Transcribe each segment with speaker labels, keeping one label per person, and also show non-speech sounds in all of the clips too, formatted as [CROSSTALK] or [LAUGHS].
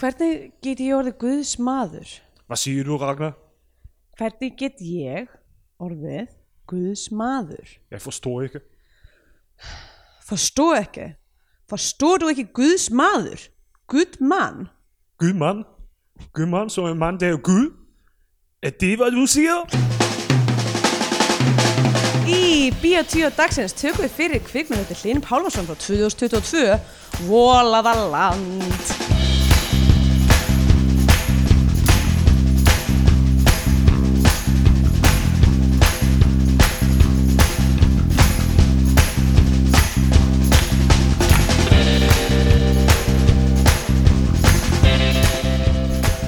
Speaker 1: hvernig get ég orðið Guðs maður?
Speaker 2: Was siehst du, Ragnar?
Speaker 1: Hvernig get ég orðið Guðs maður?
Speaker 2: Jeg forstår ikke.
Speaker 1: Forstó ekki. Forstår du ekki Guðs maður? Guð mann?
Speaker 2: Gud mand. Gud mand, som en mand, der er Gud. Er det, hvad du siger?
Speaker 1: Í Bíó 10 dagsins tökum við fyrir kvikmyndið Hlyn Pálmarsson frá 2022 Volaða land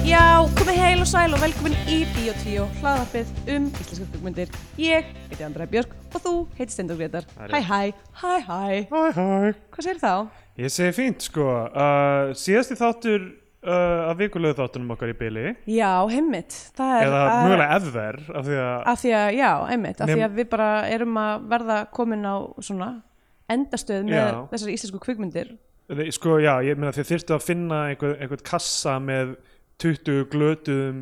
Speaker 1: Já, komið heil og sæl og velkomin í Bíó 10 hlaðarpið um íslenska kvikmyndir Ég heiti Andra Björk og þú heiti Stendur Gretar Hæ hæ, hæ hæ
Speaker 2: Hej, hej.
Speaker 1: Hvað segir þá?
Speaker 2: Ég segi fínt, sko. Uh, síðasti þáttur uh, af vikulegu þáttunum okkar í byli,
Speaker 1: Já, heimitt Það er
Speaker 2: eða
Speaker 1: það er-
Speaker 2: mögulega ever, af því að
Speaker 1: af því að, já, einmitt, af
Speaker 2: Nem-
Speaker 1: því að við bara erum að verða komin á svona endastöð með
Speaker 2: Já.
Speaker 1: þessar íslensku kvikmyndir
Speaker 2: Nei, Sko, já, ég meina þið þyrftu að finna einhver, einhvern kassa með 20 glötuðum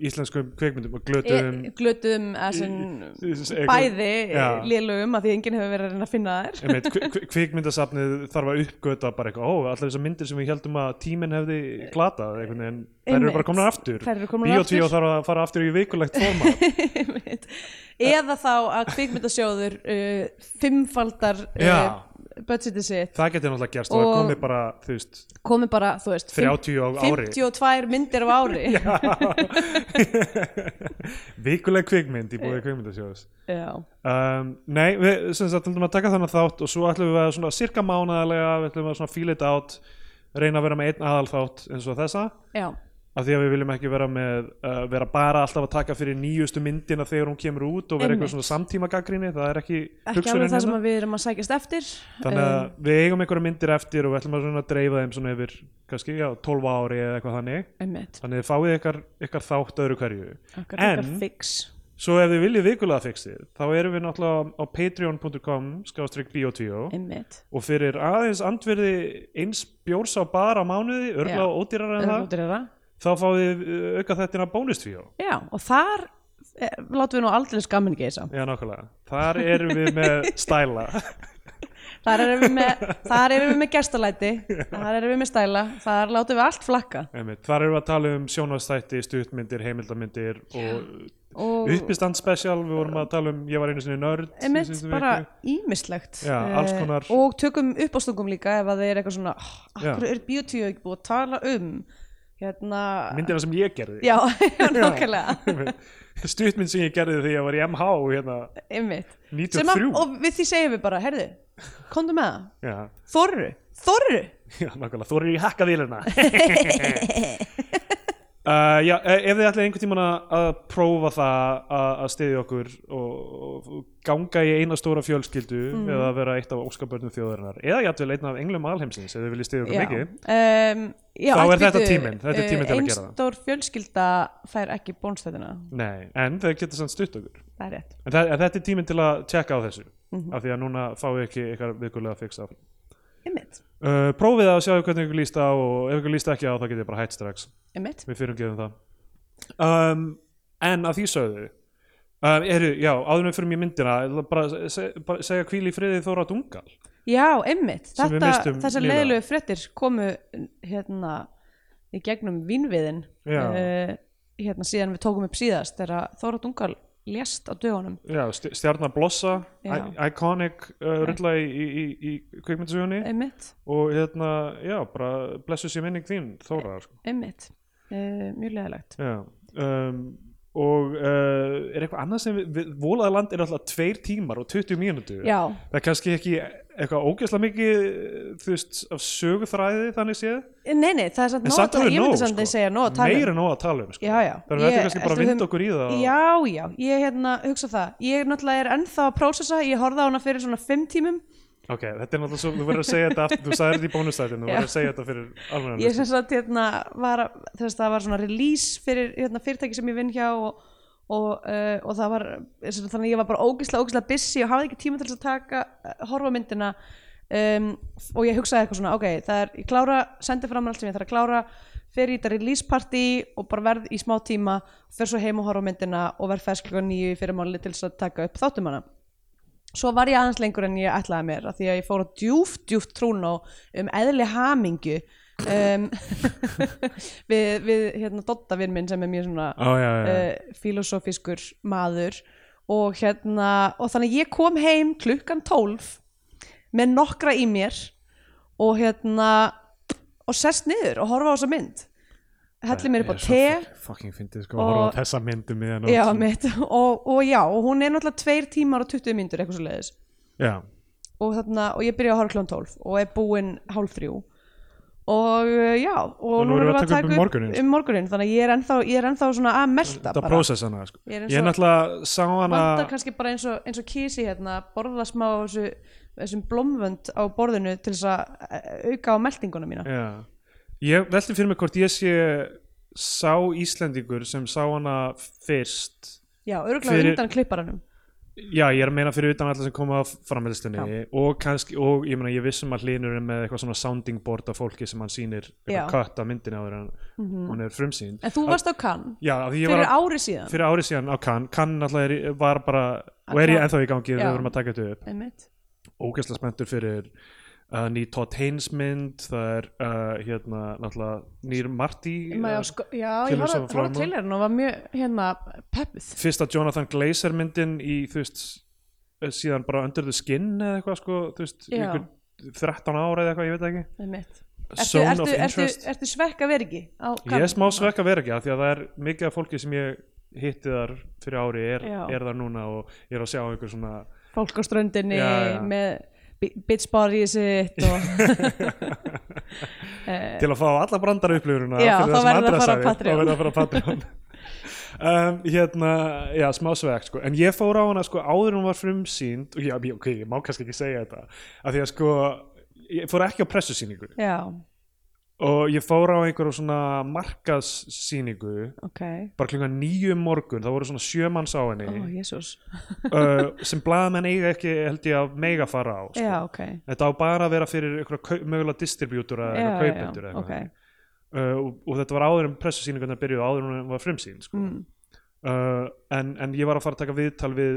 Speaker 2: íslenskum kveikmyndum og glötuðum
Speaker 1: e, glötuðum, esin,
Speaker 2: s- einhver-
Speaker 1: bæði
Speaker 2: Já.
Speaker 1: lélugum af því að enginn hefur verið að reyna að finna þær
Speaker 2: einmitt, kvi- kvi- kvikmyndasafnið þarf að uppgöta bara eitthvað, ó, allar þessar myndir sem við heldum að tíminn hefði glatað einhvern veginn, þær eru
Speaker 1: Einmitt.
Speaker 2: bara komnar aftur
Speaker 1: Þær eru komnar aftur.
Speaker 2: Bíotvíó þarf að fara aftur í vikulegt format
Speaker 1: [LAUGHS] Einmitt. eða þá að kvikmyndasjóður uh, fimmfaldar uh,
Speaker 2: Já.
Speaker 1: budgetið sitt
Speaker 2: það getur náttúrulega gerst og, það
Speaker 1: Og-
Speaker 2: komið bara, þú veist,
Speaker 1: komi bara, þú veist, fimm-
Speaker 2: 30 á ári
Speaker 1: 52 myndir á
Speaker 2: [LAUGHS]
Speaker 1: ári
Speaker 2: vikuleg kvikmynd í
Speaker 1: Eh.
Speaker 2: búið kvikmyndasjóðs
Speaker 1: já,
Speaker 2: Um, nei, við sem sagt ætlum að taka þannig þátt og svo ætlum við að svona cirka mánaðarlega, við ætlum að svona feel it out reyna að vera með einn aðal þátt eins og þessa,
Speaker 1: já,
Speaker 2: af því að við viljum ekki vera með, uh, vera bara alltaf að taka fyrir nýjustu myndina þegar hún kemur út og vera
Speaker 1: Einmitt.
Speaker 2: eitthvað svona samtíma gaggrinni, það er ekki,
Speaker 1: ekki
Speaker 2: hugsunin
Speaker 1: alveg það sem
Speaker 2: hérna.
Speaker 1: að við erum að sækjast eftir um,
Speaker 2: þannig að við eigum einhverja myndir eftir og við ætlum að svona dreifa þeim svona yfir kannski, já, 12 ári eða eitthvað þannig
Speaker 1: einmitt,
Speaker 2: þannig þið fáið ykkar, ykkar þátt öðru hverju
Speaker 1: okkar, okkar
Speaker 2: En-
Speaker 1: fix
Speaker 2: Svo ef þið viljið vikulega fixið, þá erum við náttúrulega á patreon.com skástrík biotvíó
Speaker 1: einmitt
Speaker 2: og fyrir aðeins andverði eins bjórs á bara mánuði, örgulega
Speaker 1: Já.
Speaker 2: ódýrar en það,
Speaker 1: Rúdýrara.
Speaker 2: þá fáið þið uh, auka þetta bónustvíó.
Speaker 1: Já, og þar eh, látum við nú aldrei skammin ekki þess
Speaker 2: Já, nákvæmlega. Þar erum við með stæla.
Speaker 1: Þar erum við
Speaker 2: [LAUGHS]
Speaker 1: með, þar erum við með gestalæti, þar erum við með stæla, þar látum við allt flakka.
Speaker 2: Einmitt. Þar erum við að tala um sjónvastætti, stuttmyndir, heimildarmyndir og
Speaker 1: Og
Speaker 2: uppistand special. Við vorum að tala um, ég var einu sinni nörd. í
Speaker 1: einmitt
Speaker 2: síðustu
Speaker 1: bara
Speaker 2: viku.
Speaker 1: ímislegt.
Speaker 2: Já, alls konar.
Speaker 1: Og tökum uppástungum líka ef að þeir eru eitthvað svona, oh,
Speaker 2: Já.
Speaker 1: akkur er biotíu ekki búið að tala um, hérna,
Speaker 2: Myndina sem ég gerði.
Speaker 1: já, [LAUGHS] já, nákvæmlega,
Speaker 2: [LAUGHS] Stuttmynd sem ég gerði þegar ég var í MH hérna.
Speaker 1: einmitt.
Speaker 2: 93.
Speaker 1: Að, og við því segjum við bara, herðu, komdu með það,
Speaker 2: Já.
Speaker 1: þorru, þorru.
Speaker 2: Já, nákvæmlega, þú eru í hakkavélina [LAUGHS] uh, Já, e- ef þið ætlaði einhvern tímann að að prófa það að að styðja okkur og, og og ganga í eina stóra fjölskyldu eða vera eitt af óskapörnum þjóðarinnar eða játvel einn af englum alheimsins ef þið viljið styðja okkur mikið
Speaker 1: um, já,
Speaker 2: Þá
Speaker 1: allt
Speaker 2: er þetta
Speaker 1: bíddu,
Speaker 2: tíminn, þetta er
Speaker 1: eh,
Speaker 2: tíminn til að gera það.
Speaker 1: Einn stór fjölskylda fær ekki bónstæðina,
Speaker 2: Nei, en þið geta samt stutt okkur
Speaker 1: það er rétt
Speaker 2: en, það, en þetta er tíminn til að tjekka á þessu af því að núna fáið ekki ykkar vikulega fix af
Speaker 1: Einmitt,
Speaker 2: uh, Prófið það og sjáu hvernig ykkur líst á og ef ykkur líst ekki á þá getið þið bara hætt strax
Speaker 1: einmitt
Speaker 2: við fyrir gefum það um, en að því sögðu um, eru, já, áður með fyrir mér myndina ég ætla bara, að se, bara segja hvíl í friði Þóra Dungal
Speaker 1: Já, einmitt,
Speaker 2: Sem við
Speaker 1: þetta,
Speaker 2: misstum
Speaker 1: þessar
Speaker 2: nýlega.
Speaker 1: leiðilegu fréttir komu hérna í gegnum vínviðin
Speaker 2: Já.
Speaker 1: hérna síðan við tókum upp síðast þegar Þóra Dungal lést á dögunum
Speaker 2: já, stj- stjarnan Blossa
Speaker 1: Já.
Speaker 2: i- iconic uh, rulla í, í, í, í kvikmyndasögunni
Speaker 1: Einmitt,
Speaker 2: og hérna, já, bara blessu sér minning þín Þóra, sko
Speaker 1: einmitt, uh, mjög leiðilegt
Speaker 2: já, um, og uh, er eitthvað annað sem við, við Volaðaland er alltaf tveir tímar og 20 mínútur
Speaker 1: Já,
Speaker 2: það er kannski ekki eitthvað ógeðslega mikið þú veist, af söguþræði þannig séð
Speaker 1: nei, nei, það er samt
Speaker 2: En
Speaker 1: nóg að
Speaker 2: samt
Speaker 1: tala-
Speaker 2: alveg
Speaker 1: ég myndi
Speaker 2: nóg,
Speaker 1: samt
Speaker 2: sko.
Speaker 1: að segja nóg að tala um.
Speaker 2: meira en nóg að tala um sko.
Speaker 1: Já, já.
Speaker 2: þannig að þetta
Speaker 1: Ég-
Speaker 2: er kannski bara að
Speaker 1: ætli
Speaker 2: vinda
Speaker 1: höfum-
Speaker 2: okkur í það
Speaker 1: Já, já, ég hérna hugsa það Ég náttúrulega er ennþá að prósessa Ég horfði á hana fyrir svona fimm tímum
Speaker 2: ok, þetta er náttúrulega svo, þú verður að segja þetta aftur þú sagði þetta í bónustætinu, þú
Speaker 1: Já.
Speaker 2: verður að segja þetta fyrir alveg
Speaker 1: Ég sem sagt hérna var að- þess að það var svona release fyrir hérna, fyrirtæki sem ég vinn hjá og, og, uh, og það var sem sagt, þannig að ég var bara ógislega, ógislega busy og hafði ekki tíma til þess að taka uh, horfa á myndina um, og ég hugsaði eitthvað svona ok, það er, ég klára, sendi fram allt sem ég þarf að klára fer í þetta release party og bara verð í smá tíma fer svo heim og horfa á myndina og verð fersk klukkan nýju í fyrirmáli til þess að taka upp þáttum hana svo var ég aðeins lengur en ég ætlaði mér af því að ég fór á djúft, djúft trúna um eðli hamingju um, [LAUGHS] við, við hérna Dotta vinn minn sem er mjög svona
Speaker 2: Ó, Ah, já, já, já.
Speaker 1: uh, filosófiskur maður og hérna og þannig að ég kom heim klukkan 12 með nokkra í mér og hérna og sest niður og horfa á þessa mynd helli mér upp á
Speaker 2: Ég er
Speaker 1: te
Speaker 2: svo fuck- fucking fyndið sko að horfa
Speaker 1: og-
Speaker 2: á þessa myndum í
Speaker 1: já, mitt, og, og já, og hún er náttúrulega tveir tímar og 20 myndur eitthvað svo leiðis
Speaker 2: já,
Speaker 1: og, þarna, og ég byrja að horfa klón 12 og er búin hálf þrjú og uh, já og
Speaker 2: nú erum við að taka upp um morguninn.
Speaker 1: um morguninn þannig að ég er ennþá, ég er ennþá svona að melta
Speaker 2: þetta
Speaker 1: bara.
Speaker 2: prósess hana sko.
Speaker 1: Ég er
Speaker 2: ég,
Speaker 1: eins
Speaker 2: er
Speaker 1: og-
Speaker 2: náttúrulega sá hana
Speaker 1: vantar kannski bara eins og, eins og kísi hérna borða smá af þessu, þessum blómvönd á borðinu til þess að eh, auka á meltinguna mína
Speaker 2: já. ég velti fyrir mig hvort ég sé sá Íslendingur sem sá hana fyrst
Speaker 1: já, örgulega
Speaker 2: Fyrir-
Speaker 1: undan klipparanum
Speaker 2: Já, ég er að meina fyrir utan alla sem koma af framhælstunni og kannski, og ég meina ég vissum að hlýnur er með eitthvað svona sounding board af fólki sem hann sýnir
Speaker 1: Já. Mhm.
Speaker 2: eitthvað kött af myndinni áður en hún er frumsýnd
Speaker 1: en þú varst á kann
Speaker 2: Já, af því ég var
Speaker 1: fyrir
Speaker 2: að,
Speaker 1: ári síðan
Speaker 2: fyrir ári síðan á Cannes Cannes náttúrulega er, í- var bara, og er ég ennþá í gangi þegar
Speaker 1: Já.
Speaker 2: við vorum að taka þetta upp
Speaker 1: einmitt
Speaker 2: ógæslega spenntur fyrir uh, ný Todd Haynes mynd það er uh, hérna náttúrulega nýr Marty
Speaker 1: Maður,
Speaker 2: uh,
Speaker 1: já, sko, já, ég
Speaker 2: Killers
Speaker 1: horfði
Speaker 2: of the
Speaker 1: horfði á
Speaker 2: Flower Moon.
Speaker 1: trailerinn og var mjög hérna peppuð
Speaker 2: fyrsta Jonathan Glazer myndin í þú veist eh, síðan bara Under the Skin eða eitthvað sko þú veist
Speaker 1: Já.
Speaker 2: einhver 13 ára eða eitthvað ég veit ekki
Speaker 1: einmitt ertu,
Speaker 2: Zone
Speaker 1: ertu,
Speaker 2: of
Speaker 1: ertu,
Speaker 2: Interest
Speaker 1: ertu svekk að vera ekki á
Speaker 2: ég
Speaker 1: Cannes?
Speaker 2: er smá svekk að vera ekki af því að það er mikið af fólki sem ég hitti þar fyrir ári er,
Speaker 1: Já.
Speaker 2: er þar núna og ég er að sjá einhver svona
Speaker 1: fólk á ströndinni
Speaker 2: Já, já.
Speaker 1: með bi- bitch body sitt
Speaker 2: [LAUGHS]
Speaker 1: og Eh,
Speaker 2: til að fá alla brandar upplifurina
Speaker 1: Já,
Speaker 2: fyrir
Speaker 1: þá
Speaker 2: það
Speaker 1: verður
Speaker 2: sem
Speaker 1: að
Speaker 2: Andra
Speaker 1: fara á
Speaker 2: sagði,
Speaker 1: Patreon.
Speaker 2: þá verður að fara
Speaker 1: [LAUGHS]
Speaker 2: á Patreon um, hérna, já, smá svegt sko. en ég fór á hana sko áður en hún var frumsýnd og já, ég- ok, ég má kannski ekki segja þetta af því að sko ég fór ekki á pressusýningu
Speaker 1: já,
Speaker 2: og ég fór á einhverjum svona markaðssýningu
Speaker 1: ok
Speaker 2: bara klukkan nýju um morgun, það voru svona sjömanns á henni
Speaker 1: ó, jésús
Speaker 2: uh, sem blaðamenn eiga ekki held ég að mega fara á sko.
Speaker 1: já, ok
Speaker 2: þetta á bara að vera fyrir einhverja mögulega distribjútora eða
Speaker 1: Já, já,
Speaker 2: kaupendur
Speaker 1: já,
Speaker 2: eða eitthvað
Speaker 1: ok.
Speaker 2: þannig. uh, og, og þetta var áður en pressusýningarnar byrjuðu áður en hún var frumsýn sko.
Speaker 1: Mm.
Speaker 2: uh, en, en ég var að fara að taka viðtal við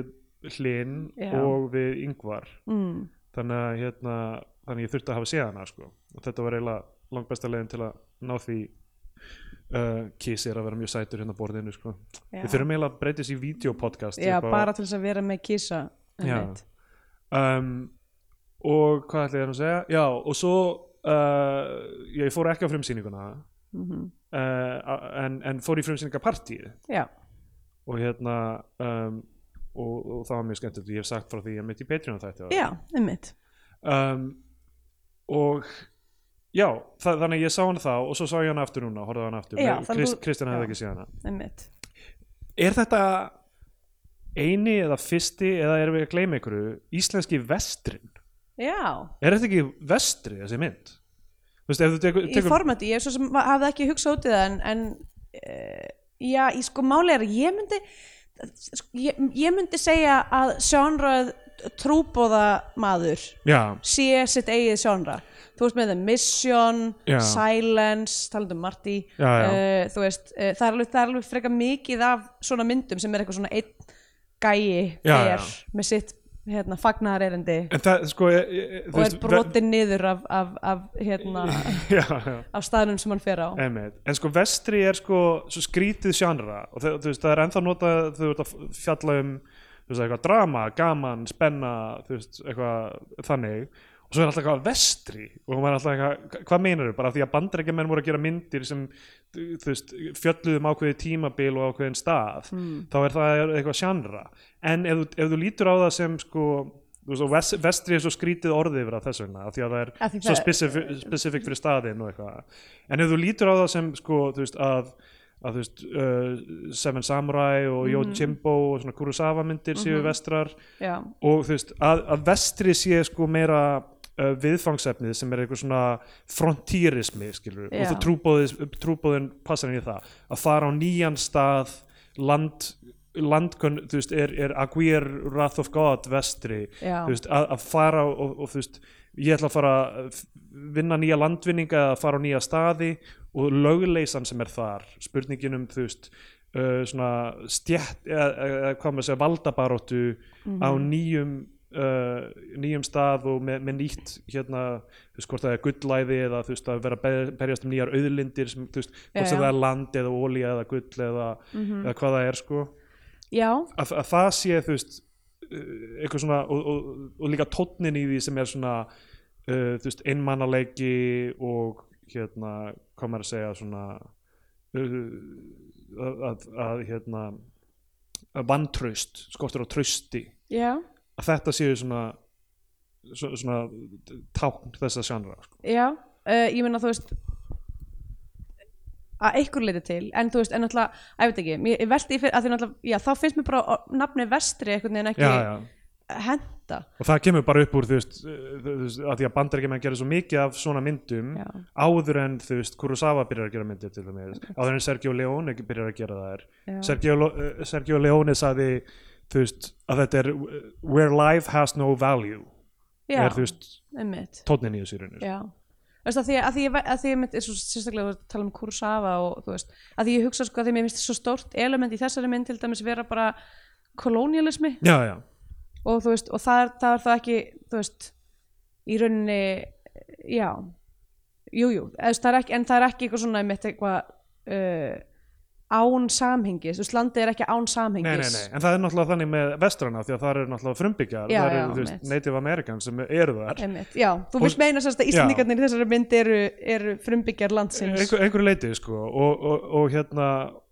Speaker 2: Hlyn
Speaker 1: Já.
Speaker 2: og við Yngvar
Speaker 1: Mm.
Speaker 2: þannig að hérna, þannig að ég þurfti að hafa séð hana sko. og þetta var eiginlega langbesta leiðin til að ná því uh, Kiss er að vera mjög sætur hérna á borðinu sko.
Speaker 1: Já.
Speaker 2: við þurfum eiginlega að breytist í videopodcast
Speaker 1: Já,
Speaker 2: upp á-
Speaker 1: bara til þess að vera með kísa einmitt.
Speaker 2: um, og hvað ætla ég að segja já og svo uh, ég fór ekki á frumsýninguna
Speaker 1: Mhm.
Speaker 2: uh, en, en fór í frumsýningapartíð
Speaker 1: Já,
Speaker 2: og hérna um, og, og það var mjög skemmtilegt ég hef sagt frá því að mitt í Patreon þætti
Speaker 1: já, einmitt
Speaker 2: um, og já, þa þannig að ég sá hana þá og svo sá ég hana aftur núna, horfði á hana aftur
Speaker 1: Já,
Speaker 2: Með-
Speaker 1: þannig
Speaker 2: Krist,
Speaker 1: þú-
Speaker 2: Kristján
Speaker 1: já.
Speaker 2: hefði ekki séð hana
Speaker 1: einmitt
Speaker 2: er þetta eini eða fyrsti eða erum við að gleyma einhverju íslenski vestrin
Speaker 1: Já,
Speaker 2: er þetta ekki vestri þessi mynd þú veist, ef þú tekur,
Speaker 1: í formati, ég svo sem va- hafði ekki hugsað út í það en, en uh, já, í sko máli er að ég myndi sko, ég, ég myndi segja að sjónrað trúbóða maður
Speaker 2: já,
Speaker 1: sé sitt eigið sjónra þú veist með það Mission,
Speaker 2: Já.
Speaker 1: Silence talandum Marty
Speaker 2: Já, já.
Speaker 1: eh, þú veist, uh, það, er alveg, það er alveg freka mikið af svona myndum sem er eitthvað svona einn gæi
Speaker 2: Já,
Speaker 1: er
Speaker 2: já.
Speaker 1: með sitt hérna, fagnar erindi
Speaker 2: en það sko e, e,
Speaker 1: og er brotin niður af, af, af, hérna,
Speaker 2: [LAUGHS] já, já
Speaker 1: af staðnum sem hann fer á
Speaker 2: Einmitt. En sko vestri er sko svo skrítið sjánra og það, þú veist, það er ennþá notað þegar þú ert að f- fjalla um þú veist, eitthvað drama, gaman, spenna þú veist, eitthvað þannig og svo er alltaf eitthvað vestri og maður er alltaf eitthvað, hvað meinar þau? Bara af því að bandarækjamenn voru að gera myndir sem þú veist, fjölluðum ákveði tímabil og ákveðin stað þá er það eitthvað sjánra en ef, þú- ef þú lítur á það sem sko þú veist, og vest, vestri er svo skrítið orðið yfir það þess vegna, af því að það er
Speaker 1: Af því
Speaker 2: svo
Speaker 1: það-
Speaker 2: specific, specific fyrir staðinn og eitthvað en ef þú lítur á það sem sko, þú veist, að, að þú veist, uh, Seven Samurai og mm
Speaker 1: Mhm.
Speaker 2: Yojimbo og svona Kurosawa myndir séu vestrar
Speaker 1: já,
Speaker 2: og þú veist, að, að vestri sé sko meira uh, viðfangsefnið sem er eitthvað svona frontýrismi skilur,
Speaker 1: Já.
Speaker 2: og þú trúbóðis, trúbóðin passar inn í það, að fara á nýjan stað land landkönn, þú veist, er, er Aguirre Wrath of God vestri
Speaker 1: já,
Speaker 2: þú veist, að, að fara og, og, og þú veist, ég ætla að fara að vinna nýja landvinninga eða fara á nýja staði og lögleysan sem er þar spurningin um þú veist uh, svona stjætt eða, eða hvað maður segja valdabaróttu á nýjum uh, nýjum stað og með, með nýtt hérna, þú veist hvort það er gullæði eða þú veist að vera að ber- berjast um nýjar auðlindir sem þú veist, hvort
Speaker 1: Já,
Speaker 2: sem
Speaker 1: já.
Speaker 2: það er land eða olía eða gull eða, eða hvað það er sko
Speaker 1: já,
Speaker 2: að, að það sé þú veist uh, eitthvað svona og, og, og líka tónnin í því sem er svona uh, þú veist einmannaleiki og hérna hvað maður að segja svona uh, að, að, að hérna að vantraust, skortur á trausti
Speaker 1: já,
Speaker 2: að þetta séu svona svo- svona tákn þessa sjánra sko.
Speaker 1: já uh, ég meina þú veist að einhver leiti til en þú veist, en alltaf, að ég veit ekki mér, ég velti, fyrir, að því alltaf, já, þá finnst mér bara or- nafnið vestri einhvern veginn ekki
Speaker 2: já, já.
Speaker 1: henda
Speaker 2: og það kemur bara upp úr þú veist, uh, þú veist að því að bandaríkjumenn gerir svo mikið af svona myndum
Speaker 1: Já.
Speaker 2: áður en þú veist Kurosawa byrjar að gera myndir til dæmis áður en Sergio Leone byrjar að gera þær
Speaker 1: Já.
Speaker 2: Sergio, Lo- uh, Sergio Leone saði þú veist að þetta er uh, where life has no value
Speaker 1: já,
Speaker 2: er þú veist
Speaker 1: einmitt
Speaker 2: tónnin í sko. þessu raunir
Speaker 1: Já, þú veist að því að, því, ég- að því ég myndi, svo, sérstaklega þú ert að tala um Kurosawa og þú veist, að því ég hugsa sko að því mér finnst svo stórt element í þessari mynd til dæmis vera bara kolonialismi
Speaker 2: já, já,
Speaker 1: og þú veist, og það er það, er það ekki, þú veist, í rauninni, já, jújú, jú, eða þú veist, það er ekki, en það er ekki eitthvað svona mitt eitthvað uh, án samhengis, þú veist, landið er ekki án
Speaker 2: nei, nei,
Speaker 1: samhengis.
Speaker 2: nei en það er náttúrulega þannig með vestrana því að það eru náttúrulega frumbyggjar
Speaker 1: Já,
Speaker 2: það eru
Speaker 1: já,
Speaker 2: þú veist
Speaker 1: mitt.
Speaker 2: Native Americans sem eru þar
Speaker 1: Einmitt, já, þú
Speaker 2: Og-
Speaker 1: vilt meina sérst að
Speaker 2: Já.
Speaker 1: Íslandingarnir í þessari mynd eru, eru frumbyggjar landsins
Speaker 2: einhver, einhverju leiti sko og, og, og hérna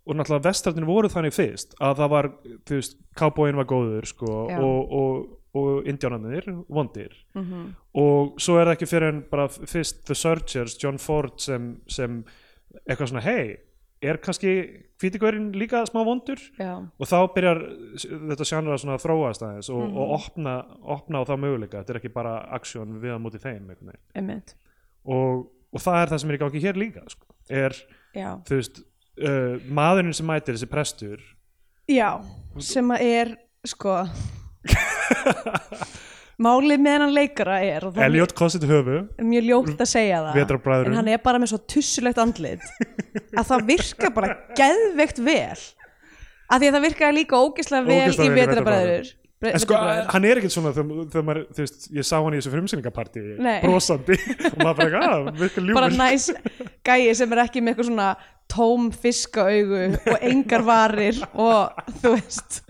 Speaker 2: og náttúrulega vestarnir voru þannig fyrst að það var, þú veist, cowboyin var góður sko
Speaker 1: Já.
Speaker 2: og, og, og indjánanir vondir
Speaker 1: Mhm,
Speaker 2: -hmm. og svo er það ekki fyrir en bara fyrst The Searchers, John Ford sem, sem eitthvað svona, hei er kannski hvítigurinn líka smá vondur
Speaker 1: Já,
Speaker 2: og þá byrjar þetta sjánra svona að þróast aðeins og, og opna, opna á það möguleika þetta er ekki bara aksjón við að múti þeim einhvern veginn.
Speaker 1: einmitt,
Speaker 2: og, og það er það sem er í gangi hér líka sko. er
Speaker 1: já.
Speaker 2: þú veist, uh, maðurinn sem mætir þessi prestur
Speaker 1: Já, sem að er sko [LAUGHS] Málið með hennan leikara er og það er
Speaker 2: Elliot kostið höfu
Speaker 1: mjög- mjög ljótt að segja það
Speaker 2: Vetrarbræðrunum.
Speaker 1: en hann er bara með svo tussulegt andlit að það virka bara geðveikt vel af því að það virkaði líka ógislega vel
Speaker 2: Ógeðslega
Speaker 1: í
Speaker 2: vel í
Speaker 1: vetrabræður
Speaker 2: en sko, hann er ekkert svona þegar þegar maður, þú veist, ég sá hann í þessu frumsýningapartí
Speaker 1: Nei.
Speaker 2: brosandi
Speaker 1: [LAUGHS]
Speaker 2: og maður bara, "Ah, að, virka
Speaker 1: bara
Speaker 2: ljúmur [LAUGHS]
Speaker 1: næs gæi sem er ekki með eitthvað svona tóm fiskaaugu og engar varir og þú veist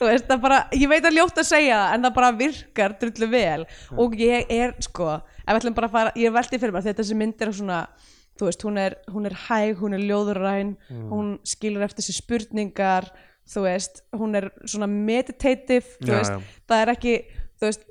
Speaker 1: þú veist það bara, ég veit að ljótt að segja það en það bara virkar drullu vel og ég er sko ef við ætlum bara að fara, ég er veltið fyrir mér því að þessi mynd er svona þú veist, hún er, hún er hæg, hún er ljóðuræn
Speaker 2: Mm.
Speaker 1: hún skilur eftir sér spurningar þú veist, hún er svona meditative, þú
Speaker 2: Já,
Speaker 1: veist
Speaker 2: já.
Speaker 1: það er ekki, þú veist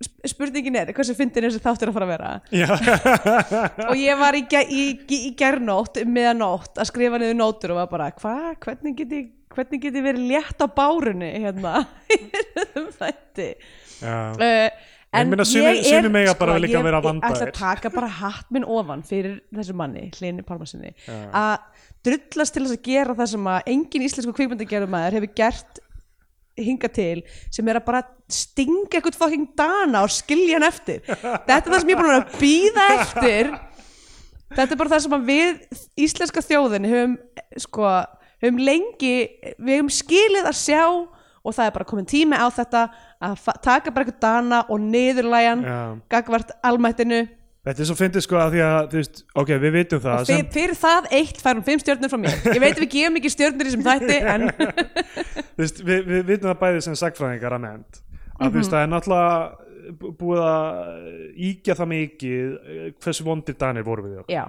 Speaker 1: sp- spurningin er, hversu fyndin er þessi þáttur að fara að vera og ég var í, gær, í, í, í gærnótt meðanótt að skrifa niður nótur og var bara hva, hvernig geti, hvernig geti verið létt á bárunni hérna [LAUGHS] í þessum þætti
Speaker 2: já,
Speaker 1: uh, en
Speaker 2: meina,
Speaker 1: ég
Speaker 2: sumir-
Speaker 1: er sko,
Speaker 2: sumir mega bara líka
Speaker 1: ég,
Speaker 2: vera
Speaker 1: ég ætla
Speaker 2: vandaðir.
Speaker 1: að taka bara hatt minn ofan fyrir þessu manni, Hlini Pálmarsinni að drullast til þess að gera það sem að engin íslensku kvikmyndagerumæður hefur gert hinga til sem er að bara stinga eitthvað fucking dana og skilja hann eftir þetta er það sem ég er búin að vera að býða eftir þetta er bara það sem að við íslenska þjóðin höfum sko, höfum lengi við höfum skilið að sjá og það er bara komin tími á þetta að fa- taka bara eitthvað dana og niðurlæjan
Speaker 2: Já.
Speaker 1: gagvart almættinu
Speaker 2: þetta er svo fyndið sko að því að þú veist, ok, við vitum það
Speaker 1: Fyr,
Speaker 2: sem,
Speaker 1: fyrir það eitt færum fimm stjörnur frá mér ég veit að við gefum ekki stjörnur í sem
Speaker 2: [LAUGHS]
Speaker 1: þætti en
Speaker 2: þú veist, við, við vitum það bæði sem sagfræðingar að nefnd að þú
Speaker 1: Mhm.
Speaker 2: veist, það er náttúrulega eh, bú- búið að íkja það mikið eh, hversu vondir danir voru við okkur
Speaker 1: já,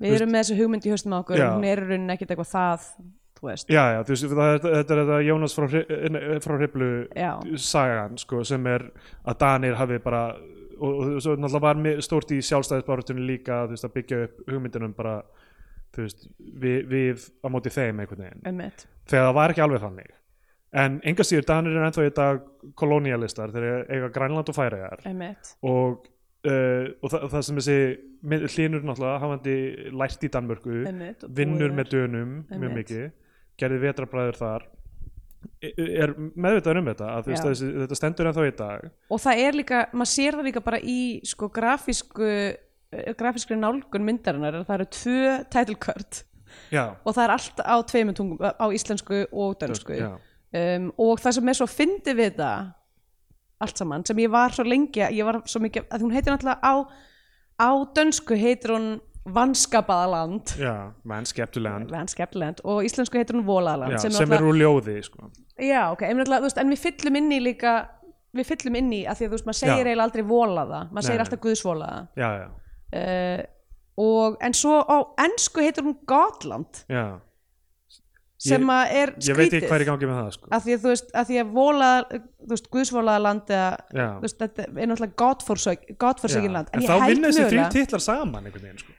Speaker 1: við erum með þessu hugmynd í höstum á okkur
Speaker 2: Já.
Speaker 1: en hún er í rauninni ekkert eitthvað það þú veist,
Speaker 2: Já, já, þú veist, það, þetta- þetta er þetta Jónas frá, Hri- eh, nei, frá Hriflu
Speaker 1: Já.
Speaker 2: sagan, sko, sem er að Danir hafi bara og, og, og svo náttúrulega var mi- stórt í sjálfstæðisbarutunni líka, þú veist, að byggja upp hugmyndunum bara, þú veist, við, við á móti þeim einhvern veginn
Speaker 1: ömmit
Speaker 2: þegar það var ekki alveg þannig en enga síður Danir er ennþá í dag kolonialistar, þeir eiga Grænland og Færajar
Speaker 1: ömmit,
Speaker 2: og, uh, og það, það sem þessi mynd- hlynur náttúrulega hafandi lært í Danmörku
Speaker 1: Einmitt, og
Speaker 2: vinnur
Speaker 1: búið
Speaker 2: með dönum mjög
Speaker 1: Einmitt.
Speaker 2: mikið gerði vetrabræður þar e- er meðvitaður um þetta að þú
Speaker 1: Já.
Speaker 2: veist að þessi, þetta stendur ennþá í dag
Speaker 1: og það er líka, maður sér það líka bara í sko grafísku eh, grafískri nálgun myndarinnar er að það eru tvö title card
Speaker 2: já,
Speaker 1: og það er allt á tveimur tungum á íslensku og dönsku
Speaker 2: já.
Speaker 1: um, og það sem er svo fyndi við það allt saman sem ég var svo lengi ég var svo mikið, að hún heitir náttúrulega á á dönsku heitir hún vanskapaðaland
Speaker 2: já menn skeptulegan
Speaker 1: vanskapland og íslensku heitir hún volaðaland
Speaker 2: já, sem er úr ljóði sko.
Speaker 1: já, ok, en, náttúrulega, þú veist, en við fyllum inn í líka við fyllum inn í að því að þú veist maður segir
Speaker 2: Já.
Speaker 1: eiginlega aldrei volaða, maður
Speaker 2: Nei,
Speaker 1: segir
Speaker 2: nei.
Speaker 1: alltaf guðsvolaða
Speaker 2: já, já,
Speaker 1: uh, og en svo á ennsku heitir hún Gotland
Speaker 2: já
Speaker 1: sem
Speaker 2: Ég-
Speaker 1: að er
Speaker 2: ég veit ekki
Speaker 1: skrítið
Speaker 2: hvað er í gangi með það sko.
Speaker 1: að því að þú veist, að því að vola þú veist, guðsvolaða land eða
Speaker 2: Já.
Speaker 1: þú veist, þetta er náttúrulega godforsök- godforsökin
Speaker 2: Já.
Speaker 1: land,
Speaker 2: en
Speaker 1: en
Speaker 2: þá
Speaker 1: ég held
Speaker 2: vinna þessi þrjú
Speaker 1: mögulega
Speaker 2: titlar saman einhvern veginn sko.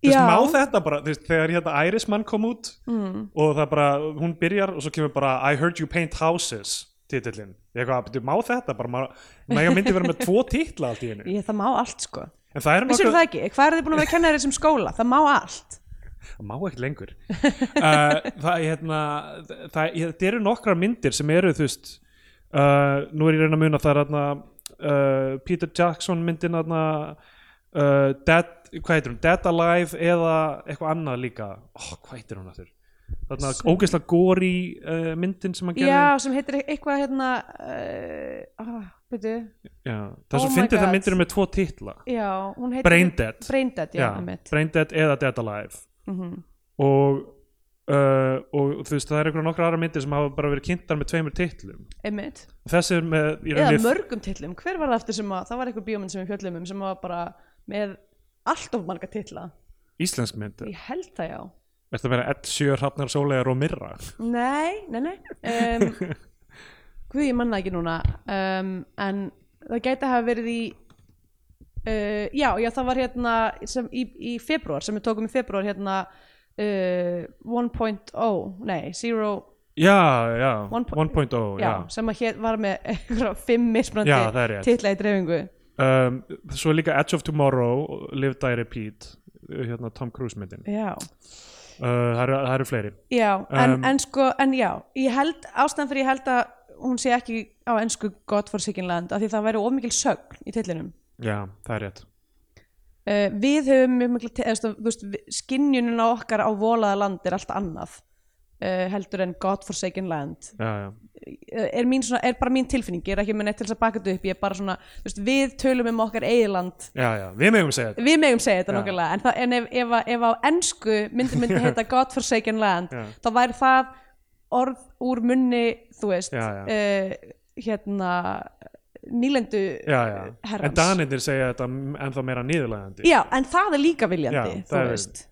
Speaker 2: Þú veist, má þetta bara, þú veist, þegar hérna Irisman kom út mm. og það bara, hún byrjar og svo kemur bara I heard you paint houses titillin, ég eitthvað, "Bíddu, má þetta bara, má ég myndi vera með tvo titla allt í hennu,
Speaker 1: ég, það má allt sko,
Speaker 2: en það er
Speaker 1: vissir það ekki hvað er þið búin að vera að kenna þér þessum skóla, það má allt
Speaker 2: það má ekkert
Speaker 1: [LAUGHS]
Speaker 2: lengur uh, það, hérna, það, ég, það eru nokkrar myndir sem eru þú veist uh, nú er ég að reyna að muna það er hérna, uh, Peter Jackson myndin hérna, uh, Dead, hvað heitir hún, Dead Alive eða eitthvað annað líka oh, hvað heitir hún aftur þarna ógeðslega góri uh, myndin sem hann gerði
Speaker 1: já, sem heitir eitthvað hérna uh, ah, byrju,
Speaker 2: já, það er
Speaker 1: Oh
Speaker 2: svo
Speaker 1: my
Speaker 2: fyndið
Speaker 1: God.
Speaker 2: það myndir eru með tvo titla
Speaker 1: já, hún heitir
Speaker 2: Brain Dead.
Speaker 1: Braindead, já, einmitt.
Speaker 2: Brain Dead eða Dead Alive
Speaker 1: Mhm.
Speaker 2: og Uh, og þú veist það eru einhverja nokkra aðra myndir sem hafa bara verið kynntar með tveimur titlum
Speaker 1: einmitt
Speaker 2: þessi er með í
Speaker 1: eða
Speaker 2: rauninni-
Speaker 1: mörgum titlum, hver var það aftur sem að það var eitthvað bíómynd sem við fjöllum um sem var bara með allt of marga titla
Speaker 2: íslensk mynd
Speaker 1: ég held það já
Speaker 2: Þetta meira Ed Sjör, Hafnar, Sólegar og Mirra
Speaker 1: Nei, nei, nei um, [LAUGHS] Guð, ég manna ekki núna um, En það gæti að hafa verið í uh, Já, já, það var hérna sem, í, í februar, sem við tókum í februar hérna uh, 1.0 oh, Nei, 0
Speaker 2: Já, já,
Speaker 1: One po-
Speaker 2: 1.0
Speaker 1: já,
Speaker 2: sko, oh, já.
Speaker 1: sem að hér var með einhverja fimm mismunandi
Speaker 2: Já, það er rétt.
Speaker 1: titla í dreifingu
Speaker 2: Um, Svo er líka Edge of Tomorrow Live, Die, Repeat hérna Tom Cruise myndin uh,
Speaker 1: Já,
Speaker 2: það, eru, það eru fleiri
Speaker 1: já en,
Speaker 2: Um,
Speaker 1: en sko, en já ég held, ástæðan fyrir ég held að hún sé ekki á ensku God for Sick in Land af því það væri of mikil sögn í titlinum
Speaker 2: Já, það er rétt
Speaker 1: uh, við höfum mjög mikla te- eða, þú veist, við- skynjunin á okkar á volaða land er allt annað uh, heldur en godforsaken land
Speaker 2: Já, já,
Speaker 1: uh, er, mín svona, er bara mín tilfinning ég er ekki með neitt til þess að baka þetta upp ég er bara svona, þú veist, við tölum um okkar eigiland
Speaker 2: já, já. við megum segja þetta
Speaker 1: við megum segja þetta
Speaker 2: Já.
Speaker 1: nokkulega en, það, en ef, ef, að- ef á ensku myndi
Speaker 2: [LAUGHS]
Speaker 1: myndi heita godforsaken land
Speaker 2: Já.
Speaker 1: þá væri það orð úr munni þú veist
Speaker 2: Já, já.
Speaker 1: Uh, hérna nýlendu
Speaker 2: Já, já, en
Speaker 1: herrans
Speaker 2: Danirnir segja þetta ennþá meira nýðurlegandi
Speaker 1: já, en það er líka viljandi
Speaker 2: Já,
Speaker 1: þú
Speaker 2: það er-
Speaker 1: veist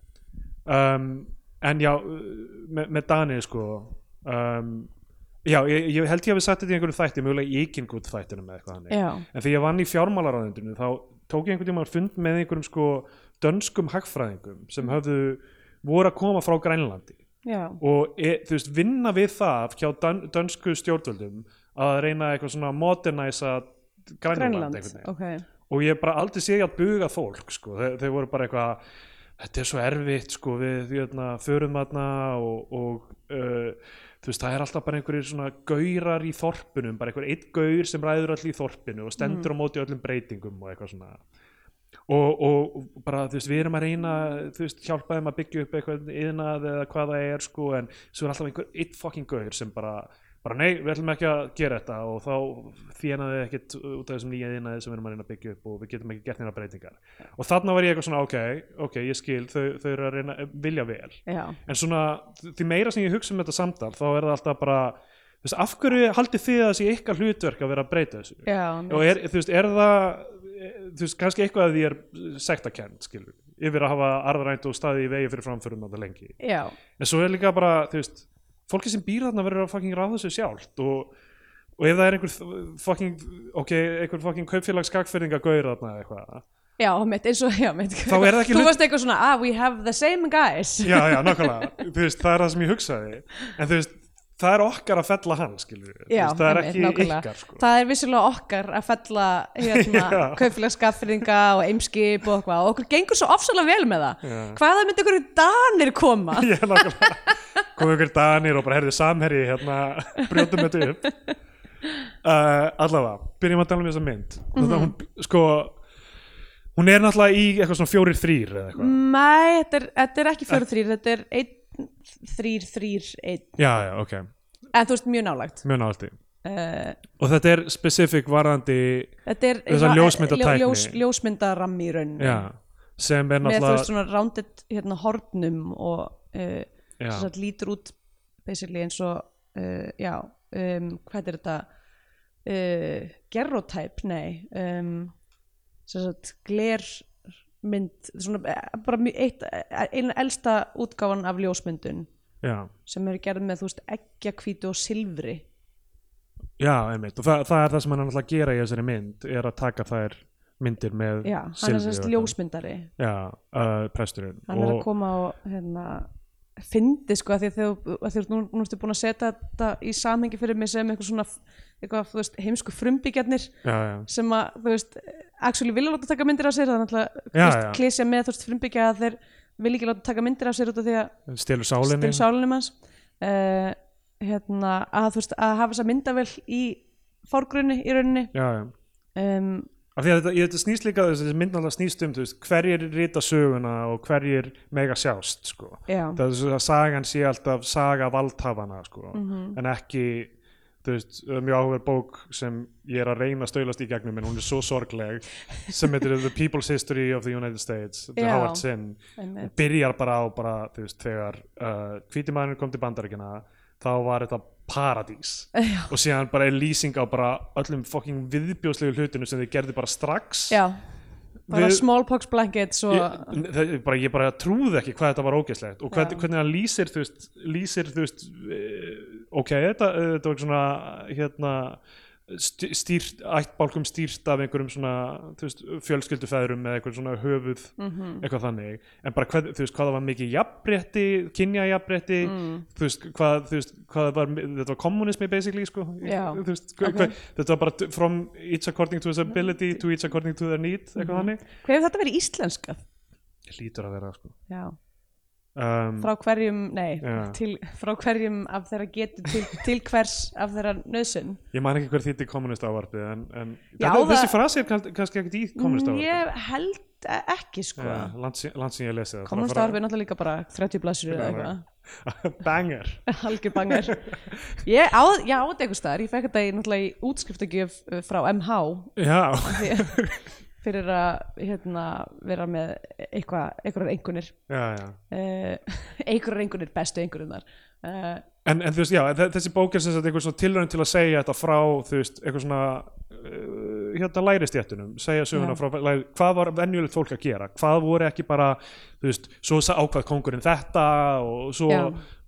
Speaker 2: um, en já með, með Dani sko um, já, ég, ég held ég hafi sagt þetta í einhverjum þætti, mjögulega íkingút þættinum eða eitthvað þannig,
Speaker 1: Já.
Speaker 2: en þegar ég vann í fjármálaráðundinu þá tók ég einhvern tímann fund með einhverjum sko dönskum hagfræðingum
Speaker 1: Mhm.
Speaker 2: sem höfðu voru að koma frá Grænlandi
Speaker 1: Já,
Speaker 2: og e, þú veist, vinna við það hjá dön, dönsku stjórnvöldum að reyna eitthvað svona að modernæsa Grænland,
Speaker 1: Grænland,
Speaker 2: einhvern veginn
Speaker 1: ok
Speaker 2: og ég hef bara aldrei sé að buga fólk sko. Þe þeir voru bara eitthvað þetta er svo erfitt sko, við jötna, förum þarna og, og uh, þú veist það er alltaf bara einhverjir svona gaurar í þorpunum bara einhver eitt gaur sem ræður allir í þorpinu og stendur á móti öllum breytingum og eitthvað svona og, og og bara þú veist við erum að reyna þú veist hjálpa þeim að byggja upp eitthvað yðnað eða hvað það er sko en svo er alltaf einhver eitt fucking gaur sem bara bara nei við ætlum ekki að gera þetta og þá þjónaði ekkit út af þessum nýja yðnaði sem við erum að reyna að byggja upp og við getum ekki gert neina breytingar og þarna var ég eitthvað svona ok, ok ég skil þau, þau eru að reyna vilja vel
Speaker 1: Já,
Speaker 2: en svona því meira sem ég hugsa um þetta samtal þá er það alltaf bara þú veist, af hverju haldið þið að þessi ykkar hlutverk að vera að breyta þessu
Speaker 1: já,
Speaker 2: og er, þú veist, er það þú veist, kannski eitthvað að því er sektakend, skilur, yfir að hafa arðrænt og staði í vegi fyrir framförum þetta lengi
Speaker 1: já,
Speaker 2: en svo er líka bara, þú veist fólki sem býr þarna verður að fucking ráða þessu sjálft og, og ef það er einhver fucking, ok, einhver fucking kaupfélags skagfyrringa gaur þarna eða eitthvað
Speaker 1: já, mitt eins og, já, mitt
Speaker 2: Þá
Speaker 1: [LAUGHS]
Speaker 2: er það ekki
Speaker 1: Þú
Speaker 2: hlut-
Speaker 1: varst eitthvað svona, ah, we have the same guys
Speaker 2: já, já, nákvæmlega, þú veist, það er það sem ég hugsaði en þú veist, það er okkar að fella hann, skilur,
Speaker 1: Já,
Speaker 2: það er
Speaker 1: einmitt,
Speaker 2: ekki
Speaker 1: nákvæmlega.
Speaker 2: ykkar, sko
Speaker 1: Það er vissulega okkar að fella hérna,
Speaker 2: [LAUGHS] Já.
Speaker 1: kaupfélagskaffringa og eimskip og eitthvað og okkur gengur svo ofsalega vel með það
Speaker 2: Já.
Speaker 1: Hvaða myndi okkur danir koma?
Speaker 2: [LAUGHS] Já, nákvæmlega komið ykkur danir og bara herðið samherji hérna, brjótum þetta
Speaker 1: [LAUGHS]
Speaker 2: upp Eh,
Speaker 1: Mhm.
Speaker 2: uh, allavega, byrjum að tala um þessa mynd mm -hmm. hún, sko Hún er náttúrulega í eitthvað svona fjórir þrýr
Speaker 1: Mm.
Speaker 2: eða eitthvað.
Speaker 1: Nei, þetta er, þetta er ekki fjóru þrýr, þetta er einn, þrýr, þrýr, einn.
Speaker 2: Já, já, ok.
Speaker 1: En þú veist, mjög nálægt.
Speaker 2: Mjög nátti.
Speaker 1: Uh,
Speaker 2: Og þetta er specific varðandi,
Speaker 1: þetta er
Speaker 2: Þessa ljósmyndatækni.
Speaker 1: ljós, ljósmyndarammi í rauninni.
Speaker 2: já, sem er
Speaker 1: Með þú veist
Speaker 2: náttúrulega,
Speaker 1: svona rounded hérna, hornum og uh, sem
Speaker 2: já,
Speaker 1: sagt, lítur út basically eins og, uh, já, um, hvað er þetta? Uh, Gerotæp, nei. Um, sem sagt, glermynd, svona, eh, bara mjög eitt, eina elsta útgáfan af ljósmyndun.
Speaker 2: já,
Speaker 1: sem eru gerð með, þú veist, eggjakvítu og silfri
Speaker 2: já, einmitt. Og það, það er það sem hann er náttúrulega að gera í þessari mynd, er að taka þær myndir með
Speaker 1: já, hann er sérst
Speaker 2: og eitthvað.
Speaker 1: ljósmyndari
Speaker 2: Já, uh, presturinn.
Speaker 1: hann er að
Speaker 2: Og-
Speaker 1: koma og hérna, fyndi sko að því að þú, að því að nú, nú ertu búin að setja þetta í samhengi fyrir mig sem eitthvað svona eitthvað, þú veist, heimsku frumbyggjarnir
Speaker 2: Já, já.
Speaker 1: sem að, þú veist, actually vilja láta taka myndir af sér, það er náttúrulega
Speaker 2: Já,
Speaker 1: þú veist,
Speaker 2: já.
Speaker 1: klísja með, þú veist, frumbyggja að þeir vilja ekki láta taka myndir af sér út af því að
Speaker 2: Stelur sálinni.
Speaker 1: stil sálinum hans uh, hérna, að þú veist, að hafa þessa myndavel í fórgrunni í rauninni
Speaker 2: Já, já.
Speaker 1: um,
Speaker 2: Af því að þetta, ég- þetta snýst líka þessi mynd náttúrulega snýst um, þú veist, hverjir rita söguna og hverjir mega sjást, sko.
Speaker 1: já,
Speaker 2: Það er svo að sagan sé alltaf saga valdhafana, sko. En ekki, þú veist, það er mjög áhugur bók sem ég er að reyna að stöðlast í gegnum en hún er svo sorgleg sem heitir The People's History of the United States, The
Speaker 1: Já.
Speaker 2: Howard Zinn.
Speaker 1: einmitt
Speaker 2: Byrjar bara á, bara, þú veist, þegar uh, hvítimæðurinn kom til bandaríkina, þá var þetta paradís
Speaker 1: [LAUGHS] Já.
Speaker 2: og síðan bara er lýsing á bara öllum fucking viðbjóðslegu hlutinu sem þið gerði bara strax
Speaker 1: Já, bara
Speaker 2: Við-
Speaker 1: smallpox blankets og
Speaker 2: ég, það, ég, bara, ég bara trúði ekki hvað þetta var ógeðslegt og hvað,
Speaker 1: Já.
Speaker 2: hvernig hann lýsir þú veist, lýsir, þú veist eh, ok, þetta, eh, þetta var ekki svona hérna stý- stýrt, ættbálkum stýrt af einhverjum svona þú veist, fjölskyldufeðrum eða einhverjum svona höfuð
Speaker 1: Mhm.
Speaker 2: eitthvað þannig, en bara hvað, þú veist, hvað það var mikið jafnrétti, kynjajafnrétti
Speaker 1: Mm.
Speaker 2: þú veist, hvað, þú veist, hvað það var þetta var kommunismi basically sko.
Speaker 1: Já.
Speaker 2: þú veist, hver,
Speaker 1: Ok. Mm.
Speaker 2: hver, þetta var bara t- from each according to his ability to each according to their need, eitthvað þannig
Speaker 1: hvað hefur þetta verið íslenskað?
Speaker 2: hlýtur að vera sko.
Speaker 1: Já,
Speaker 2: um,
Speaker 1: frá hverjum, nei,
Speaker 2: Já.
Speaker 1: til, frá hverjum af þeirra getu til, til hvers af þeirra nöðsyn
Speaker 2: ég man ekki hver þýtti kommunist ávarpið en, en
Speaker 1: Já,
Speaker 2: þetta,
Speaker 1: það-
Speaker 2: þessi frasi er kann- kannski ekkert í kommunist ávarpið
Speaker 1: Ég held e- ekki sko
Speaker 2: yeah, land sem land sem ég lesi það
Speaker 1: Komast
Speaker 2: Bara-
Speaker 1: ára við náttúrulega líka bara 30 blassur eða
Speaker 2: Já,
Speaker 1: eitthvað [LAUGHS]
Speaker 2: [LAUGHS] banger
Speaker 1: Algjör bangar Ég á, ég á þetta einhvers staðar, ég fekk þetta í náttúrulega í útskriftagjöf uh, frá MH
Speaker 2: já,
Speaker 1: því- fyrir að hérna, vera með eitthvað, einhverjar einkunir
Speaker 2: já, já.
Speaker 1: uh, [LAUGHS] einhverjar einhvernir bestu einhverjurnar uh,
Speaker 2: En, en þú veist, já, þe- þessi bók er sem sagt einhver svona tilraun til að segja þetta frá, þú veist, einhver svona uh, hérna læristjættunum, segja söguna
Speaker 1: Já.
Speaker 2: frá, læri, hvað var venjulegt fólk að gera, hvað voru ekki bara, þú veist, svo sa- ákvað kongurinn þetta og svo
Speaker 1: Já.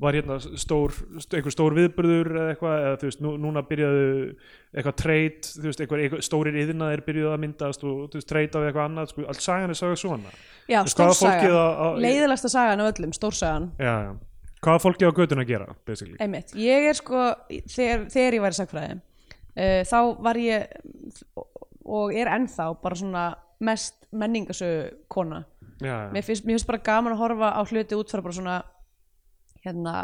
Speaker 2: var hérna stór, st- einhver stór viðburður eða eitthvað, eða þú veist, nú, núna byrjaðu eitthvað treyt, þú veist, einhver, einhver stórir yðnaðir byrjuðu að myndast og þú veist, treyt af eitthvað annað, sko, allt sagan er sagði svona.
Speaker 1: já,
Speaker 2: Þú veist, hvað var fólkið
Speaker 1: stórsagan,
Speaker 2: á- á- í-
Speaker 1: leiðilegsta sagan af öllum stórsagan,
Speaker 2: Já, já. Hvað var fólkið á götuna að gera, basically?
Speaker 1: einmitt ég er sko, þegar, þegar ég væri sagfræði uh, þá var ég og er ennþá bara svona mest menningasögu kona
Speaker 2: Já, já.
Speaker 1: mér finnst, mér finnst bara gaman að horfa á hluti út frá bara svona hérna,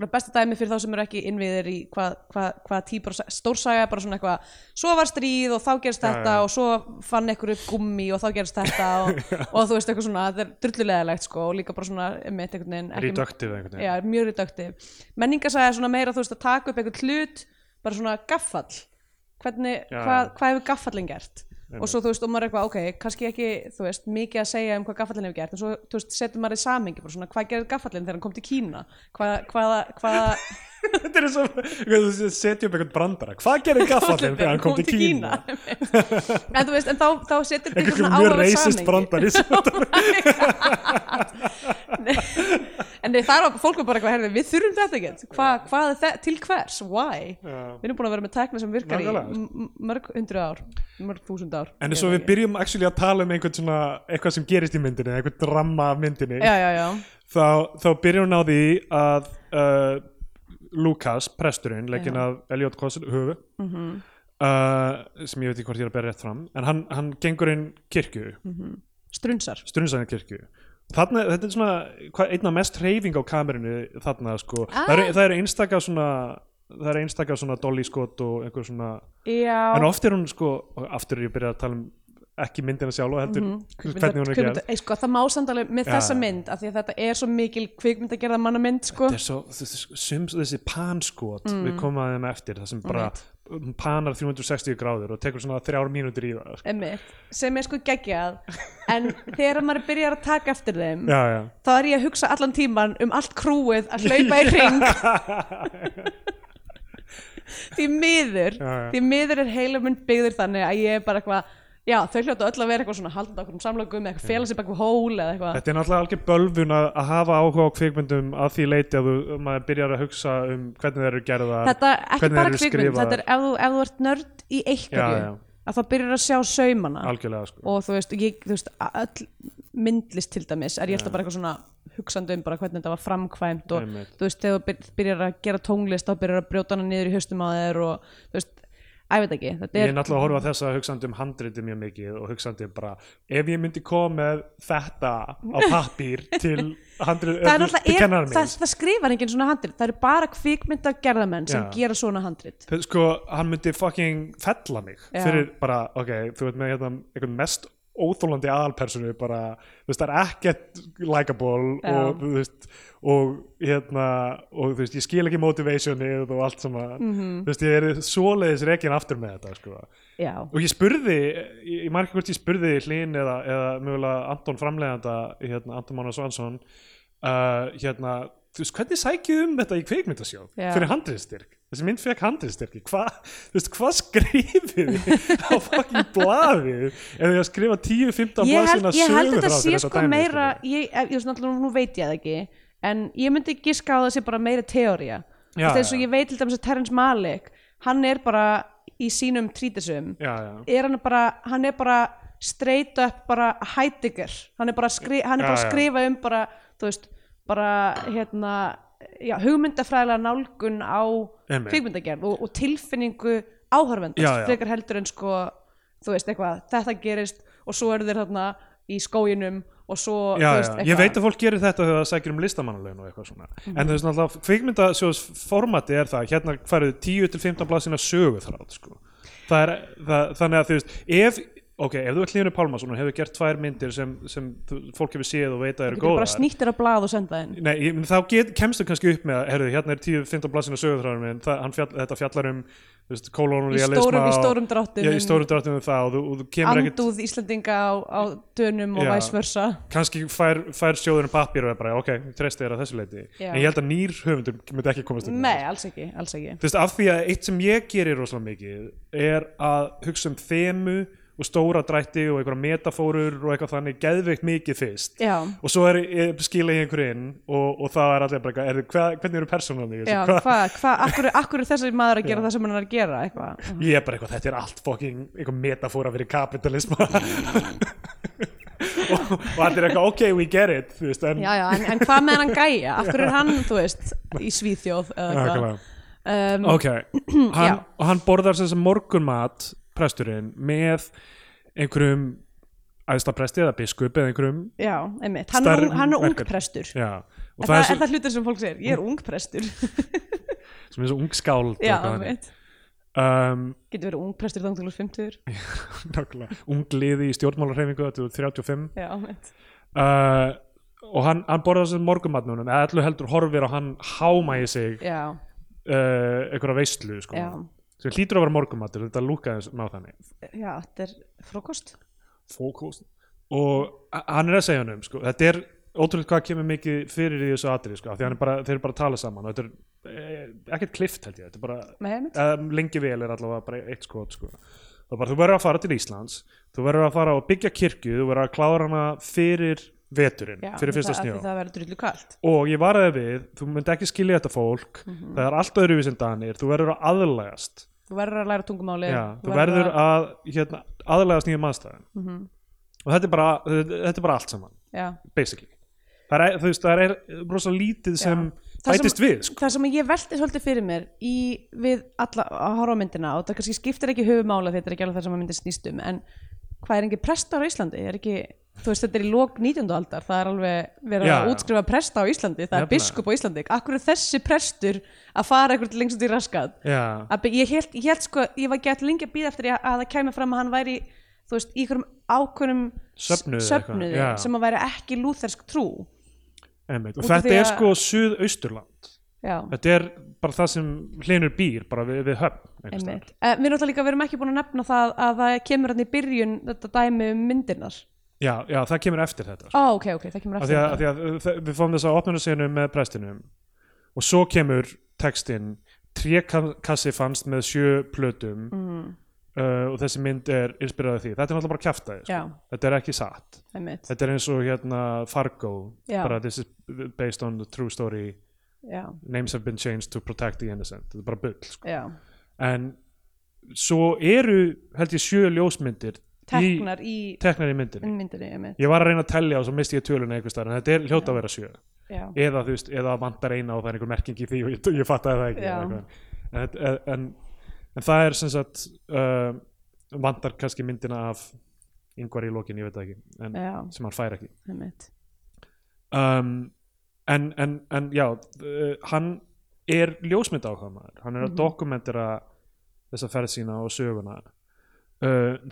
Speaker 1: bara besta dæmi fyrir þá sem eru ekki innviðir í hvað hva, hva típar af sa- stórsaga, er bara svona eitthvað svo var stríð og þá gerst þetta
Speaker 2: já.
Speaker 1: og svo fann einhver upp gummi og þá gerst þetta
Speaker 2: [LAUGHS]
Speaker 1: og, og þú veist eitthvað svona, þetta er drullulegalegt sko og líka bara svona mitt einhvern veginn ekki-
Speaker 2: Reductive einhvern veginn.
Speaker 1: já, er mjög reduktiv menningasaga er svona meira þú veist að taka upp einhvern hlut bara svona gaffall hvernig,
Speaker 2: Já.
Speaker 1: hvað, hvað hefur gaffallin gert og
Speaker 2: Einmitt.
Speaker 1: svo þú veist, og maður er eitthvað, ok, kannski ekki þú veist, mikið að segja um hvað gaffallin hefur gert en svo, þú veist, setur maður í samingi, bara svona hvað gerði gaffallin þegar hann kom til Kína hvað, hvaða,
Speaker 2: [LAUGHS]
Speaker 1: hvaða
Speaker 2: Þetta er svo, þú setjum upp einhvern brandara Hvað gerir gaffallin þegar hann kom til Kína?
Speaker 1: [LAUGHS] en þú veist, en þá, þá setur þetta í
Speaker 2: Einhvern
Speaker 1: svona
Speaker 2: mjög
Speaker 1: áhugavert
Speaker 2: reisist
Speaker 1: samhengi.
Speaker 2: brandari sem þetta-
Speaker 1: en nei, það er fólk er bara eitthvað, herri, við þurfum þetta ekki Hva, hvað er það, til hvers, why
Speaker 2: Já.
Speaker 1: við erum búin að vera með tekna sem virkar í
Speaker 2: Nákvæmlega.
Speaker 1: m- m- mörg hundru ár mörg þúsund ár
Speaker 2: En
Speaker 1: Ég
Speaker 2: svo
Speaker 1: veit
Speaker 2: við
Speaker 1: ekki.
Speaker 2: byrjum actually að tala um einhvern svona eitthvað sem gerist í myndinni, einhvern dramma af myndinni
Speaker 1: já, já, já,
Speaker 2: þá, þá byrjum hún á því að uh, Lukas, presturinn leikinn
Speaker 1: Já.
Speaker 2: af Elliot Kossel höfu uh, sem ég veit ekki hvort ég er að bera rétt fram en hann, hann gengur inn kirkju
Speaker 1: strunsar
Speaker 2: Strunnsæðin kirkju Þarna, þetta er svona hva, einna mest reyfing á kamerinu þarna sko
Speaker 1: Ah.
Speaker 2: það, eru, það eru einstaka svona það eru einstaka svona dolly skot og einhver svona
Speaker 1: já,
Speaker 2: en oft er hún sko, og aftur er ég byrjað að tala um ekki myndina sjálfa heldur
Speaker 1: Mhm.
Speaker 2: hvernig hún er gerð
Speaker 1: kvikmynda, ei, sko, það má samtalið með
Speaker 2: Já,
Speaker 1: þessa
Speaker 2: já.
Speaker 1: mynd af því að þetta er svo mikil kvikmyndagerða mannamynd sko.
Speaker 2: þetta er svo, þessi, sum, þessi panskot
Speaker 1: Mhm.
Speaker 2: við komum að þeim eftir, það sem bara um, panar 360 gráður og tekur svona þrjár mínútur í það sko.
Speaker 1: Einmitt, sem er sko geggjað en þegar maður byrjar að taka eftir þeim
Speaker 2: já, já.
Speaker 1: þá er ég að hugsa allan tíman um allt krúið að hlaupa í ring
Speaker 2: [LAUGHS]
Speaker 1: því miður
Speaker 2: Já, já.
Speaker 1: því miður er heilum minn byggður þannig að ég er bara eitthvað já þau hljóta öll að vera eitthvað svona haldandi okkur um samlökum eða eitthvað fela sér bak við hól eða eitthvað
Speaker 2: þetta er náttúrulega algjör bölvun að, að hafa áhuga á kvikmyndum að því leiti að þú, að maður byrjar að hugsa um hvernig þeir eru gerðar
Speaker 1: þetta ekki
Speaker 2: hvernig
Speaker 1: bara
Speaker 2: þeir eru
Speaker 1: kvikmynd
Speaker 2: skrifaðar.
Speaker 1: þetta er ef þú, ef þú ert nörd í einhverju
Speaker 2: Já, já.
Speaker 1: að þá byrjar að sjá saumana
Speaker 2: algjörlega sko.
Speaker 1: og þú veist, ég, þú veist all myndlist til dæmis er ég alltaf bara eitthvað svona hugsandi um bara hvernig þetta var framkvæmt og
Speaker 2: Einmitt.
Speaker 1: þú veist, þegar þú byr- byrjar að gera tónlist þá byrjar að brjóta hana niður í höstum á þér og þú veist, að ég veit ekki þetta
Speaker 2: ég
Speaker 1: er,
Speaker 2: er náttúrulega að horfa á þess að hugsandi um handriti mjög mikið og hugsandi um bara ef ég myndi koma með þetta á pappír til handriti
Speaker 1: það er náttúrulega,
Speaker 2: til
Speaker 1: er,
Speaker 2: kennarann
Speaker 1: það,
Speaker 2: míns
Speaker 1: það skrifar enginn svona handrit, það eru bara kvikmyndar gerðamenn sem
Speaker 2: Já.
Speaker 1: gera svona handrit
Speaker 2: sko, hann myndi fucking fella mig
Speaker 1: Já.
Speaker 2: fyrir bara, ok, þú veit með hérna, einhvern mest óþólandi aðalpersonu bara, þú veist, það er ekkert likeable
Speaker 1: Já.
Speaker 2: og þú veist og hérna, og þú veist, ég skil ekki motivationið og allt saman
Speaker 1: Mhm.
Speaker 2: þú veist, ég er svoleiðis rekin aftur með þetta sko.
Speaker 1: já,
Speaker 2: og ég spurði ég, ég man ekki hvort ég spurði Hlín eða, eða mögulega Anton framleiðanda hérna, Anton Mána Svansson uh, hérna, þú veist, hvernig sækið þið um þetta í kveikmyndasjóð
Speaker 1: Já.
Speaker 2: fyrir handriðstyrk þessi mynd fekk handriðstyrki Hva, þú veist, hvað skrifið þið á fucking blaðið ef þið að skrifa 10-15
Speaker 1: ég held,
Speaker 2: blaðsina
Speaker 1: ég held
Speaker 2: sögu
Speaker 1: þetta
Speaker 2: frá
Speaker 1: sé
Speaker 2: fyrir
Speaker 1: sko
Speaker 2: dæmi,
Speaker 1: meira
Speaker 2: skilurðu.
Speaker 1: ég, ég, ég, náttúrulega nú veit ég það ekki en ég myndi giska á það sé bara meira teória
Speaker 2: Já,
Speaker 1: þess
Speaker 2: já.
Speaker 1: að ég veit til dæmis að Terrence Malick hann er bara í sínum trítisum
Speaker 2: já, já,
Speaker 1: er hann bara, hann er bara straight up bara Heidegger hann er bara, að skri, hann er
Speaker 2: Já,
Speaker 1: bara að
Speaker 2: já.
Speaker 1: skrifa um bara, þú veist, bara hérna, já, hugmyndafræðilega nálgun á
Speaker 2: Einmitt.
Speaker 1: kvikmyndagerð og, og tilfinningu áhörvendast
Speaker 2: Já, já.
Speaker 1: frekar heldur en sko þú veist eitthvað, þetta gerist og svo eru þeir þarna í skóginum og svo,
Speaker 2: já,
Speaker 1: þú
Speaker 2: já. ég veit að fólk gerir þetta þegar það sækir um listamannulegin og eitthvað svona
Speaker 1: Mm.
Speaker 2: en þú veist náttúrulega, kveikmyndasjóðs formati er það, hérna færðu 10-15 blaðsina sögu þrátt sko. það er, það, þannig að þú veist ef, ok, ef þú ert Línu Pálmason og hefur gert tvær myndir sem, sem þú- fólk hefur séð og veit að eru
Speaker 1: getur bara
Speaker 2: góðar
Speaker 1: snýtt þér á blað og senda þinn
Speaker 2: Nei, ég, menn þá get, kemstu kannski upp með að, herðu, hérna er 10-15 blassinu sögurþráður minn, það, hann fjall, þetta fjallar um þú veist,
Speaker 1: Í
Speaker 2: kolonialisma
Speaker 1: stórum- í
Speaker 2: og-
Speaker 1: stórum dráttum
Speaker 2: Já,
Speaker 1: um-
Speaker 2: í stórum dráttum um það og þú, og þú kemur ekkert
Speaker 1: andúð Íslendinga á, á dönum og
Speaker 2: Já.
Speaker 1: væsmörsa
Speaker 2: kannski fær, fær sjóðurinn pappir og er bara, ok, treysti þér að þessu leiti
Speaker 1: Já.
Speaker 2: en ég held að nýr höfundur myndi ekki komast upp með
Speaker 1: nei, alls ekki, alls ekki
Speaker 2: þú veist, af því að eitt sem ég gerir rosalega mikið er að hugsa um þemu og stóra drætti og einhverja metafórur og eitthvað þannig geðveikt mikið fyrst
Speaker 1: Já.
Speaker 2: og svo er, er skila ég einhverju inn og, og það er allir bara, eitthvað, er, hva, hvernig eru persónan
Speaker 1: Já, hvað, hvað, akkur, akkur er þessi maður að gera það sem hann er að gera eitthvað
Speaker 2: ég er bara eitthvað, þetta er allt fokking eitthvað metafóra fyrir
Speaker 1: [LAUGHS]
Speaker 2: kapitalisma [LAUGHS] og, og allir eitthvað, ok, we get it þú veist, en
Speaker 1: Já, já, en, en hvað með hann gæja? Akkur er hann, þú veist, í Svíþjóð eða
Speaker 2: Nákvæmlega.
Speaker 1: eitthvað um, [CLEARS THROAT]
Speaker 2: ok,
Speaker 1: Já.
Speaker 2: hann, og hann borðar þess að morgunmat presturinn með einhverjum æðsta presti eða biskup eða einhverjum
Speaker 1: Já, einmitt, hann,
Speaker 2: Stærri
Speaker 1: er ung- hann er
Speaker 2: verkefni.
Speaker 1: ungprestur En
Speaker 2: já, og
Speaker 1: það,
Speaker 2: það,
Speaker 1: er
Speaker 2: er
Speaker 1: það hlutur sem fólk segir, ég er
Speaker 2: [LAUGHS]
Speaker 1: ungprestur
Speaker 2: svo, sem er svo ung skáld og
Speaker 1: Já,
Speaker 2: eitthvað þannig.
Speaker 1: einmitt,
Speaker 2: um, [LAUGHS]
Speaker 1: getur verið ungprestur þá til úr 50
Speaker 2: nákvæmlega, ung liði í stjórnmálarreifingu þetta er 35
Speaker 1: Já, einmitt
Speaker 2: uh, og hann, hann borðar þess að morgunmat með honum eða allu heldur horfir og hann hámægi sig
Speaker 1: Já,
Speaker 2: uh, einhverja veistlu sko.
Speaker 1: Já.
Speaker 2: sem hlýtur að vera morgumatur þetta lúkaði má þannig
Speaker 1: já, þetta er frókost
Speaker 2: Fókust. og a- hann er að segja hann um sko. þetta er ótrúlega hvað kemur mikið fyrir í þessu atrið sko. af því hann er bara, þeir eru bara að tala saman og þetta er eh, ekkert klift held ég þetta er bara,
Speaker 1: Nei, einmitt.
Speaker 2: eða lengi vel er allavega bara eitt skot sko. það er bara, þú verður að fara til Íslands þú verður að fara og byggja kirkju þú verður að klára hana fyrir veturinn,
Speaker 1: já,
Speaker 2: fyrir fyrsta
Speaker 1: það- af því
Speaker 2: snjó
Speaker 1: Það verður drullu kalt
Speaker 2: og ég varaði við, þú myndi ekki skilja þetta fólk
Speaker 1: Mhm.
Speaker 2: það er allt öðruvís en danir, þú verður að aðlægast
Speaker 1: Þú verður að læra tungumáli
Speaker 2: Já, þú verður að hérna, aðlæðast nýjum aðstæðum
Speaker 1: Mhm.
Speaker 2: og þetta er, bara, þetta er bara allt saman
Speaker 1: Já
Speaker 2: basically það er, þú veist, það er rosa lítið sem
Speaker 1: Það sem-
Speaker 2: bætist við sko.
Speaker 1: það sem ég velti svolítið fyrir mér í, við alla að horfa á myndina og það kannski skiptir ekki höfumála því þetta er ekki alveg það sem að myndi snýst um en hvað er engin prestar á Íslandi? Er ekki, þú veist þetta er í lok 19. aldar það er alveg verið
Speaker 2: Já,
Speaker 1: að
Speaker 2: já.
Speaker 1: útskrifa presta á Íslandi það er
Speaker 2: Nefnilega.
Speaker 1: biskup á Íslandi Akkur er þessi prestur að fara eitthvað lengst út í raskat?
Speaker 2: Já,
Speaker 1: Að be- Ég held, ég held sko, ég var gett lengi að býða eftir að að það kæmi fram að hann væri þú þú veist, í hverjum ákveðnum
Speaker 2: Söfnuði eða eitthvað,
Speaker 1: söfnuði
Speaker 2: já.
Speaker 1: sem að væri ekki lúþersk trú
Speaker 2: Einmitt. og
Speaker 1: Út af því
Speaker 2: þetta er
Speaker 1: að-
Speaker 2: sko suðausturland
Speaker 1: já,
Speaker 2: þetta er bara það sem hlinur býr bara við, við höfn einhvers staðar.
Speaker 1: einmitt uh, við náttúrulega líka, við erum ekki búin að nefna það að það kemur hann í byrjun þetta dæmi um myndirnar
Speaker 2: já, já, það kemur eftir þetta sko.
Speaker 1: ó, ok, ok, það kemur um
Speaker 2: af því
Speaker 1: eftir
Speaker 2: að, af því að uh, þe- við fáum þess að opnuna með prestinum og svo kemur textin trékassi fannst með sjö plötum
Speaker 1: mm,
Speaker 2: uh, og þessi mynd er inspirað af því þetta er náttúrulega bara kjaftaði sko.
Speaker 1: já,
Speaker 2: þetta er ekki satt
Speaker 1: einmitt,
Speaker 2: þetta er eins og hérna Fargo
Speaker 1: Já.
Speaker 2: bara this is based on the true story
Speaker 1: já,
Speaker 2: names have been changed to protect the innocent þetta er bara bull sko.
Speaker 1: já
Speaker 2: en svo eru held ég sjö ljósmyndir
Speaker 1: teknar í,
Speaker 2: í, teknar í myndinni
Speaker 1: myndinni, einmitt
Speaker 2: ég var að reyna að tellja og svo misti ég töluna einhvers staðar en þetta er hljóta að vera sjö
Speaker 1: já,
Speaker 2: eða þú veist, eða vantar eina og það er einhver merking í því og ég, ég fattaði það ekki
Speaker 1: Já.
Speaker 2: eða eitthvað. en, þetta- en, en það er sem sagt uh, vantar kannski myndina af yngvar í lokin, ég veit það ekki en,
Speaker 1: já,
Speaker 2: sem hann fær ekki
Speaker 1: einmitt
Speaker 2: um, en, en, en já uh, hann er ljósmynd ákvæmaður hann er að
Speaker 1: Mhm.
Speaker 2: dokumentera þessa ferð sína og söguna uh,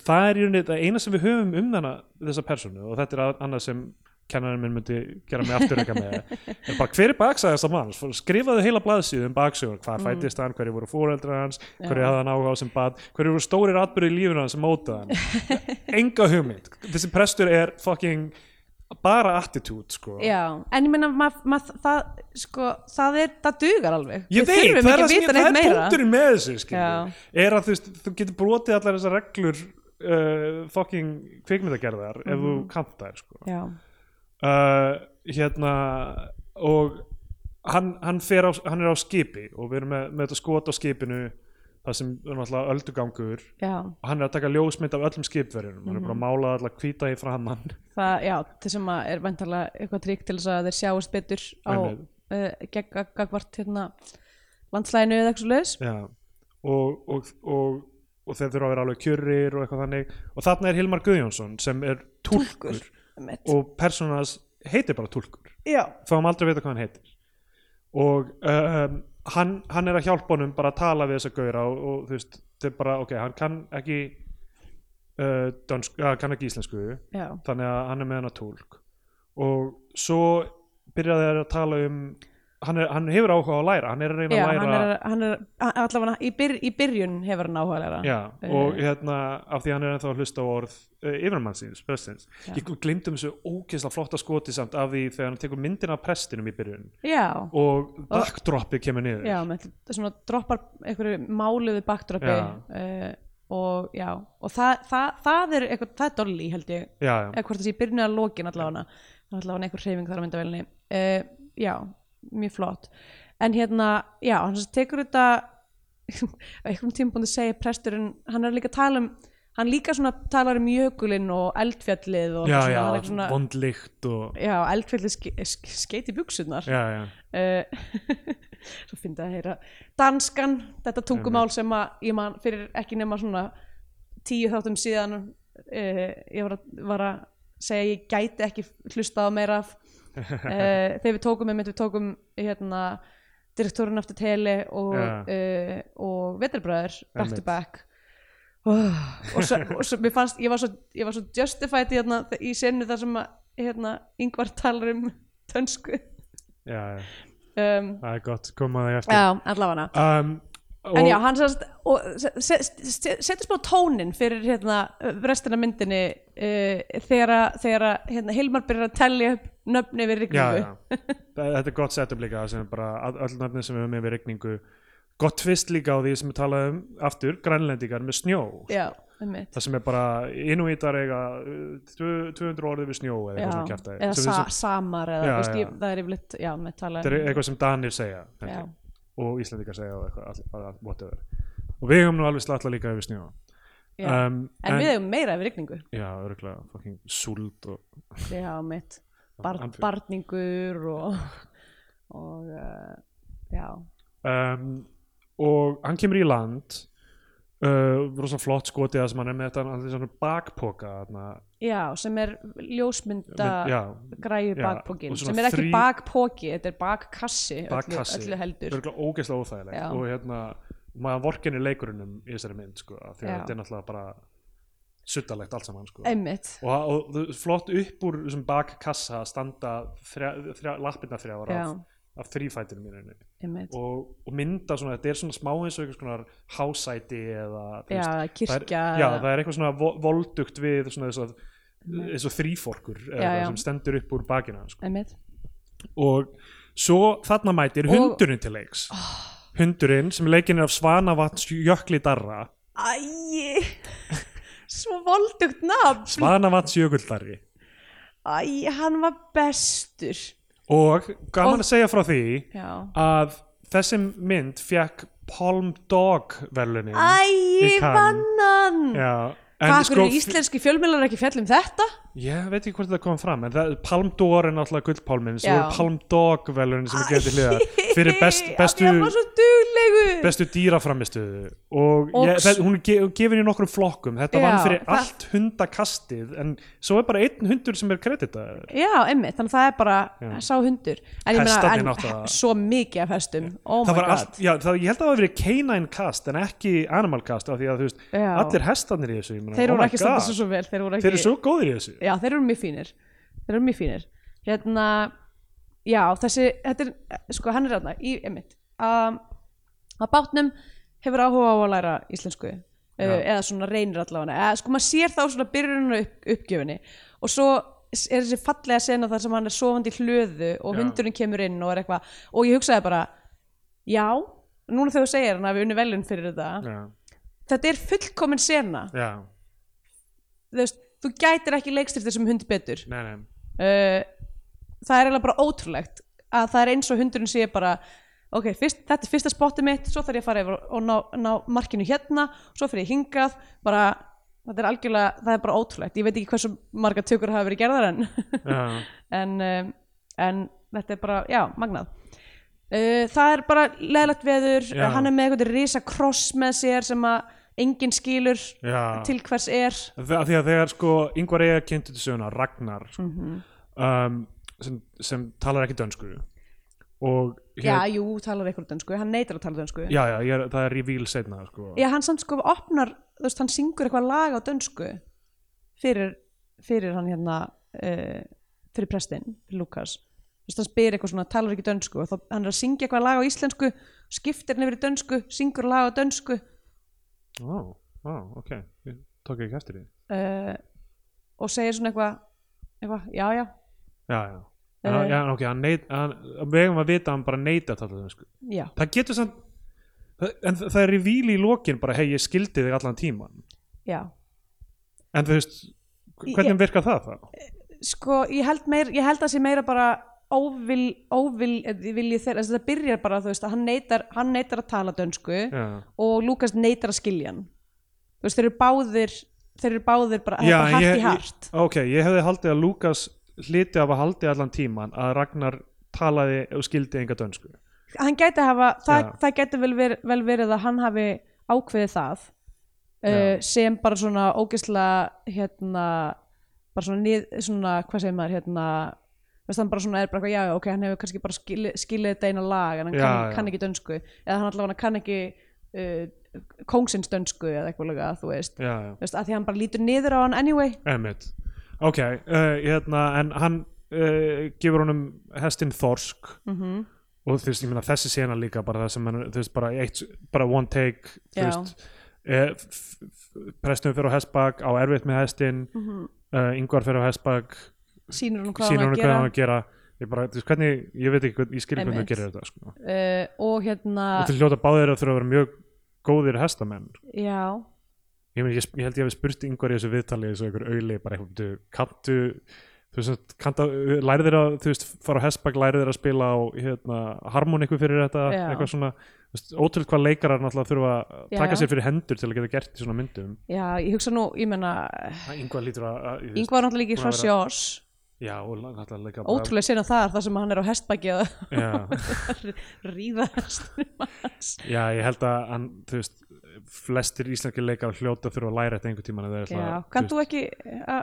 Speaker 2: það er í rauninni það eina sem við höfum um þarna þessa persónu og þetta er að- annað sem kennarinn minn myndi gera mig afturreika með
Speaker 1: [LAUGHS]
Speaker 2: er bara hver er baksaði þessa manns Fór- skrifaðu heila blaðsíðu um baksögur hvað fættist hann, hverju voru fóreldrar hans hverju
Speaker 1: Mhm. Já.
Speaker 2: hafði hann áhuga á sem bad hverju voru stórir atbyrði í lífinu hans sem mótaði
Speaker 1: [LAUGHS]
Speaker 2: hann enga hugmynd, þessi prestur er fucking bara attitude sko
Speaker 1: Já, en ég meina mað, mað, það, sko, það er, það dugar alveg
Speaker 2: Ég
Speaker 1: Við
Speaker 2: veit,
Speaker 1: þurfum
Speaker 2: það
Speaker 1: ekki
Speaker 2: er, það
Speaker 1: að
Speaker 2: sem ég-
Speaker 1: vita
Speaker 2: það
Speaker 1: neitt
Speaker 2: er
Speaker 1: meira
Speaker 2: punkturinn með þessu skilurðu.
Speaker 1: Já.
Speaker 2: er að þú, veist, þú getur brotið allar þessar reglur uh, fucking kvikmyndagerðar ef
Speaker 1: Mhm.
Speaker 2: þú kannt þær sko.
Speaker 1: Já,
Speaker 2: uh, hérna og hann, hann, fer á, hann er á skipi og við erum með, með þetta skot á skipinu það sem er náttúrulega öldugangur
Speaker 1: já,
Speaker 2: og hann er að taka ljósmynd af öllum skipverjunum hann er
Speaker 1: Mhm.
Speaker 2: bara að mála allar hvíta í framann
Speaker 1: það, já, til sem að er vantarlega eitthvað trygg til þess að þeir sjáast betur á uh,
Speaker 2: Einmitt.
Speaker 1: gegn gagvart hérna landslæginu eða eitthvað leis
Speaker 2: [LAUGHS] Já, og, og, og, og þeir þurfa að vera alveg kjurrir og eitthvað þannig og þarna er Hilmar Guðjónsson sem er túlkur, og personas heitir bara túlkur
Speaker 1: Já,
Speaker 2: þá hann aldrei að vita hvað hann heitir og um, hann, hann er að hjálpa honum bara að tala við þessa gauðra og, og þú veist, þetta er bara, ok, hann kann ekki uh, dönsk, uh, kann ekki íslensku
Speaker 1: já,
Speaker 2: þannig að hann er með hana tólk og svo byrjaði þeir að tala um hann, er, hann hefur áhuga á að læra hann er að reyna
Speaker 1: já
Speaker 2: að læra
Speaker 1: hann er, hann er allavega í, byr, í byrjun hefur hann áhugaðlega
Speaker 2: Já,
Speaker 1: Eh.
Speaker 2: og hérna af því hann er ennþá að hlusta á orð uh, yfirmannsins, prestins
Speaker 1: Já.
Speaker 2: ég glemdum þessu ógeðslega flotta skoti samt af því þegar hann tekur myndina af prestinum í byrjun
Speaker 1: já,
Speaker 2: og backdropið kemur niður
Speaker 1: já, með svona droppar einhverju máluðu backdropi
Speaker 2: Já.
Speaker 1: uh, og já, og það, það, það er eitthvað, það er dolli held ég
Speaker 2: já, já.
Speaker 1: eða hvort þessi í byrjun eða lokin allavega allavega einhver hreyfing þar á myndavelni uh, já, mjög flott en hérna, já, hann sem sagt tekur þetta [LAUGHS] á einhverjum tímpúndi segir presturinn, hann er líka að tala um hann líka svona talar um jökulinn og eldfjallið og
Speaker 2: já,
Speaker 1: svona,
Speaker 2: já,
Speaker 1: hann er svona,
Speaker 2: vondlíkt og
Speaker 1: já eldfjallið ske, ske, skeiti buksunar
Speaker 2: já, já,
Speaker 1: uh, [LAUGHS] svo fyndi að heyra danskan, þetta tungumál sem að ég man fyrir ekki nema svona tíu þáttum síðan uh, ég var að, var að segja að ég gæti ekki hlustað á meira
Speaker 2: [LAUGHS]
Speaker 1: af uh, þegar við tókum einmitt, við tókum hérna direktórinn aftur teli og,
Speaker 2: Já.
Speaker 1: uh, og vetarbröður back
Speaker 2: Einmitt.
Speaker 1: to back oh, og, svo, og svo, mér fannst, ég var svo, ég var svo justified í, hérna, í senu þar sem að hérna, yngvar talar um tönsku
Speaker 2: já, já,
Speaker 1: um,
Speaker 2: það er gott koma það í eftir
Speaker 1: Já, allavega
Speaker 2: um,
Speaker 1: En
Speaker 2: og-
Speaker 1: já, hann sérst og se- se- se- setur smá tónin fyrir hérna restina af myndinni uh, þegar, að- þegar að, hérna, Hilmar byrjar að tellja upp nöfni við
Speaker 2: já,
Speaker 1: rigningu
Speaker 2: já. Þa- þetta er gott setup líka sem er bara all- öll nöfnir sem við höfum yfir rigningu gott tvist líka á því sem við talaðum um aftur, grænlendingar með snjó
Speaker 1: já einmitt.
Speaker 2: það sem er bara innvítar eiga uh, tvö- 200 orðið við snjó
Speaker 1: Já,
Speaker 2: eða eitthvað svona kjartaði
Speaker 1: eða
Speaker 2: sem,
Speaker 1: sa,
Speaker 2: sem,
Speaker 1: samar eða,
Speaker 2: Já,
Speaker 1: já, veist,
Speaker 2: já.
Speaker 1: Ég, það er yfirleitt já, með tala
Speaker 2: þetta er eitthvað sem Danir segja held
Speaker 1: Já.
Speaker 2: ég, og Íslendingar segja og eitthvað all- all- all- whatever og við höfum nú alveg slatla líka yfir snjó
Speaker 1: já.
Speaker 2: um,
Speaker 1: en, við hefum meira yfir rigningu
Speaker 2: já, örgulega, fucking súld og
Speaker 1: já, mitt, bar,
Speaker 2: Andfjörð.
Speaker 1: barningur og og uh, já,
Speaker 2: um, og hann kemur í land uh, rosa flott skotið það sem hann er með þetta hann er svona bakpoka þarna,
Speaker 1: já, sem er ljósmynda
Speaker 2: mynd- já,
Speaker 1: græju
Speaker 2: Já,
Speaker 1: bakpókin
Speaker 2: og svona
Speaker 1: sem er ekki
Speaker 2: þrí-
Speaker 1: bakpóki, þetta er bakkassi öllu-
Speaker 2: bakkassi,
Speaker 1: öllu heldur
Speaker 2: örgulega ógeðslega óþægilegt
Speaker 1: Já.
Speaker 2: og hérna maður vorkenir leikurunum í þessari mynd sko, af því að
Speaker 1: Já.
Speaker 2: þetta er náttúrulega bara suttalegt allt saman sko.
Speaker 1: einmitt
Speaker 2: og, og þú- flott upp úr þessum bakkassa standa þrjá, þrjá, lappirna þrjáar
Speaker 1: já,
Speaker 2: af, af þrýfætinum í rauninni
Speaker 1: einmitt
Speaker 2: og, og mynda svona, þetta er svona smá eins og einhvers konar hásæti eða
Speaker 1: já,
Speaker 2: þú veist, það er-
Speaker 1: kirkja
Speaker 2: já, það er eitthvað svona vo- voldugt við svona þess að eins og þrýforkur eða
Speaker 1: Já,
Speaker 2: eitthvað
Speaker 1: já.
Speaker 2: sem stendur upp úr bakina sko.
Speaker 1: einmitt
Speaker 2: og svo þarna mætir
Speaker 1: Og- Ah.
Speaker 2: hundurinn til leiks hundurinn sem leikinn er af Svanavatns jökli darra [LAUGHS]
Speaker 1: æj svo voldugt nafn
Speaker 2: Svanavatns jökuldarri
Speaker 1: æj, hann var bestur
Speaker 2: og gaman
Speaker 1: Og-
Speaker 2: að segja frá því
Speaker 1: já
Speaker 2: að þessi mynd fekk Palm Dog velunin
Speaker 1: æj,
Speaker 2: Cannes.
Speaker 1: bannan
Speaker 2: Já, en
Speaker 1: hvað, sko,
Speaker 2: sko,
Speaker 1: eru íslenski fjölmiðlar ekki fjallum þetta?
Speaker 2: ég veit ekki hvort það kom fram en það, Palm d'Or er náttúrulega gullpálminn svo
Speaker 1: Já.
Speaker 2: er Palm Dog velunin sem er getið
Speaker 1: [LAUGHS]
Speaker 2: hliða fyrir best,
Speaker 1: Æi, af því
Speaker 2: bestu,
Speaker 1: hann var svo duglegu
Speaker 2: bestu dýraframistuðu og,
Speaker 1: Og
Speaker 2: ég,
Speaker 1: s-
Speaker 2: það, hún er ge, gefin í nokkrum flokkum þetta
Speaker 1: Já,
Speaker 2: vann fyrir
Speaker 1: það-
Speaker 2: allt hundakastið en svo er bara einn hundur sem er kreditaður
Speaker 1: já, emmi, þannig að það er bara sá hundur en ég meina,
Speaker 2: Hestarnir
Speaker 1: en
Speaker 2: náttúrulega-
Speaker 1: svo mikið af hestum oh
Speaker 2: Það
Speaker 1: my
Speaker 2: var
Speaker 1: god
Speaker 2: allt, já, það, ég held að það hafi verið canine cast en ekki animal cast af því að þú veist,
Speaker 1: Já.
Speaker 2: allir hestanir í þessu ég meina,
Speaker 1: þeir
Speaker 2: oh
Speaker 1: voru
Speaker 2: my
Speaker 1: ekki að standa
Speaker 2: God.
Speaker 1: svo svo vel þeir voru ekki
Speaker 2: Þeir eru svo góðir í þessu
Speaker 1: já, þeir eru mjög fínir þeir eru mjög fínir hérna, já, þessi þetta er, sko, hann er hérna í emitt um, að bátnum hefur áhuga á að læra íslensku uh,
Speaker 2: Já.
Speaker 1: eða svona reynir allavega eða, sko, maður sér þá svona byrjunum upp, uppgjöfinni og svo s- er þessi fallega sena þar sem hann er sofandi í hlöðu og
Speaker 2: Já.
Speaker 1: hundurinn kemur inn og er eitthvað og ég hugsaði bara, já núna þegar þú segir hann að við unni velun fyrir þetta
Speaker 2: Já,
Speaker 1: þetta er fullkomin sena
Speaker 2: já,
Speaker 1: þú veist, þú gætir ekki leikstyrt þessum hund betur
Speaker 2: nei, nei
Speaker 1: uh, það er eiginlega bara ótrúlegt að það er eins og hundurinn sé bara ok, fyrst, þetta er fyrsta spottið mitt svo þarf ég að fara yfir og ná, ná markinu hérna svo fyrir ég hingað bara, þetta er algjörlega, það er bara ótrúlegt ég veit ekki hversu marga tökur hafa verið gerðar en [LAUGHS]
Speaker 2: Já,
Speaker 1: en, um, en þetta er bara, já, magnað Uh, það er bara leðlegt veður
Speaker 2: Já.
Speaker 1: hann er með eitthvað risa kross með sér sem að enginn skilur
Speaker 2: já.
Speaker 1: til hvers er
Speaker 2: Þa- því að þegar sko yngvar eiga kynntu til söguna Ragnar
Speaker 1: Mhm.
Speaker 2: um, sem, sem talar ekki dönsku og
Speaker 1: Já,
Speaker 2: hér,
Speaker 1: jú, talar eitthvað dönsku, hann neytar að tala dönsku
Speaker 2: já, já, ég er, það er reveal setna sko.
Speaker 1: Já, hann samt sko opnar, þú veist, hann syngur eitthvað lag á dönsku fyrir, fyrir hann hérna uh, fyrir prestinn, fyrir Lukas þú veist, hann spyr eitthvað svona, talar ekki dönsku og þá hann er að syngja eitthvað lag á íslensku skiptir hann yfir í dönsku, syngur lag á dönsku
Speaker 2: Ó, ó, ok, ég tók ekki eftir því
Speaker 1: uh, og segir svona eitthvað eitthvað, já, já,
Speaker 2: Já, já, uh, já ok, hann neyt hann, við eigum að vita að hann bara neyti að tala dönsku
Speaker 1: já
Speaker 2: það getur samt það- en það það er reveal í lokin bara hei, ég skildi þig allan tíman
Speaker 1: já,
Speaker 2: en þú veist, hvernig virkar það þá?
Speaker 1: sko, ég held, meir, ég held að sé meira bara óvil, óvil eh, vilji þeirra, þess að það byrjar bara þú veist, að hann neytar, hann neytar að tala dönsku
Speaker 2: Já,
Speaker 1: og Lukas neytar að skilja hann þú veist, þeir eru báðir þeir eru báðir bara,
Speaker 2: Já,
Speaker 1: já, bara hart
Speaker 2: ég-
Speaker 1: í hart
Speaker 2: Ok, ég hefði haldið að Lukas hliti af að haldi allan tíman að Ragnar talaði og skildi enga dönsku
Speaker 1: hann gæti hafa, það,
Speaker 2: Já.
Speaker 1: það gæti vel verið, vel verið að hann hafi ákveðið það uh,
Speaker 2: Já.
Speaker 1: sem bara svona ógeðslega hérna bara svona, nið, svona hvað segir maður hérna þú veist hann bara svona er bara eitthvað já, já, ok, hann hefur kannski bara skili, skilið þetta eina lag en hann
Speaker 2: Já,
Speaker 1: kann,
Speaker 2: já.
Speaker 1: kann ekki dönsku eða hann allavega kann ekki uh, kóngsins dönsku eða eitthvað lega, þú veist
Speaker 2: Já, já,
Speaker 1: þú veist, að því hann bara lítur niður á hann anyway
Speaker 2: emmitt Ok, uh, hérna, en hann uh, gefur honum hestinn Þorsk
Speaker 1: mhm
Speaker 2: og þú veist, ég meina þessi sena líka bara það sem hann, þú veist, bara eitt bara one take, þú
Speaker 1: Já.
Speaker 2: veist eh, f- f- prestum fyrir á hestbak á erfitt með hestinn,
Speaker 1: mm
Speaker 2: uh, yngvar fyrir á hestbak
Speaker 1: sýnir hún hvað
Speaker 2: sínur
Speaker 1: hann á
Speaker 2: hann
Speaker 1: að gera
Speaker 2: hvað hann á að gera ég bara, þú veist, hvernig, ég veit ekki, hvern- ég skil ekki hvernig
Speaker 1: Einmitt.
Speaker 2: þú gerir þetta, sko
Speaker 1: uh, og hérna
Speaker 2: og til hljóta báðir að þurfa að vera mjög góðir hestamenn
Speaker 1: já,
Speaker 2: ég, meni, ég, ég held ég hafi spurt yngvar í þessu viðtali eins og einhver auðli bara eitthvað "Bíddu, kanntu þú veist, kanntu, læri þeir að þú veist, fara á hestbak, læri þeir að spila á hérna, harmoniku fyrir þetta
Speaker 1: Já.
Speaker 2: eitthvað svona, þú veist, ótrúlega hvað leikarar náttúrulega þurfa að
Speaker 1: Já, já.
Speaker 2: taka sér fyrir hendur til að geta gert í svona myndum
Speaker 1: já, ég hugsa nú ég menna,
Speaker 2: yngvar lítur að, að þú veist,
Speaker 1: Ingvar náttúrulega líka
Speaker 2: búin að
Speaker 1: frá sjós
Speaker 2: já, og náttúrulega leika bara-
Speaker 1: ótrúlega sinna þar þar sem hann er á hestbæki að
Speaker 2: já,
Speaker 1: ríða hestunum hans
Speaker 2: já, ég held að hann, þú veist, flestir íslenski leikar hljóta þurfa að læra þetta einhver tíma
Speaker 1: já, kannt þú ekki að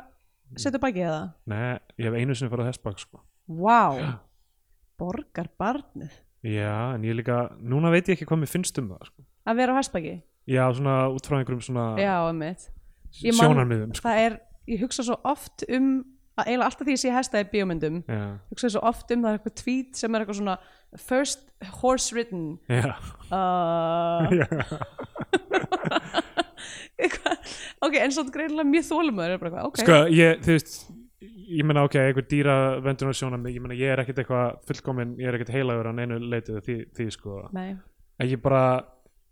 Speaker 1: setja bækið það?
Speaker 2: Nei, ég hef einu sinni farið að hestbak sko.
Speaker 1: Vá, borgar barnið
Speaker 2: Já, en ég líka, núna veit ég ekki hvað mér finnst um það sko.
Speaker 1: að vera á hestbæki
Speaker 2: Já, svona út frá einhverjum svona
Speaker 1: já, um mitt Ég man-
Speaker 2: sjónarmiðum sko.
Speaker 1: það er, ég hugsa svo oft um að eiginlega alltaf því ég sé hesta í bíómyndum
Speaker 2: já,
Speaker 1: hugsa svo oft um það er eitthvað tweet sem er eitthvað svona first horse ridden
Speaker 2: já, [LAUGHS]
Speaker 1: uh,
Speaker 2: já,
Speaker 1: eitthvað, ok, en svo greinlega mjög þólumöður er bara eitthvað, ok,
Speaker 2: sko ég, þú veist ég meina ok, einhver dýra vendur og sjónarmið ég meina ég er ekkert eitthvað fullkomin ég er ekkert heilagur á neinu leitið því, því sko
Speaker 1: nei,
Speaker 2: en ég bara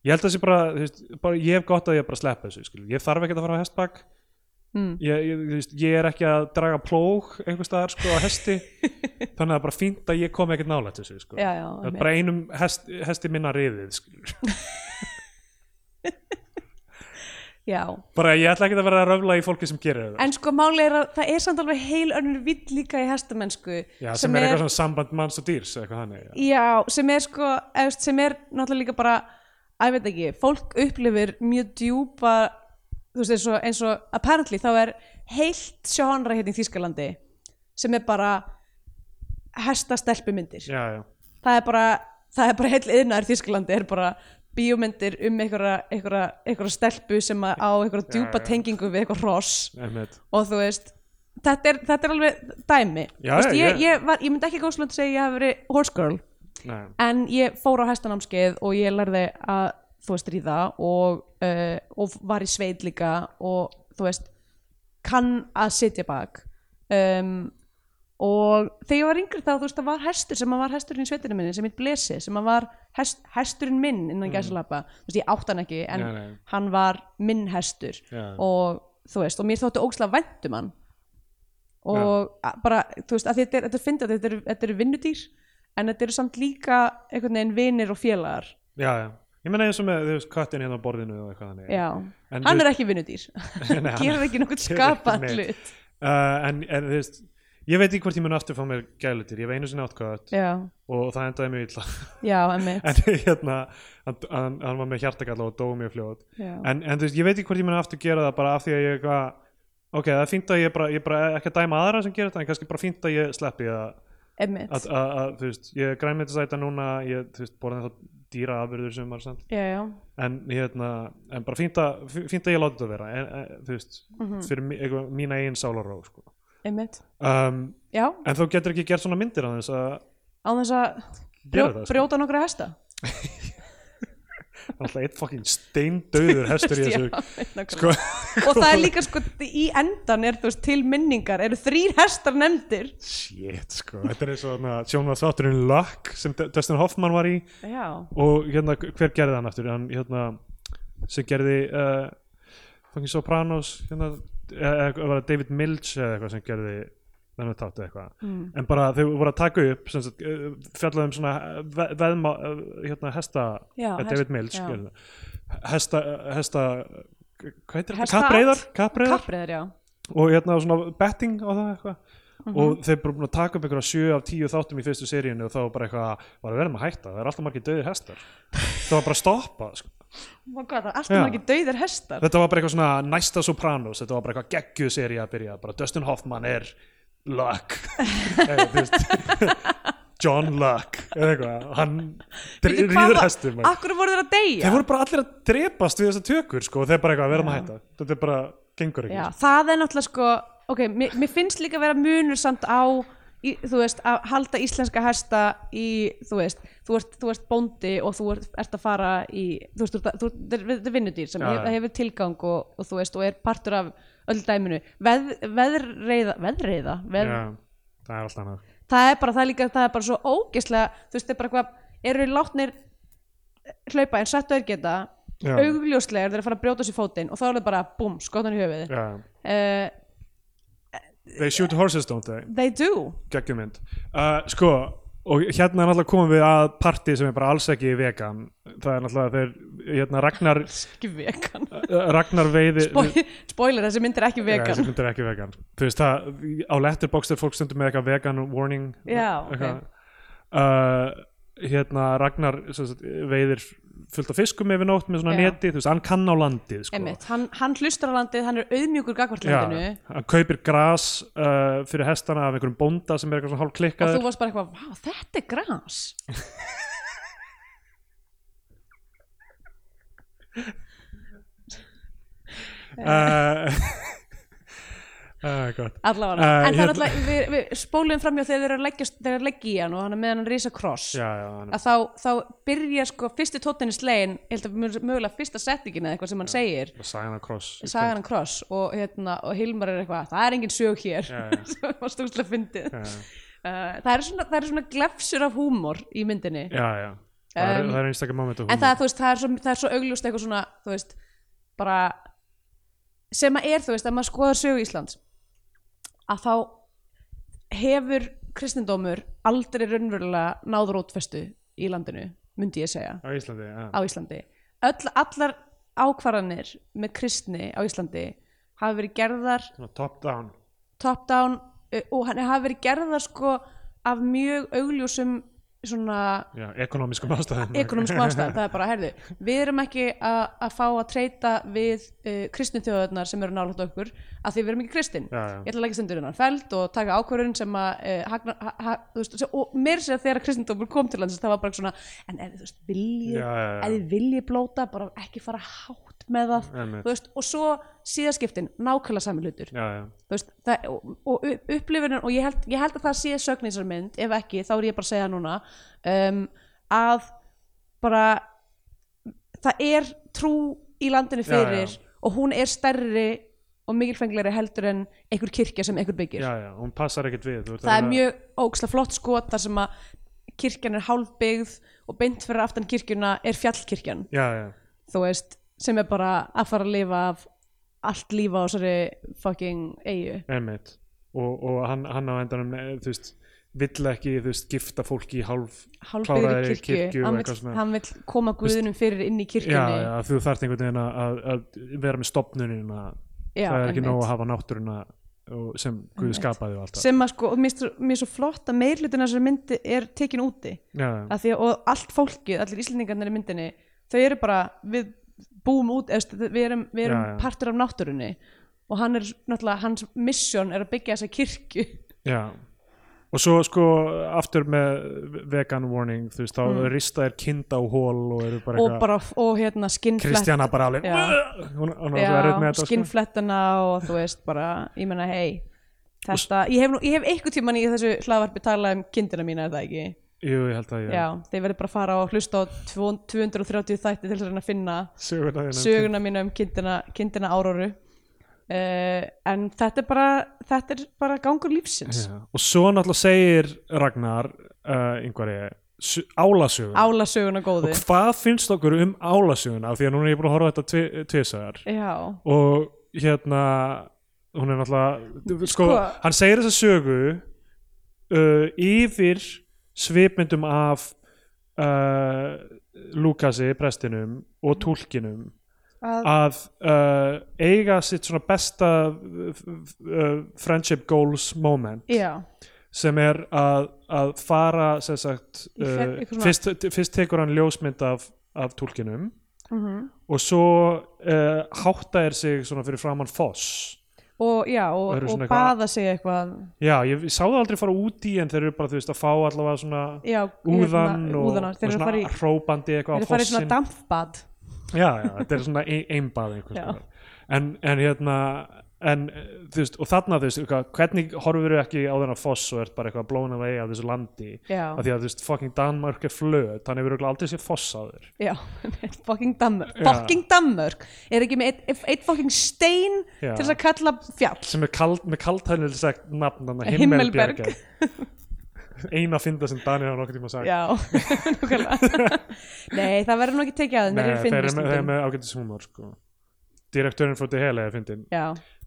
Speaker 2: ég held að það sé bara, þú veist, bara ég hef gott að ég bara sleppa þessu skilur. ég þarf ekkert að fara á hestbak
Speaker 1: Mm.
Speaker 2: ég, ég, þú veist, ég er ekki að draga plóg einhvers staðar sko á
Speaker 1: [LAUGHS]
Speaker 2: hesti þannig að það er bara fínt að ég kom ekkert nálægt þessu sko.
Speaker 1: Já, já,
Speaker 2: það
Speaker 1: einmitt.
Speaker 2: er bara einum hest, hesti minna riðið skilur.
Speaker 1: já
Speaker 2: bara ég ætla ekkert að vera að röfla í fólki sem gerir þetta
Speaker 1: en sko máli er að það er samt alveg heil önnur vill líka í hestamennsku
Speaker 2: Já, sem, er eitthvað svona samband manns og dýrs eitthvað þannig, já.
Speaker 1: Já, sem er sko, eða, þú veist, sem er náttúrulega líka bara, að ég veit ekki, fólk upplifir mjög djúpa, þú veist, eins og, eins og apparently þá er heilt sjónra hérna í Þýskalandi sem er bara hesta stelpumyndir.
Speaker 2: Já, já.
Speaker 1: Það er bara, það er bara heil yðnaður í Þýskalandi, er bara bíómyndir um einhverja, einhverja, einhverja stelpu sem að- á einhverja djúpa
Speaker 2: já.
Speaker 1: tengingu við eitthvað hross
Speaker 2: einmitt.
Speaker 1: og þú veist þetta er, þetta er alveg dæmi
Speaker 2: Já,
Speaker 1: Þú veist,
Speaker 2: já,
Speaker 1: ég,
Speaker 2: já.
Speaker 1: ég, var, ég myndi ekki góðslega að segja að ég hafi verið horse girl
Speaker 2: Nei.
Speaker 1: en ég fór á hestanámskeið og ég lærði að þú veist ríða og, uh, og var í sveit líka og þú veist kann að sitja bak um, og þegar ég var yngri þá þú veist það var hestur sem að var hesturinn í sveitinu minni sem mitt blesi sem að var hest, hesturinn minn innan mm. gæsalappa þú veist ég átt hann ekki en
Speaker 2: Nei, nei.
Speaker 1: hann var minn hestur
Speaker 2: Já.
Speaker 1: og þú veist og mér þótti ógslag væntum hann og að- bara þú veist að þetta er, þetta er fyndið að þetta eru, þetta eru vinnudýr en þetta eru samt líka einhvern veginn vinir og félagar
Speaker 2: Já, já. Ég meina eins og með, þú veist, köttin hérna á borðinu og eitthvað þannig.
Speaker 1: já,
Speaker 2: En þú
Speaker 1: hann
Speaker 2: veist-
Speaker 1: er ekki vinnudýr
Speaker 2: [LAUGHS] Nei, hann-
Speaker 1: [LAUGHS] gerir ekki nokkuð
Speaker 2: gerir
Speaker 1: skapað
Speaker 2: ekki neitt.
Speaker 1: hlut
Speaker 2: uh, en, en þú veist ég veit ekki hvort ég mun aftur fá mér gælutir ég hef einu sinni átkvæðat
Speaker 1: já,
Speaker 2: og það endaði mjög illa [LAUGHS]
Speaker 1: já, emmitt
Speaker 2: en hérna, hann, hann, hann var með hjartakall og dó mjög fljótt
Speaker 1: Já.
Speaker 2: en, en þú veist, ég veit ekki hvort ég mun aftur gera það bara af því að ég eitthvað ok, það er fínt að ég bara, ég bara e- ekki að dæma aðra sem gera þetta en kannski bara fínt að ég sleppi að, að,
Speaker 1: emmitt,
Speaker 2: að, að þú veist, ég græmið þess að þetta núna ég, þú veist, borðin þá dýra afurður sem var samt
Speaker 1: já, já
Speaker 2: en hérna, en bara fínt að fínt að ég láti þetta vera en, en, þú veist,
Speaker 1: Mm. Mhm.
Speaker 2: fyrir mi- eitthvað, mína eigin sálaró sko.
Speaker 1: emmitt,
Speaker 2: um,
Speaker 1: já
Speaker 2: En þú getur ekki gert svona myndir aðeins að
Speaker 1: á þess að
Speaker 2: gera
Speaker 1: brjó,
Speaker 2: það sko.
Speaker 1: brjóta nokkra hesta
Speaker 2: [LAUGHS] Það er alltaf eitt fucking steindauður
Speaker 1: [LAUGHS]
Speaker 2: hestur í þessu
Speaker 1: þessu
Speaker 2: sko,
Speaker 1: og það er líka sko í endan er þú veist til minningar eru þrýr hestar nefndir
Speaker 2: Shit sko, þetta er eins og sjónvað þátturinn Luck sem D- Dustin Hoffman var í
Speaker 1: já,
Speaker 2: og hérna hver gerði hann aftur hann hérna sem gerði uh, fucking Sopranos hérna, eh, eh, var það David Milch eða eitthvað sem gerði þennan þáttu eitthvað mm. en bara þau voru að taka upp sem sagt, eh, fjallaðu um svona eh, ve veðma eh, hérna hesta
Speaker 1: Já,
Speaker 2: eh,
Speaker 1: hest-
Speaker 2: David Milch
Speaker 1: já.
Speaker 2: hérna. hesta, hesta hvað heitir þetta?
Speaker 1: Hestaat.
Speaker 2: Kapreðar, kapreðar
Speaker 1: kappriðar já
Speaker 2: og hérna svona betting á það eitthvað
Speaker 1: Mhm.
Speaker 2: og þeir bara búin að taka upp einhverja sjö af tíu þáttum í fyrstu seríunni og þá var bara eitthvað bara við verðum að hætta, það er alltaf margir döðir hestar það var bara að stoppa sko.
Speaker 1: Vá, hvað, Oh það er
Speaker 2: Já.
Speaker 1: alltaf margir dauðir hestar
Speaker 2: þetta var bara eitthvað svona næsta Sopranos þetta var bara eitthvað geggju sería að byrja bara Dustin Hoffman er
Speaker 1: [LAUGHS]
Speaker 2: Luck Eða, þú veist, [LAUGHS] John Luck eða eitthvað, hann
Speaker 1: Bíddu, hvað
Speaker 2: rýður
Speaker 1: var-
Speaker 2: hestum
Speaker 1: Akkur voru þeir að deyja
Speaker 2: þeir voru bara allir að drepast við þessar tökur sko, og þeir bara eitthvað, við verðum að hætta þetta er bara, gengur ekki
Speaker 1: Já,
Speaker 2: sko.
Speaker 1: það er náttúrulega sko ok, mér, mér finnst líka vera munur samt á í, þú veist, að halda íslenska hesta í, þú veist þú ert, þú ert bóndi og þú ert, ert að fara í, þú veist, þú ert, þú ert, þetta er- þetta er vinnudýr sem
Speaker 2: Já,
Speaker 1: hef,
Speaker 2: já.
Speaker 1: hefur tilgang og, og þú veist, og er partur af öll dæminu, Veð, veðreiða veðreiða, veð,
Speaker 2: Já, það er alltaf annað
Speaker 1: það er bara, það er líka, það er bara svo ógeðslega, þú veist, það er bara hvað eru látnir hlaupa en sættu er geta,
Speaker 2: Já.
Speaker 1: augljóslega eru þeir að fara að brjóta sér fótinn og þá er það bara, búm, skotan í höfuði
Speaker 2: Já.
Speaker 1: uh,
Speaker 2: They shoot horses don't they?
Speaker 1: They do
Speaker 2: geggjum mynd uh, sko, og hérna er náttúrulega komum við að parti sem er bara alls ekki vegan það er náttúrulega þeir hérna Ragnar,
Speaker 1: Ekki vegan
Speaker 2: uh, Ragnar veiði
Speaker 1: Spoil- Spoiler, þessi mynd er ekki
Speaker 2: Nei, þessi
Speaker 1: vegan
Speaker 2: mynd er ekki vegan þú veist það, á letterboxd er fólk stundum með eitthvað vegan warning
Speaker 1: Já, ok.
Speaker 2: eitthvað. uh, hérna Ragnar sem sagt, veiðir fullt af fiskum yfir nótt með svona
Speaker 1: Já.
Speaker 2: neti, þú veist, hann kann á landið sko.
Speaker 1: Einmitt, hann, hann hlustar á landið, hann er auðmjúkur gagvart
Speaker 2: Já,
Speaker 1: landinu
Speaker 2: hann kaupir gras uh, fyrir hestana af einhverjum bónda sem er eitthvað svona hálf
Speaker 1: og
Speaker 2: klikkaður
Speaker 1: þú varst bara eitthvað, vá, þetta er gras
Speaker 2: [LAUGHS] uh, uh, gott
Speaker 1: allavega
Speaker 2: Eh,
Speaker 1: en það er
Speaker 2: hérna-
Speaker 1: alltaf, við, við spólum framjá þegar þeir eru að leggja, þeir eru að leggja í hann og hann er með hann risa kross
Speaker 2: já, já, hann er-
Speaker 1: að þá, þá byrja sko fyrsti tóttinni slegin, ég held að mjög- mögulega fyrsta settingin eða eitthvað sem hann segir
Speaker 2: Sagan af Kross
Speaker 1: sagan hann kross og, hérna, og Hilmar er eitthvað, það er engin sög hér [LAUGHS]
Speaker 2: Já, já.
Speaker 1: sem var stúkslega fyndið
Speaker 2: Já, já.
Speaker 1: Uh, það eru svona, það eru svona glefsur af húmor í myndinni
Speaker 2: Já, já, það,
Speaker 1: Um,
Speaker 2: er, það er einstakar moment
Speaker 1: en það, er, þú veist, það, er svo, það er svo augljóst eitthvað svona þú veist, bara sem að er þú veist að maður skoðar sögu Íslands að þá hefur kristindómur aldrei raunverulega náð rótfestu í landinu myndi ég segja
Speaker 2: á Íslandi já.
Speaker 1: á Íslandi Öll, allar ákvarðanir með kristni á Íslandi hafa verið gerðar
Speaker 2: Svona top down
Speaker 1: top down uh, og hann hafa verið gerðar sko af mjög augljósum svona
Speaker 2: já, ekonomískum ástæðum [LAUGHS]
Speaker 1: ekonomskum ástæðum, það er bara, herðu við erum ekki að, að fá að treyta við uh, kristnu þjóðarnar sem eru nálægt okkur að því við erum ekki kristin
Speaker 2: Já, já.
Speaker 1: ég ætla að leggja stundur innan feld og taka ákvörðun sem að uh, hagna, ha, ha, þú veist, sem- og mér segja þegar kristindómur kom til lands það var bara svona, en er, þú veist, viljið
Speaker 2: Já, já, já.
Speaker 1: ef þið viljið blóta, bara ekki fara hátt með það,
Speaker 2: Einmitt.
Speaker 1: þú veist, og svo síðaskiptin, nákvæmlega sami hlutur
Speaker 2: já, já,
Speaker 1: Þú veist, það, og, og upp- upplifunin og ég held, ég held að það sé sögn í þessari mynd ef ekki, þá er ég bara að segja það núna um, að bara það er trú í landinu
Speaker 2: Já, já.
Speaker 1: fyrir og hún er stærri og mikilfenglegri heldur en einhver kirkja sem einhver byggir
Speaker 2: já, já, hún passar ekkert við þú ert að
Speaker 1: það er
Speaker 2: reyna-
Speaker 1: mjög óksla flott sko þar sem að kirkjan er hálfbyggð og beint fyrir aftan kirkjuna er fjallkirkjan
Speaker 2: já, já,
Speaker 1: þú veist, sem er bara að fara að lifa af allt lífa á þessari fucking eigu
Speaker 2: einmitt og, og hann, hann á endanum eh, þú veist, vill ekki, þú veist, gifta fólki í hálf kláraðri
Speaker 1: hálfbyggðri kirkju,
Speaker 2: kirkju og
Speaker 1: hann,
Speaker 2: eitthvað
Speaker 1: vill,
Speaker 2: svona.
Speaker 1: hann vill koma guðunum fyrir inn í
Speaker 2: já,
Speaker 1: kirkjunni
Speaker 2: já, þú þarft einhvern veginn að- að, að vera með stopnunina
Speaker 1: Já,
Speaker 2: það er ekki nóg
Speaker 1: einmitt.
Speaker 2: að hafa náttúruna og- sem Guð skapaði og allt það
Speaker 1: sem að sko, og mér finnst- mér er svo flott að meirlutin þessari myndi er tekin úti
Speaker 2: já, já.
Speaker 1: að því að og allt fólkið, allir íslendingarnir í myndinni þau eru bara, við búum út eða, stu- við erum, við erum
Speaker 2: Já, já.
Speaker 1: partur af náttúrunni og hann er náttúrulega, hans misjón er að byggja þessa kirkju
Speaker 2: Já og svo sko aftur með vegan warning þú veist þá mm. rista er kind á hól og eru bara
Speaker 1: og bara, og hérna skinnflett
Speaker 2: Kristjana bara alveg
Speaker 1: Já.
Speaker 2: hún, hún er svo erfitt með
Speaker 1: já,
Speaker 2: þetta sko.
Speaker 1: skinnflettina og þú veist bara, ég menna hei þetta, ég hef, nú, ég hef einhver tíman í þessu hlaðvarpi talað um kindina mína er það ekki,
Speaker 2: Jú, ég held að
Speaker 1: já,
Speaker 2: ég
Speaker 1: þeir verður bara að fara og hlusta á 230 þætti til þess að reyna að finna
Speaker 2: söguna þína
Speaker 1: söguna mína um kindina, kindina áróru uh, en þetta er bara þetta er bara gangur lífsins
Speaker 2: já. og svo náttúrulega segir Ragnar uh, einhverja álasögun
Speaker 1: ála söguna góðu
Speaker 2: og hvað finnst okkur um álasögun af því að núna er ég búin að horfa á þetta tvi- tvisvar
Speaker 1: já,
Speaker 2: og hérna hún er náttúrulega sko,
Speaker 1: Sko-
Speaker 2: hann segir þessa sögu uh, yfir svipmyndum af uh, Lukasi prestinum
Speaker 1: Mhm.
Speaker 2: og túlkinum
Speaker 1: að,
Speaker 2: að uh, eiga sitt svona besta uh, f- f- uh, friendship goals moment
Speaker 1: já,
Speaker 2: sem er að, að fara sem sagt,
Speaker 1: Í fer-
Speaker 2: uh,
Speaker 1: eitthvað svona-
Speaker 2: fyrst, fyrst tekur hann ljósmynd af, af túlkinum
Speaker 1: mm
Speaker 2: og svo uh, hátta er sig svona fyrir framann foss
Speaker 1: og já og,
Speaker 2: Og eru
Speaker 1: og,
Speaker 2: svona eitthvað-
Speaker 1: baða sig eitthvað
Speaker 2: já, ég, ég sá það aldrei fara út í en þeir eru bara, þú veist, að fá allavega svona
Speaker 1: já,
Speaker 2: úðan
Speaker 1: hérna,
Speaker 2: og,
Speaker 1: úðana,
Speaker 2: og
Speaker 1: þeir eru að
Speaker 2: svona
Speaker 1: fara í
Speaker 2: hrópandi
Speaker 1: þeir eru
Speaker 2: eitthvað á
Speaker 1: að fara í svona
Speaker 2: fossin
Speaker 1: dampbad
Speaker 2: já, já, þetta er svona ein- einbað einhvers
Speaker 1: Já.
Speaker 2: konar. en, en hérna en eh, þú veist, og þarna þú veist eitthvað, hvernig horfur ekki á þennan foss og ert bara eitthvað blóna vegi af þessu landi
Speaker 1: já,
Speaker 2: af því að þú veist, fucking Danmark er flöt hann hefur örugglega aldrei séð foss á þér
Speaker 1: já, [LAUGHS] fucking Danmörk
Speaker 2: Já.
Speaker 1: fucking Danmörk er ekki með eitt, eitt fucking stein
Speaker 2: Já.
Speaker 1: til þess að kalla fjall
Speaker 2: sem er kald, með kaldhænil sagt nafn hann
Speaker 1: Himmelberg.
Speaker 2: Himmelbjörg
Speaker 1: [LAUGHS]
Speaker 2: eina fynda sem Daniel hafa nokkuð tíma sagt
Speaker 1: já, [LAUGHS] nákvæmlega
Speaker 2: [LAUGHS]
Speaker 1: nei, það verður nú ekki tekið að þeim, þeir
Speaker 2: Nei,
Speaker 1: eru
Speaker 2: þeir eru með, þeir eru
Speaker 1: finnir
Speaker 2: með ágætis húmor sko. direktörinn fór til hela eða fyndin
Speaker 1: já,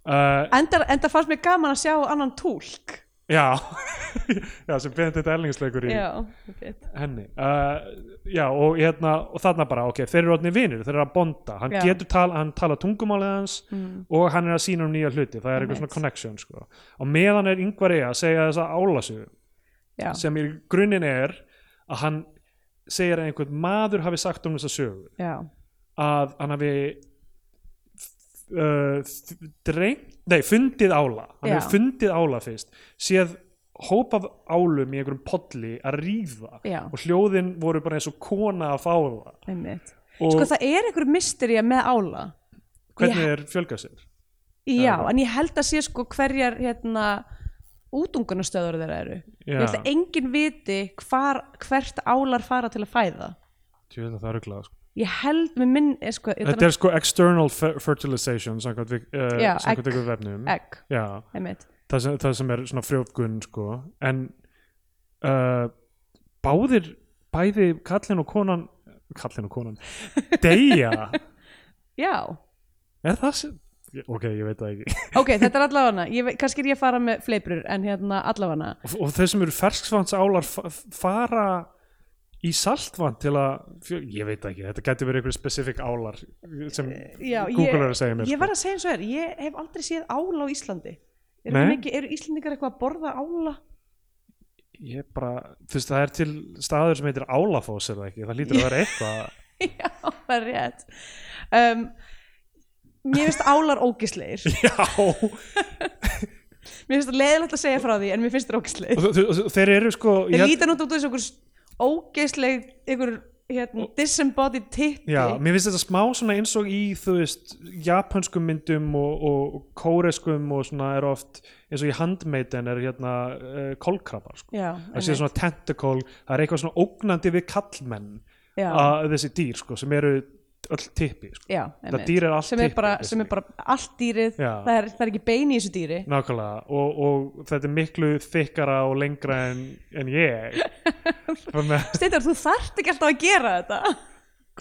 Speaker 2: uh,
Speaker 1: enda, enda fannst mér gaman að sjá annan túlk
Speaker 2: já [LAUGHS] já, sem Benedikt Erlingsleikur í
Speaker 1: já, einmitt.
Speaker 2: henni uh, já, og, hérna, og þarna bara, ok, þeir eru orðni vinir þeir eru að bonda, hann
Speaker 1: Já.
Speaker 2: getur tal, hann tala tungumálið hans og hann er að sína um nýja hluti það er
Speaker 1: Einmitt.
Speaker 2: eitthvað svona connection sko. og meðan er yngvar eiga að segja þessa álasu
Speaker 1: já,
Speaker 2: sem í grunninn er að hann segir að einhvern maður hafi sagt um þessa sögu
Speaker 1: já,
Speaker 2: að hann hafi uh, dreng, nei, fundið ála hann
Speaker 1: Já.
Speaker 2: hefur fundið ála fyrst séð hóp af álum í einhverjum podli að rífa
Speaker 1: Já.
Speaker 2: og hljóðin voru bara eins og kona að fá það
Speaker 1: einmitt
Speaker 2: og
Speaker 1: sko það er einhver mystery með ála
Speaker 2: hvernig er fjölgað sér
Speaker 1: já,
Speaker 2: Já.
Speaker 1: en ég held að sé sko hverjar hérna útungunastöður þeirra eru
Speaker 2: Já.
Speaker 1: ég held að enginn viti hvar, hvert álar fara til að fæða
Speaker 2: Tjú, það er ruglað sko.
Speaker 1: ég held með minn eh, sko, ég
Speaker 2: þetta
Speaker 1: þarf
Speaker 2: er sko external fer- fertilization samkvæmt við-
Speaker 1: Já,
Speaker 2: eh, samkvæmt
Speaker 1: egg-
Speaker 2: ykkur vefnum
Speaker 1: egg,
Speaker 2: Já,
Speaker 1: einmitt
Speaker 2: það sem, það sem er svona frjófgun sko. en uh, báðir bæði kallinn og konan kallinn og konan
Speaker 1: [LAUGHS]
Speaker 2: deyja,
Speaker 1: já,
Speaker 2: er það sem ok, ég veit það ekki
Speaker 1: ok, þetta er allavega hana kannski er ég að fara með fleipur en hérna allavega
Speaker 2: og, og þeir sem eru ferskvandsálar fa- fara í saltvand til að, fjö- ég veit það ekki þetta gæti verið einhverjum spesifik álar sem
Speaker 1: Eh, já,
Speaker 2: Google er
Speaker 1: ég,
Speaker 2: að segja
Speaker 1: ég
Speaker 2: mér sko.
Speaker 1: var að segja eins og er ég hef aldrei séð ála á Íslandi eru,
Speaker 2: Nei.
Speaker 1: ekki, eru Íslandingar eitthvað að borða ála [LAUGHS]
Speaker 2: ég bara, þú veist það er til staður sem heitir álafoss er það ekki, það lítur að vera
Speaker 1: [LAUGHS]
Speaker 2: eitthvað
Speaker 1: já, það er rétt um, mér finnst álar ógisleir
Speaker 2: já,
Speaker 1: mér finnst það leiðilegt að segja frá því en mér finnst það ógisleir
Speaker 2: og, og, og, og þeir eru sko ég
Speaker 1: þeir
Speaker 2: held-
Speaker 1: lítan út út úr þessu okkur ógisleir ykkur hérna, disembodied titti
Speaker 2: Já, mér finnst þetta smá svona eins og í þú veist, japanskum myndum og, og, og kóreskum og svona er oft eins og í handmeitin er hérna uh, kolkrabbar sko.
Speaker 1: já,
Speaker 2: það sé svona tentacle, það er eitthvað svona ógnandi við kallmenn
Speaker 1: já,
Speaker 2: að þessi dýr sko, sem eru öll tippi sko.
Speaker 1: já,
Speaker 2: það
Speaker 1: einmitt.
Speaker 2: dýr er allt
Speaker 1: sem er,
Speaker 2: typpi,
Speaker 1: bara,
Speaker 2: basically.
Speaker 1: sem er bara allt dýrið
Speaker 2: Já.
Speaker 1: það er, það er ekki bein í þessu dýri
Speaker 2: Nákvæmlega, og, og þetta er miklu þykkara og lengra en, en
Speaker 1: [LAUGHS]
Speaker 2: ég Þannig að,
Speaker 1: Steindar, þú þarft ekki alltaf að gera þetta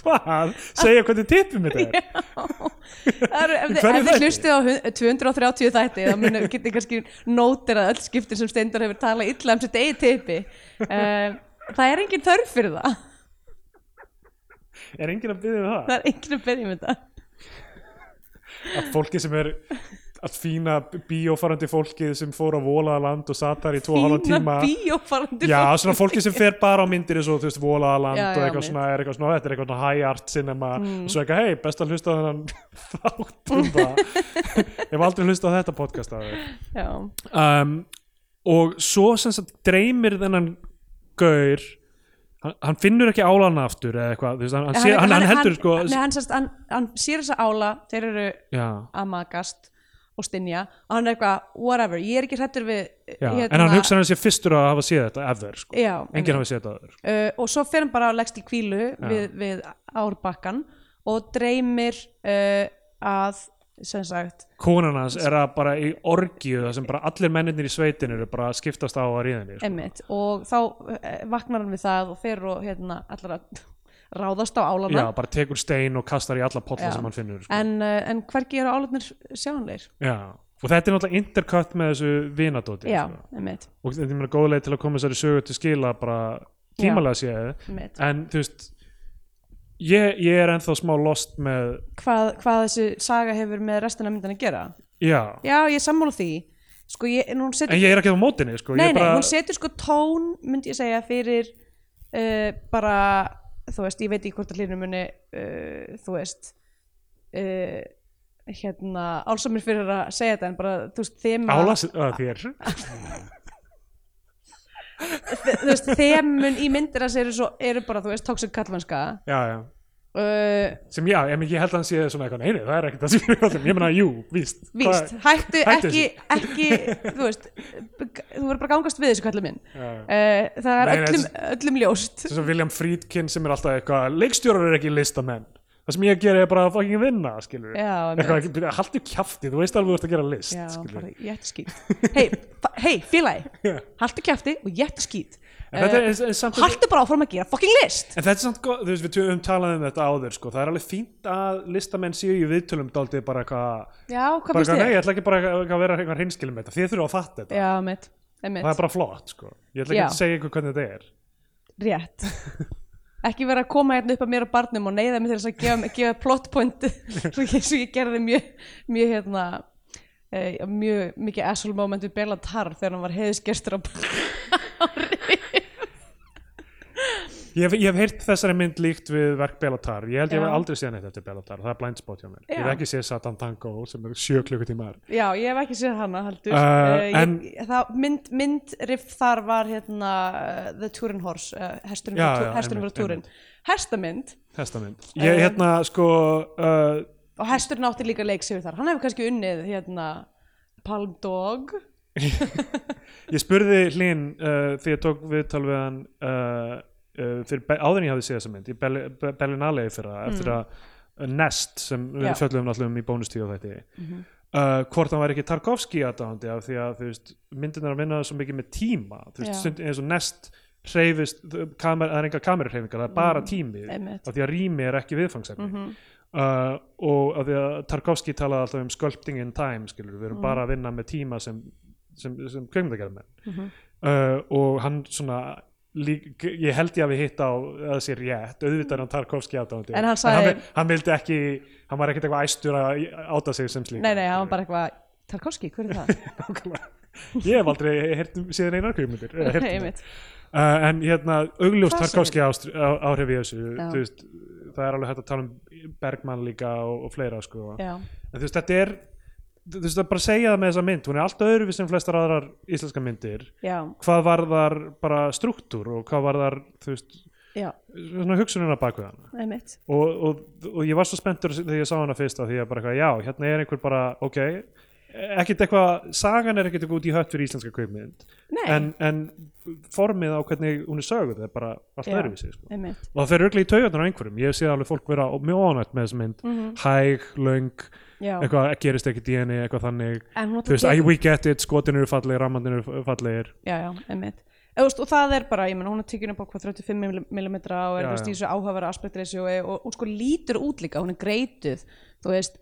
Speaker 2: hvað? Segja hvernig tippið
Speaker 1: [LAUGHS]
Speaker 2: mitt er?
Speaker 1: Það eru- ef þið-
Speaker 2: Hverju
Speaker 1: ef þið
Speaker 2: þætti?
Speaker 1: hlustið á hun- 230 þætti þá muni getið kannski nótir að öll skiptin sem Steindar hefur talað illa um sitt eigi teipi uh, það er engin þörf fyrir það
Speaker 2: Er enginn að byggja um það?
Speaker 1: það er engin að um byrja með það
Speaker 2: að fólki sem er að fína bíófarandi fólkið sem fór á Volaðaland og satt þar í tvo og halvan tíma
Speaker 1: bíófarandi
Speaker 2: já, svona fólki sem fer bara á myndir eins og þú veist Volaðaland
Speaker 1: Já,
Speaker 2: og
Speaker 1: já, mitt.
Speaker 2: eitthvað
Speaker 1: Mm.
Speaker 2: svona, er eitthvað svona þetta er eitthvað svona high art cinema og svo eitthvað, hei, best að hlusta á þennan [LAUGHS] þátt um það ég hef aldrei hlusta á þetta podcast að þau
Speaker 1: já,
Speaker 2: um, og svo sem sagt dreymir þennan gaur hann, hann finnur ekki álana aftur eða eitthvað, þú veist, hann, hann, sé- hann, hann heldur sko,
Speaker 1: nei, hann, sest, hann, hann sér þessa ála þeir eru
Speaker 2: já
Speaker 1: að magast og stinja og hann er eitthvað, whatever, ég er ekki hrættur við
Speaker 2: Já,
Speaker 1: Hérna-
Speaker 2: en hann hugsa hann sé fyrstur að hafa séð þetta ever, sko.
Speaker 1: Já, einmitt.
Speaker 2: enginn hafa séð þetta ever sko.
Speaker 1: uh, og svo fer hann bara og leggst í kvílu við, við árbakkan og dreymir uh, að sem sagt
Speaker 2: konan hans er að bara í orgju það sem bara allir mennirnir í sveitinu eru bara að skiptast á að ríðinni sko.
Speaker 1: emmitt og þá uh, vaknar hann við það og fer og hérna allar að ráðast á
Speaker 2: já,
Speaker 1: álana
Speaker 2: bara tekur stein og kastar í alla polla
Speaker 1: Já.
Speaker 2: sem hann finnur sko.
Speaker 1: en, uh, en hvergi eru álarnir sjáanleir
Speaker 2: já. og þetta er náttúrulega intercut með þessu vinadóti
Speaker 1: já,
Speaker 2: sko.
Speaker 1: emmitt,
Speaker 2: og þetta er mér góð leið til að koma þessari sögu til skila bara
Speaker 1: Já.
Speaker 2: tímalega séð
Speaker 1: emmitt.
Speaker 2: en þú veist ég, ég er ennþá smá lost með
Speaker 1: Hvað, hvað þessi saga hefur með restina myndin að gera
Speaker 2: já,
Speaker 1: já, ég er sammála því sko, ég, en hún setur
Speaker 2: en ég er ekki á mótinni sko.
Speaker 1: nei,
Speaker 2: ég
Speaker 1: nei,
Speaker 2: bara,
Speaker 1: hún setur sko tón myndi ég segja fyrir uh, bara, þú veist, ég veit ekki hvort að hlýnum muni, uh, þú veist uh, hérna, álsamir fyrir að segja þetta en bara, þú veist, þema
Speaker 2: álas að þér
Speaker 1: þú veist, þemun í myndir að eru, svo, eru bara, þú veist, tóksik kallmannska
Speaker 2: já, já
Speaker 1: uh,
Speaker 2: sem já, ég, meina, ég held að hann sé svona eitthvað neini, það er ekkert að skilja hvað sem, ég meina, jú, víst
Speaker 1: víst, hættu
Speaker 2: hættu
Speaker 1: ekki, ekki þú veist, b- þú verður bara að gangast við þessu kallar minn uh,
Speaker 2: Já.
Speaker 1: það er
Speaker 2: Nei, nei,
Speaker 1: öllum, öllum ljóst
Speaker 2: þess að William Friedkin sem er alltaf eitthvað leikstjórar er ekki listamenn það sem ég gera er bara að fucking vinna, skilur
Speaker 1: Já, einmitt.
Speaker 2: eitthvað, ekki- haltu kjafti, þú veist alveg þú ert að gera list,
Speaker 1: Já, bara
Speaker 2: skilur
Speaker 1: jættiskít Hei, fa- hei, félagi, haltu kæfti og jættiskít
Speaker 2: en þetta
Speaker 1: Eh,
Speaker 2: er, er samt
Speaker 1: Haltu bara áfram að gera fucking list
Speaker 2: En þetta er samt góð, þú veist, við höfum talað um þetta áður, sko, það er alveg fínt að listamenn séu í viðtölum daldið bara eitthvað,
Speaker 1: Já, hvað finnst
Speaker 2: bara eitthvað, nei,
Speaker 1: þið?
Speaker 2: ég ætla ekki bara eitthvað að vera eitthvað hinskilum með þetta, þið þurfa að fatta þetta,
Speaker 1: Já, mitt, einmitt,
Speaker 2: það er bara flott, sko, ég ætla ekki
Speaker 1: Já.
Speaker 2: að segja ykkur hvernig þetta er.
Speaker 1: rétt
Speaker 2: [LAUGHS]
Speaker 1: Ekki vera að koma hérna upp að mér og barnum og neyða mig til þess að gefa, gefa plot
Speaker 2: [LAUGHS]
Speaker 1: point svo ég, svo ég gerði mjög mjög hérna eh, mjög mikið asshole moment við Bela Tarr þegar hann var heiðisgestur á
Speaker 2: Ég hef, ég hef heyrt þessari mynd líkt við verk Bellatar ég held ég hef
Speaker 1: Já.
Speaker 2: aldrei séð neitt eftir Bellatar það er blind spot hjá mér, ég hef
Speaker 1: Já.
Speaker 2: ekki séð Satan Tango sem er sjö klukkutímar
Speaker 1: Já, ég hef ekki séð hana heldur
Speaker 2: Uh,
Speaker 1: uh,
Speaker 2: en-
Speaker 1: ég, það, mynd, myndriff þar var hérna uh, The Tourin Horse uh, hesturinn
Speaker 2: Já,
Speaker 1: fyrir
Speaker 2: já,
Speaker 1: tú- hesturinn
Speaker 2: einmitt,
Speaker 1: fyrir túrin hestamynd
Speaker 2: þesta mynd ég hérna sko uh,
Speaker 1: og hesturinn átti líka leik sigur þar hann hefur kannski unnið hérna Palm Dog
Speaker 2: Ég spurði Hlyn uh, því ég tók viðtal við hann uh, uh, fyrir Be- áður en ég hafði séð þessa mynd í Berli- Be- Berlinale fyrir það eftir að Nest sem við
Speaker 1: Mm. Já. Mhm.
Speaker 2: fjöllum náttúrulega um í bónustíu og þetta uh, hvort hann væri ekki Tarkovski aðdáðandi af því að þú veist, myndin er að vinna svo mikið með tíma þú veist,
Speaker 1: Já.
Speaker 2: stund, eins og Nest hreyfist, þ- kamer, það er enga kameruhreyfingar það er
Speaker 1: Mm.
Speaker 2: bara tími,
Speaker 1: einmitt.
Speaker 2: af því að rými er ekki viðfangsefni
Speaker 1: Mhm.
Speaker 2: uh, og af því að Tarkovski talaði alltaf um sculpting in time skilur,
Speaker 1: Mhm.
Speaker 2: við erum bara að vinna með tíma sem, sem, sem kveimdagerðmenn
Speaker 1: Mhm.
Speaker 2: uh, og hann svona lík, ég held ég að við hitta á að það sé rétt, auðvitað er hann Tarkovski aðdáðandi
Speaker 1: En hann
Speaker 2: hann,
Speaker 1: sagði-
Speaker 2: vil- hann vildi ekki, hann var ekkert eitthvað æstur að áta sig sem slíka
Speaker 1: nei nei, hann var bara eitthvað Tarkovski, hver er það?
Speaker 2: Nákvæmlega. [LAUGHS] Ég hef aldrei heyrt um síðan einar kvikmyndir eða [LAUGHS] heyrt um
Speaker 1: [LAUGHS]
Speaker 2: þær.
Speaker 1: Einmitt.
Speaker 2: uh, En hérna, augljós
Speaker 1: Hvað
Speaker 2: Tarkovski ástr- á- áhrif í þessu
Speaker 1: Já.
Speaker 2: þú veist, Það er alveg hægt að tala um Bergmann líka og, og fleira sko. En
Speaker 1: Já,
Speaker 2: þú veist, þetta er þú veist, það er bara að segja það með þessa mynd Hún er allt öðruvís en flestar aðrar íslenska myndir
Speaker 1: já,
Speaker 2: Hvað var þar bara struktúr og hvað var þar, þú veist
Speaker 1: já,
Speaker 2: svona hugsunina bak við hana
Speaker 1: einmitt
Speaker 2: og, og, og ég var svo spenntur þegar ég sá hana fyrst af því að bara eitthvað, já, hérna er einhver bara ok, ekkert eitthvað sagan er ekkert eitthvað út í hött fyrir íslenska kveikmynd
Speaker 1: Nei.
Speaker 2: en, en formið á hvernig hún er söguð er bara allt
Speaker 1: Já.
Speaker 2: öðruvísi sko.
Speaker 1: einmitt,
Speaker 2: og það fer örglega í taugarnar á einhverjum ég sé alveg fólk vera mjög óanætt með þessu mynd hæg, löng,
Speaker 1: Mhm. já
Speaker 2: eitthvað gerist ekkert í henni, eitthvað þannig
Speaker 1: En hún
Speaker 2: þú veist,
Speaker 1: tekur-
Speaker 2: I, we get it, skotin eru fallegir rammandin eru fallegir
Speaker 1: já, já, einmitt Eða, þú veist, og það er bara, ég menn, hún er tykkinu bara hvað 35 mm og er
Speaker 2: Já,
Speaker 1: þú veist,
Speaker 2: já.
Speaker 1: í þessu áhafara aspektreisi og, og hún sko lítur út líka, hún er greituð þú veist,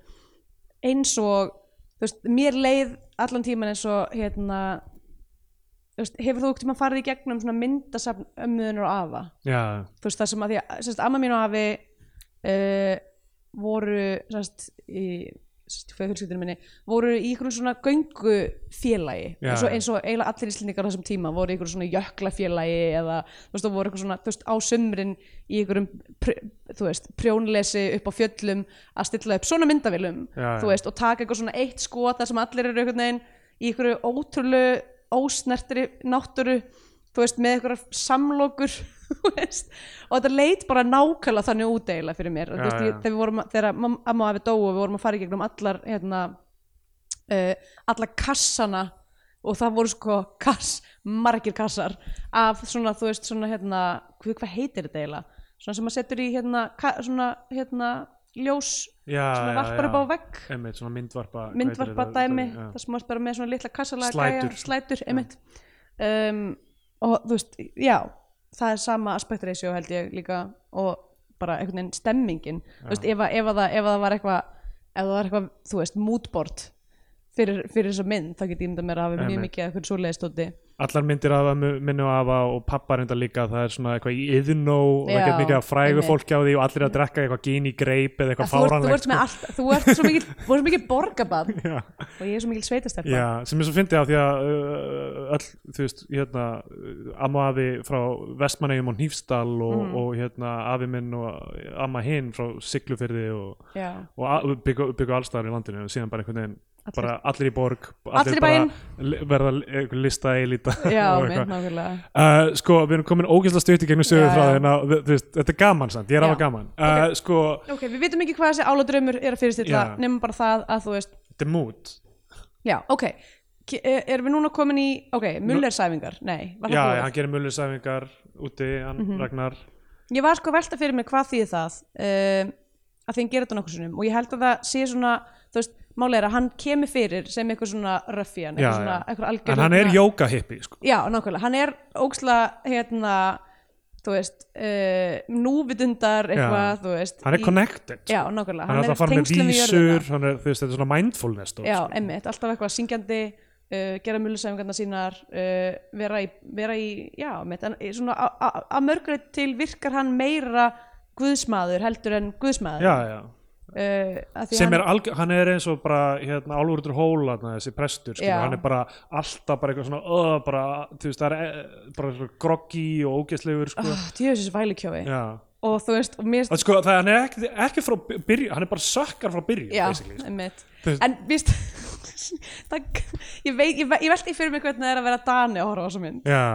Speaker 1: eins og þú veist, mér leið allan tíman eins og hérna þú veist, hefur þú ekki maður farið í gegnum svona myndasafn ömmuðunar og afa
Speaker 2: já,
Speaker 1: þú veist það sem að því að sérst, amma mín og afi uh, voru sérst, í sérst, í fjölskyldinu minni voru í einhverjum svona göngufélagi
Speaker 2: Já,
Speaker 1: eins, og,
Speaker 2: já.
Speaker 1: eins og eiginlega allir íslendingar á þessum tíma voru í einhverjum svona jöklafélagi eða þú veist það voru einhverjum svona þú veist á sumrin í einhverjum pr, þú veist prjónlesi upp á fjöllum að stilla upp svona myndavélum
Speaker 2: Já,
Speaker 1: þú
Speaker 2: já.
Speaker 1: veist og taka eitthvað svona eitt skot þar sem allir eru einhvern veginn í einhverju ótrúlegu ósnertri náttúru þú veist, með einhverjar samlokur [LAUGHS] þú veist, og þetta leit bara nákvæmlega þannig út eiginlega fyrir mér já,
Speaker 2: Já,
Speaker 1: veist, ég,
Speaker 2: já.
Speaker 1: þegar við vorum, að- þegar mamma- amma og afi dóu og við vorum að fara í gegnum allar hérna, uh, alla kassana og það voru sko kass, margir kassar af svona, þú veist, svona hérna hvað, hvað heitir þetta eiginlega? Svona sem maður setur í hérna, ka, svona hérna ljós
Speaker 2: já,
Speaker 1: sem maður
Speaker 2: já,
Speaker 1: varpar
Speaker 2: já.
Speaker 1: upp á vegg
Speaker 2: Einmitt, svona myndvarpa hvað heitir
Speaker 1: myndvarpa
Speaker 2: þetta?
Speaker 1: dæmi
Speaker 2: Já.
Speaker 1: það sem maður bara með svona litla kassalega
Speaker 2: Slætur.
Speaker 1: gæja, slætur einmitt um, og þú veist, já það er sama aspektreisjó held ég líka og bara einhvern veginn stemmingin þú veist, ef, að- ef, að það, ef að það var eitthvað ef það var eitthvað, þú veist, moodboard fyrir, fyrir þessa mynd, þá get ég mynda mér að hafa mjög
Speaker 2: Einmitt.
Speaker 1: mikið að hvernig svoleiðist úti
Speaker 2: allar myndir af ömmu minni og afa og pappa reynda líka, það er svona eitthvað í yðnó og það
Speaker 1: Já,
Speaker 2: get mikið að frægu
Speaker 1: einmitt.
Speaker 2: fólki á því og allir að drekka eitthvað gín í greip eða eitthvað
Speaker 1: þú ert, þú
Speaker 2: fáranlegt
Speaker 1: ert með allt, þú ert svo mikið, þú ert svo mikið borgabad
Speaker 2: [LAUGHS] Já,
Speaker 1: og ég er svo mikið sveitastelpa
Speaker 2: já, sem er svo fyndið af því að uh, öll, þú veist, hérna uh, amma og afi frá Vestmannegjum og Hnífsdal og,
Speaker 1: Mhm.
Speaker 2: og hérna afi minn og uh, amma hinn frá Siglufyrði og,
Speaker 1: Já.
Speaker 2: og a- byggu, byggu allstæðar í landinu og síðan bara einhvern veginn
Speaker 1: Allir.
Speaker 2: bara allir í borg,
Speaker 1: Allir í
Speaker 2: bara
Speaker 1: bæinn.
Speaker 2: li- verða einhver lista elita
Speaker 1: Já,
Speaker 2: [LAUGHS] og
Speaker 1: mynd
Speaker 2: eitthvað.
Speaker 1: nákvæmlega
Speaker 2: Uh, sko, við erum komin ógæsla stutt í gegnum sögur
Speaker 1: Já,
Speaker 2: frá
Speaker 1: já.
Speaker 2: þeirna, þú veist, þetta er gaman samt, ég er
Speaker 1: Já.
Speaker 2: alveg gaman uh, sko,
Speaker 1: Ok, við vitum ekki hvað þessi áladrömmur er að fyrirstilla
Speaker 2: Já.
Speaker 1: nema bara það að þú veist
Speaker 2: þetta er mút
Speaker 1: Já, ok. K- e- Erum við núna komin í, ok, Muller-sæfingar? Nei, var
Speaker 2: já,
Speaker 1: það
Speaker 2: hann
Speaker 1: búið?
Speaker 2: gerir mullisæfingar úti, hann
Speaker 1: Mhm.
Speaker 2: Ragnar
Speaker 1: Ég var sko að velta fyrir mér hvað þýði það um, að þeim gera þetta nokkuð sinnum og ég held að það sé svona, þú veist, málega er að hann kemur fyrir sem eitthvað svona röffjan,
Speaker 2: já,
Speaker 1: eitthvað svona, eitthvað
Speaker 2: já.
Speaker 1: algjör.
Speaker 2: en hann er jóka hippi sko.
Speaker 1: Já, nákvæmlega, hann er óksla, hérna, þú veist, uh, núvitundar eitthvað,
Speaker 2: Já.
Speaker 1: þú veist.
Speaker 2: hann er
Speaker 1: í-
Speaker 2: connected sko.
Speaker 1: Já, nákvæmlega,
Speaker 2: hann er alltaf að fara með
Speaker 1: tengslum við jörðina.
Speaker 2: vísur hann er, þú veist, þetta er svona mindfulness dót,
Speaker 1: Já,
Speaker 2: sko.
Speaker 1: emmitt, alltaf eitthvað syngjandi uh, gera mullisæfingarna sínar uh, vera, í, vera í, já, emmitt en í svona a- a- að mörgrið til virkar hann meira guðsmaður heldur en guðsmaður
Speaker 2: já, já
Speaker 1: uh,
Speaker 2: sem er, alg, hann er eins og bara hérna, álfurður hóla, þarna, þessi prestur skilur,
Speaker 1: Já.
Speaker 2: hann er bara alltaf bara eitthvað svona uh, bara, þú veist, það er eh, bara groggy og ógeðslegur sko.
Speaker 1: oh, djöfisins vælikjói
Speaker 2: já
Speaker 1: og þú veist, og mér
Speaker 2: að sko, það, hann er ekki, ekki frá byrju, hann er bara sökkar frá byrju
Speaker 1: já,
Speaker 2: basically, sko.
Speaker 1: emmitt
Speaker 2: Þú veist-
Speaker 1: en víst, [LAUGHS] það, ég, veit, ég, ve- ég velti fyrir mig hvernig það er að vera Dani að horfa á þessa mynd
Speaker 2: já,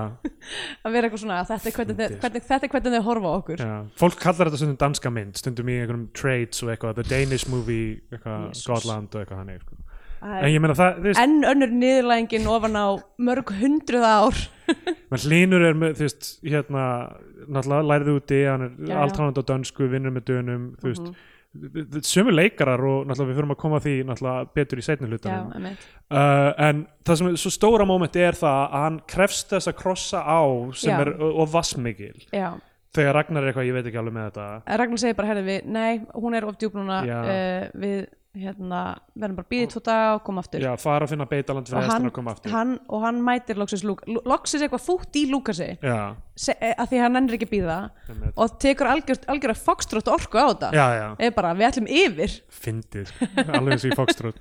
Speaker 1: að vera eitthvað svona, að þetta er hvernig, þau- hvernig, þetta er hvernig þau horfa á okkur
Speaker 2: já. fólk kallar þetta stundum danska mynd stundum í einhverjum trades og eitthvað the Danish movie, eitthvað Scotland og eitthvað þannig sko.
Speaker 1: Það
Speaker 2: en
Speaker 1: er
Speaker 2: ég meina það, þú veist,
Speaker 1: enn önnur niðurlægingin ofan á mörg hundruð ár
Speaker 2: menn hlínur er með, þú veist, hérna náttúrulega lærði úti, hann
Speaker 1: Já, Mhm.
Speaker 2: er
Speaker 1: já.
Speaker 2: alltánandi á dönsku, vinnur með dönum, þú veist sömu leikarar og náttúrulega við fyrir að koma að því náttúrulega betur í seinni
Speaker 1: já,
Speaker 2: hlutanum
Speaker 1: einmitt.
Speaker 2: uh, en það sem er svo stóra móment er það að hann krefst þess að krossa á sem
Speaker 1: Já.
Speaker 2: er og vassmikil
Speaker 1: já.
Speaker 2: þegar Ragnar er eitthvað, ég veit ekki alveg með þetta
Speaker 1: Ragnar segir bara, herðu við, nei, hún er of djúb núna
Speaker 2: Já.
Speaker 1: uh, við hérna, verðum bara bíðið tvo daga og koma aftur
Speaker 2: já, fara að finna beitaland fyrir
Speaker 1: og
Speaker 2: hestan
Speaker 1: hann,
Speaker 2: að koma aftur
Speaker 1: hann, og hann mætir loksins, Lúk, Lú- loksins eitthvað fútt í Lúkasi
Speaker 2: já,
Speaker 1: se, að því hann ennir ekki að býða
Speaker 2: Einmitt.
Speaker 1: og tekur algjör, algjör að fokstrótt orku á þetta
Speaker 2: já, já,
Speaker 1: eða bara við ætlum yfir
Speaker 2: fyndið
Speaker 1: [LAUGHS]
Speaker 2: alveg eins og í Foxtrot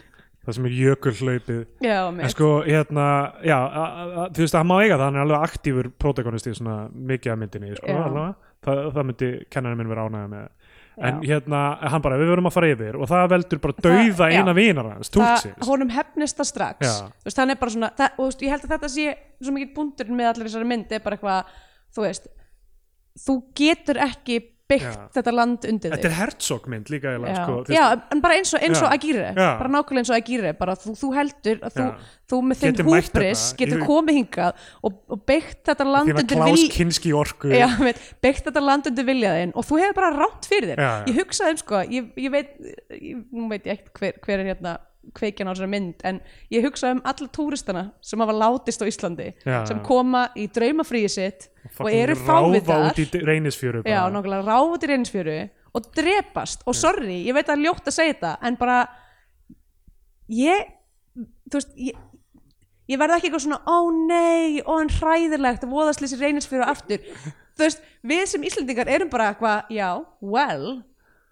Speaker 2: það sem er jökulhlaupið
Speaker 1: já,
Speaker 2: En
Speaker 1: mitt,
Speaker 2: sko, hérna, já, a- a- a- þú veist að hann má eiga það, hann er alveg aktífur protagonist í svona mikið af myndinni, sko,
Speaker 1: Já.
Speaker 2: allavega. Þa, það myndi kennarinn minn vera ánægða með. En
Speaker 1: Já.
Speaker 2: hérna, hann bara, við verum að fara yfir og það veldur bara dauða
Speaker 1: já.
Speaker 2: eina vinar hans,
Speaker 1: það,
Speaker 2: túlsins.
Speaker 1: honum hefnist það strax
Speaker 2: Já.
Speaker 1: Þú veist, hann er bara svona, það, og þú veist, ég held að þetta sé svo mikið búndurinn með allir þessari mynd er bara eitthvað, þú veist þú getur ekki byggt
Speaker 2: Já.
Speaker 1: þetta land undir
Speaker 2: Þetta
Speaker 1: þig
Speaker 2: er hertsókmynd líka, eiginlega,
Speaker 1: Já.
Speaker 2: sko, þú
Speaker 1: já,
Speaker 2: veist,
Speaker 1: en bara eins og, eins og
Speaker 2: Já.
Speaker 1: Agire
Speaker 2: Já.
Speaker 1: bara nákvæmlega eins og Agire bara þú, þú heldur að þú,
Speaker 2: Já.
Speaker 1: þú með þinn
Speaker 2: Getur mætt
Speaker 1: húbris
Speaker 2: þetta.
Speaker 1: getur
Speaker 2: Ég-
Speaker 1: komið hingað og, og byggt þetta land
Speaker 2: því að
Speaker 1: undir
Speaker 2: Klaus
Speaker 1: vil-
Speaker 2: Kinski orku,
Speaker 1: já, [LAUGHS] veit, byggt þetta land undir viljaðinn og þú hefur bara rátt fyrir þér
Speaker 2: Já, já.
Speaker 1: ég hugsaði um sko, ég, ég veit ég, nú veit ég ekkert hver, hver er hérna kveikjan á þessari mynd, en ég hugsaði um alla túristana sem hafa látist á Íslandi
Speaker 2: Já,
Speaker 1: sem
Speaker 2: já.
Speaker 1: koma í draumafríi sitt og,
Speaker 2: fucking
Speaker 1: eru
Speaker 2: ráfa
Speaker 1: fávitar
Speaker 2: út í reynisfjöru
Speaker 1: já,
Speaker 2: bara.
Speaker 1: nákvæmlega ráfa til reynsfjöru og drepast, og sorry, ég veit að það er ljótt að segja þetta, en bara ég, þú veist ég, ég verði ekki eitthvað svona ó nei, ó en hræðilegt og voðaslýsi reynist fyrir og
Speaker 2: [LAUGHS]
Speaker 1: aftur þú veist, við sem Íslendingar erum bara eitthvað já, well,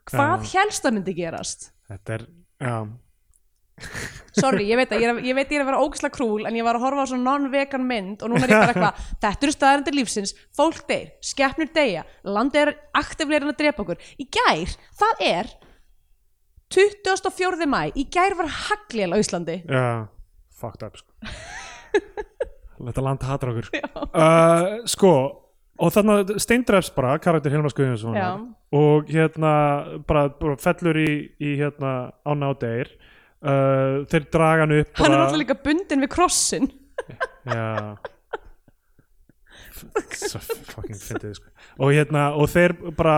Speaker 1: hvað helst það myndi gerast?
Speaker 2: Þetta er, já,
Speaker 1: Sorry, ég veit að ég, er- ég veit að ég er að vera ógislega krúl en ég var að horfa á svona non-vegan mynd og núna er ég bara eitthvað, þetta eru staðarendir lífsins fólk deyr, skepnur deyja landið er aktivleirinn að drepa okkur í gær, það er 24. mæ, í gær var haglél á Íslandi
Speaker 2: Já, fucked up sko. Þetta land hatar okkur
Speaker 1: Já.
Speaker 2: uh, Sko Og þarna steindrefs bara karakter Hilmar
Speaker 1: Já.
Speaker 2: Guðjónsson og hérna bara, bara fellur í, í hérna ána á deyr uh, þeir draga hann upp
Speaker 1: hann er
Speaker 2: bara,
Speaker 1: alltaf líka bundin við krossin
Speaker 2: Já Svo fucking fyndið sko. og hérna, og þeir bara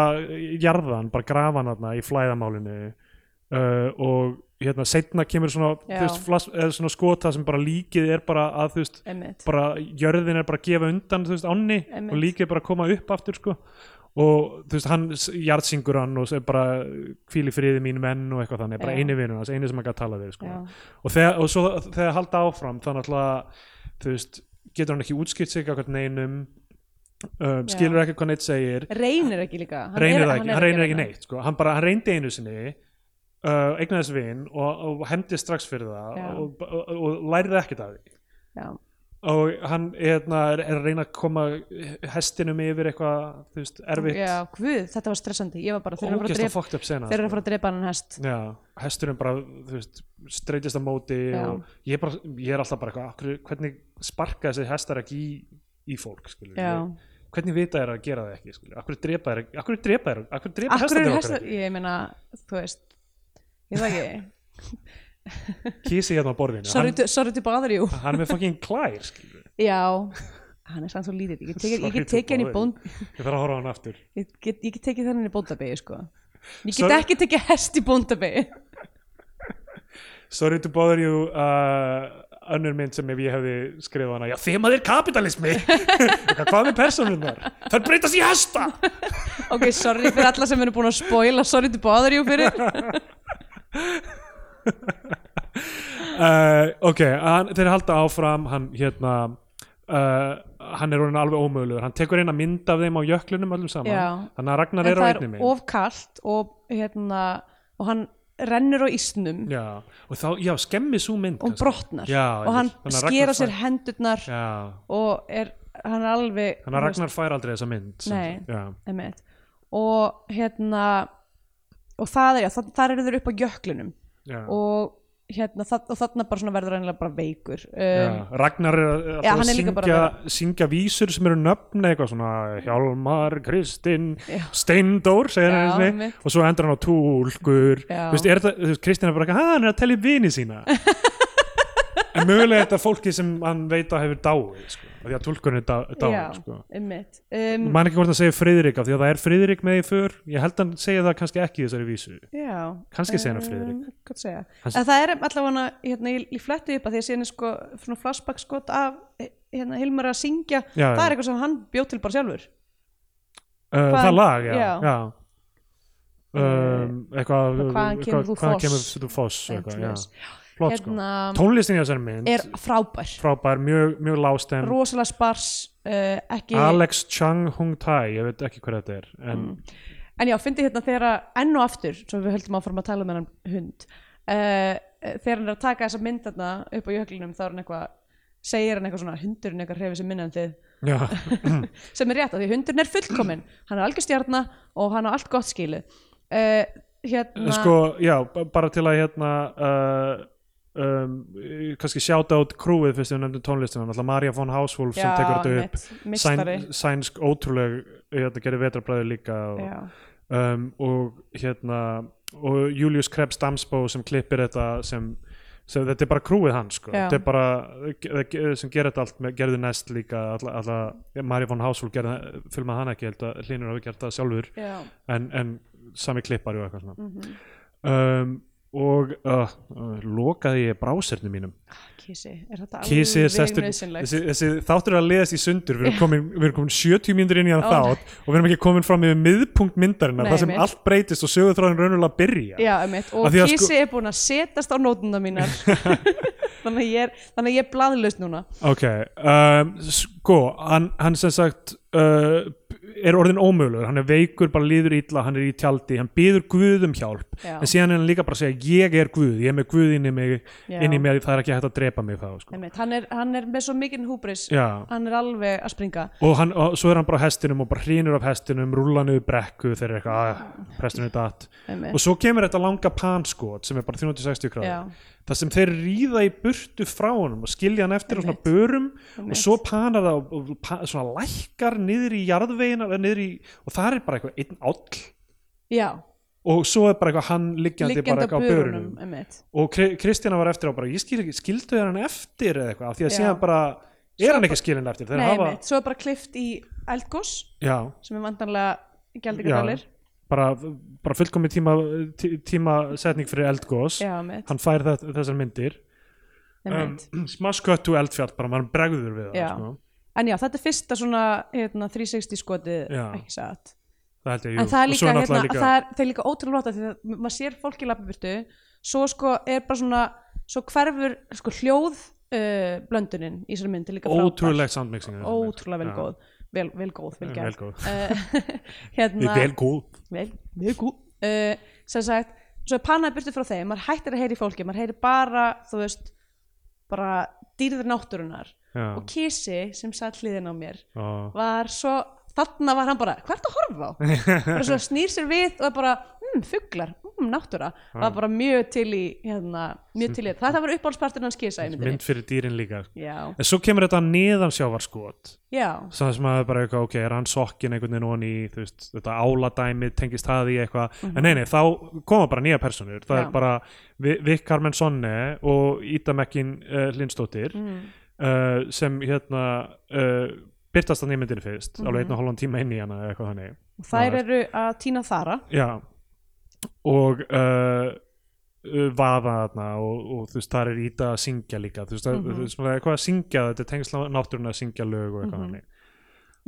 Speaker 2: jarðan, bara grafa hann þarna í flæðamálinu uh, og hérna, setna kemur svona,
Speaker 1: Já.
Speaker 2: þú veist, flas, eða svona skota sem bara líkið er bara að þú veist,
Speaker 1: Einmitt.
Speaker 2: bara jörðin er bara að gefa undan þú veist, ánni
Speaker 1: Einmitt.
Speaker 2: og líkið er bara að koma upp aftur sko og þú veist, hann s- jarðsingur hann og er bara hvíli friði mín menn og eitthvað þannig, bara
Speaker 1: Já.
Speaker 2: eini vinur hans, eini sem hann gæti tala við sko.
Speaker 1: Já.
Speaker 2: og, þegar, og svo þegar halda áfram þannig að þú veist, getur hann ekki útskipt sig eitthvað neinum um, skilur ekki hvað neitt segir
Speaker 1: reynir ekki líka hann
Speaker 2: reynir
Speaker 1: er-
Speaker 2: það ekki,
Speaker 1: er
Speaker 2: hann reynir
Speaker 1: að
Speaker 2: ekki
Speaker 1: reyna.
Speaker 2: neitt sko. hann bara, hann reyndi einu sinni uh, eignaðis vin og, og hefndi strax fyrir það
Speaker 1: Já.
Speaker 2: og, og, og, og lærði ekkert af því
Speaker 1: Já.
Speaker 2: og hann hérna, er er að reyna að koma hestinum yfir eitthvað þú veist, erfitt
Speaker 1: Já, guð, þetta var stressandi ég var bara, þeir eru að fara að
Speaker 2: ógæst að
Speaker 1: drepa,
Speaker 2: fucked up sena sko.
Speaker 1: þeir eru að fara að drepa hann hest
Speaker 2: Já, hesturinn bara, þú veist, streytist á móti
Speaker 1: Já.
Speaker 2: og ég er, bara, ég er alltaf bara eitthvað, "Af hverju- hvernig sparka þessi hestar ekki í, í fólk, skilur
Speaker 1: Já.
Speaker 2: við? Hvernig vita þeir að gera það ekki, skilur við? Akkur drepa þeir, akkur drepa þeir, akkur drepa
Speaker 1: Akkur
Speaker 2: hestar
Speaker 1: eru
Speaker 2: þeir
Speaker 1: hesta,
Speaker 2: okkur ekki?
Speaker 1: ég meina, þú veist ég það ekki,
Speaker 2: Kísi hérna á borðinu,
Speaker 1: sorry,
Speaker 2: hann,
Speaker 1: to, sorry to bother you
Speaker 2: hann er með fucking klær, skilur við?
Speaker 1: já, hann er sann svo lítið ég get tekið- ég
Speaker 2: Sorry
Speaker 1: get
Speaker 2: to
Speaker 1: tekið hann í
Speaker 2: bother
Speaker 1: bónd
Speaker 2: Ég þarf að horfa á hann aftur.
Speaker 1: ég get, ég get tekið þennan í bóndabegi sko ég get
Speaker 2: Sorry.
Speaker 1: ekki tekið hest í bóndabegi
Speaker 2: Sorry to bother you uh, önnur mynd sem ef ég hefði skrifað hana já þemað er [LAUGHS] kapitalismi Eitthvað, hvað með personunar, þær breytast í hesta
Speaker 1: ok, sorry fyrir alla sem eru búin að spoila sorry to bother you
Speaker 2: [LAUGHS]
Speaker 1: fyrir
Speaker 2: uh, ok, hann, þeir halda áfram hann hérna uh, hann er orðin alveg ómögulegur hann tekur eina mynd af þeim á jöklunum öllum saman
Speaker 1: Já.
Speaker 2: þannig að Ragnar
Speaker 1: en
Speaker 2: er á
Speaker 1: það
Speaker 2: einni
Speaker 1: er
Speaker 2: mynd
Speaker 1: of kalt og hérna og hann rennur á ísnum
Speaker 2: já, og þá, já, skemmi svo mynd
Speaker 1: og
Speaker 2: kannski.
Speaker 1: brotnar
Speaker 2: já,
Speaker 1: og hann
Speaker 2: einmitt. Þannig að
Speaker 1: sker á
Speaker 2: Ragnar
Speaker 1: sér
Speaker 2: fær-
Speaker 1: hendurnar
Speaker 2: já,
Speaker 1: og er, hann er alveg
Speaker 2: þannig
Speaker 1: þú
Speaker 2: að
Speaker 1: veist,
Speaker 2: Ragnar fær aldrei þessa mynd sem
Speaker 1: Nei.
Speaker 2: sagt. já,
Speaker 1: Einmitt. og hérna og það er já, það, þar eru þeir upp á jöklunum
Speaker 2: já,
Speaker 1: og hérna, það, og þarna bara svona verður hann eiginlega bara veikur um,
Speaker 2: Já, Ragnar er að-
Speaker 1: Já,
Speaker 2: alltaf
Speaker 1: hann
Speaker 2: að
Speaker 1: er líka bara
Speaker 2: syngja, syngja vísur sem eru nöfn eitthvað svona Hjálmar, Kristinn, Steindór segir
Speaker 1: Já,
Speaker 2: hann einnig,
Speaker 1: einmitt.
Speaker 2: og svo endur hann á túlkur
Speaker 1: Já.
Speaker 2: Þú veist, er það, þú veist, Kristinn er bara eitthvað, "Ha, hann er að telja upp
Speaker 1: [LAUGHS]
Speaker 2: vini sína en mögulega er þetta fólki sem hann veit að hefur dáið sko, af því að túlkurinn er dá,
Speaker 1: já,
Speaker 2: dáið sko.
Speaker 1: einmitt um,
Speaker 2: Man ekki hvort hann segir Friðrik af því að það er Friðrik með í för ég held hann segja það kannski ekki í þessari vísu
Speaker 1: já
Speaker 2: Kannski segir hann Friðrik.
Speaker 1: um, hvað segja
Speaker 2: Hann-
Speaker 1: en það er allavega hérna, ég, ég fletti upp að því að síðan er sko svona flashback skot af eh, hérna, Hilmar að syngja
Speaker 2: Já,
Speaker 1: það
Speaker 2: já.
Speaker 1: er eitthvað sem hann bjóð til bara sjálfur
Speaker 2: uh,
Speaker 1: Hvaðan-
Speaker 2: það lag, já,
Speaker 1: já. Eh,
Speaker 2: já. Um, eitthvað
Speaker 1: hvaðan kemur þú
Speaker 2: hvaðan
Speaker 1: foss?
Speaker 2: kemur þú foss og eitthvað,
Speaker 1: Eitthvað
Speaker 2: já. Flott,
Speaker 1: Hérna-
Speaker 2: sko. tónlistin í þessari mynd
Speaker 1: er frábær
Speaker 2: frábær, mjög, mjög lásten
Speaker 1: rosalega spars uh, ekki
Speaker 2: Alex Chang Hung Tai ég veit ekki hver þetta er en,
Speaker 1: En já, fyndi hérna þegar að enn og aftur svo við höldum áfram að tala um hennan hund uh, þegar hann er að taka þessa mynd þarna upp á jöklinum þá er hann eitthvað segir hann eitthvað svona hundurinn eitthvað hreyfi sem minna en þið
Speaker 2: já,
Speaker 1: Hérna- sem er rétt að því hundurinn er fullkominn hann er algjör stjarna og hann á allt gott skilu uh, hérna
Speaker 2: sko, já, b- bara til að hérna uh, um, kannski sjáta át krúið fyrst við nefndum tónlistina náttúrulega Maria von Hauswolf sem
Speaker 1: Já,
Speaker 2: tekur þetta upp
Speaker 1: einmitt, meistari.
Speaker 2: sænsk ótrúleg hérna, gerir vetrabræði líka og,
Speaker 1: já,
Speaker 2: um, og hérna og Julius Krebs Damsbo sem klippir þetta sem, sem þetta er bara krúið hans sko.
Speaker 1: Já.
Speaker 2: þetta er bara það sem gerir þetta allt með gerði næst líka alla, alla, Mari von Hásvól gerði filmað hana ekki, ég held að hlýnur hafi gert það sjálfur
Speaker 1: já,
Speaker 2: en, en sami klippari og eitthvað svona um, og uh, uh, lokaði ég brásernum mínum
Speaker 1: kísi er þetta
Speaker 2: Kísið er
Speaker 1: alveg
Speaker 2: sestur
Speaker 1: nauðsynlegt?
Speaker 2: þessi, þessi þáttur er að leiðast í sundur við erum komin, við erum komin 70 myndir inn í
Speaker 1: Ó,
Speaker 2: hann
Speaker 1: nei.
Speaker 2: þátt og við erum ekki komin fram yfir miðpunkt myndarinnar
Speaker 1: Nei,
Speaker 2: það sem
Speaker 1: einmitt.
Speaker 2: allt breytist og sögurþráðin raunulega byrja
Speaker 1: Já, einmitt, og
Speaker 2: Af því að
Speaker 1: kísi
Speaker 2: sko-
Speaker 1: er búin að setast á nótuna
Speaker 2: [LAUGHS]
Speaker 1: mínar [LAUGHS] þannig að ég er, þannig að ég er blaðlaust núna
Speaker 2: ok, um, sko hann, hann sem sagt uh, er orðin ómögulegur, hann er veikur bara líður illa, hann er í tjaldi, hann býður guð um hjálp,
Speaker 1: Já.
Speaker 2: en síðan er hann líka bara að segja ég er guð, ég er með guð inn í mig,
Speaker 1: Já.
Speaker 2: inn í mig það er ekki hægt að drepa mig þá sko.
Speaker 1: Einmitt, hann, er, hann er með svo mikinn húbris
Speaker 2: Já.
Speaker 1: hann er alveg að springa
Speaker 2: og, hann, og svo er hann bara á hestinum og bara hrýnur af hestinum, rúla niður brekku þegar er eitthvað, að, prestunum datt
Speaker 1: Einmitt.
Speaker 2: og svo kemur þetta langa panskot sem er bara 360
Speaker 1: Já.
Speaker 2: gráður það sem þeir ríða í burtu frá honum og skilja hann eftir á svona börum og svo panar það og- og pa- svona lækkar niður í jarðvegin niður í, og það er bara eitthvað einn áll
Speaker 1: já,
Speaker 2: og svo er bara eitthvað hann liggjandi, bara
Speaker 1: liggjandi á
Speaker 2: eitthvað á börunum
Speaker 1: börunum einmitt.
Speaker 2: og Kri- Kristjana var eftir á bara ég skil ekki, skildu þeir hann eftir eða eitthvað af því að
Speaker 1: Já.
Speaker 2: síðan bara, er hann ekki skilin eftir þeir
Speaker 1: Nei,
Speaker 2: hafa,
Speaker 1: einmitt. svo er bara klift í eldgós
Speaker 2: já,
Speaker 1: sem er vantanlega
Speaker 2: já,
Speaker 1: gældingadalir
Speaker 2: bara, bara fullkomi tíma, tí, tíma setning fyrir eldgós
Speaker 1: já, einmitt,
Speaker 2: hann fær það, þessar myndir um, [CLEARS THROAT]
Speaker 1: einmitt.
Speaker 2: smash cut to eldfjall bara maður bregður við það
Speaker 1: Já.
Speaker 2: sko.
Speaker 1: en já, þetta er fyrsta svona hérna, 360 skotið
Speaker 2: Já.
Speaker 1: ekki satt
Speaker 2: það held ég, jú.
Speaker 1: en það er
Speaker 2: og
Speaker 1: líka,
Speaker 2: svo
Speaker 1: hérna,
Speaker 2: er náttúrulega líka
Speaker 1: Það, er, það er líka ótrúlega nota því að maður sér fólk í lappaburtu svo sko er bara svona svo hverfur sko, hljóð uh, blöndunin í sér mynd er líka frábær.
Speaker 2: ótrúlegt soundmixing
Speaker 1: ótrúlega vel góð vel, vel góð, vel
Speaker 2: Já,
Speaker 1: gerð
Speaker 2: vel góð.
Speaker 1: Eh, [LAUGHS] hérna,
Speaker 2: vel góð
Speaker 1: vel, vel góð uh, sem sagt, svo er panaði burtu frá þeim maður hættir að heyri fólki, maður heyri bara þú veist, bara dýrðir náttúrunar
Speaker 2: Já.
Speaker 1: og kísi sem satt hliðin á mér
Speaker 2: og
Speaker 1: var svo, þarna var hann bara hvað ertu að
Speaker 2: [LAUGHS]
Speaker 1: horfa á? bara svo snýr sér við og er bara, hmm, fuglar hmm, náttúra, var bara mjög til í hérna, mjög til í þetta, þetta var uppáhaldsparturinn hans kísa í myndinni
Speaker 2: mynd fyrir dýrin líka sko.
Speaker 1: já,
Speaker 2: en svo kemur þetta neðansjávarskot
Speaker 1: já,
Speaker 2: það sem að bara eitthvað, ok, er hann sokkin einhvern veginn onni, þú veist, þetta áladæmi tengist það í eitthvað, en nei, nei, þá koma bara nýja personur, það
Speaker 1: Já.
Speaker 2: er bara Vi- Vic Carmen Sonne og Ida Mekkin uh, Lindstóttir
Speaker 1: Mhm. Mm.
Speaker 2: uh, sem hérna uh, byrtast þannig í myndinni fyrst, alveg einn og hálfan tíma inn í hana eða eitthvað þannig,
Speaker 1: og þær eru að tína þara
Speaker 2: já og uh, uh, vaða þarna og, og þú veist, þar er Ida að syngja líka, þú veist, mm -hmm. þú veist maður er eitthvað að syngja, þetta er tengist náttúruna að syngja lög og eitthvað þannig,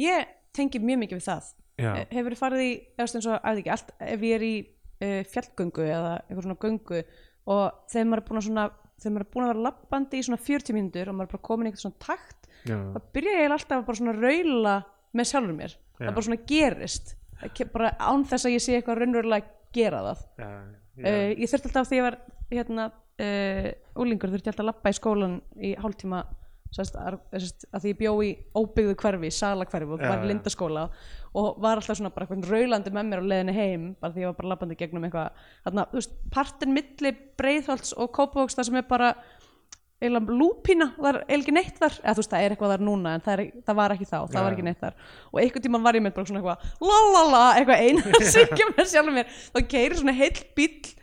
Speaker 1: ég tengi mjög mikið við það
Speaker 2: já
Speaker 1: hefur Eh, farið í, eða eins og, að ekki allt, ef ég er í uh, fjallgöngu eða eitthvað svona göngu og þegar maður er búin að svona þegar maður er búin að vera lappandi í svona 40 mínútur og maður er bara komin í eitthvað svona takt
Speaker 2: Já.
Speaker 1: þá byrja ég eiginlega alltaf að bara svona raula með sjálfur mér, það
Speaker 2: Já.
Speaker 1: bara svona gerist Það ke- bara án þess að ég sé eitthvað raunverulega að gera það
Speaker 2: Já, já.
Speaker 1: uh, ég eh, þurfti alltaf þegar ég var hérna uh, úlingur þurfti ég alltaf að lappa í skólan í hálftíma sest, að, sest, að því ég bjó í óbyggðu hverfi, salakverfi og
Speaker 2: Já,
Speaker 1: var í
Speaker 2: já.
Speaker 1: lindaskóla og var alltaf svona bara eitthvað raulandi með mér á leiðinni heim bara því ég var bara labbandi gegnum eitthvað þarna, þú veist, partin milli breiðholts og kópavóks það sem er bara eiginlega lúpína, það er eiginlega ekki neitt þar eða þú veist það er eitthvað þar núna en það, er, það var ekki þá, það
Speaker 2: Já,
Speaker 1: var
Speaker 2: já.
Speaker 1: ekki neitt þar og einhvern tímann var ég með bara svona eitthvað lalala, eitthvað eina [LAUGHS] að syngja með sjálfum mér þá keirir svona heill bíll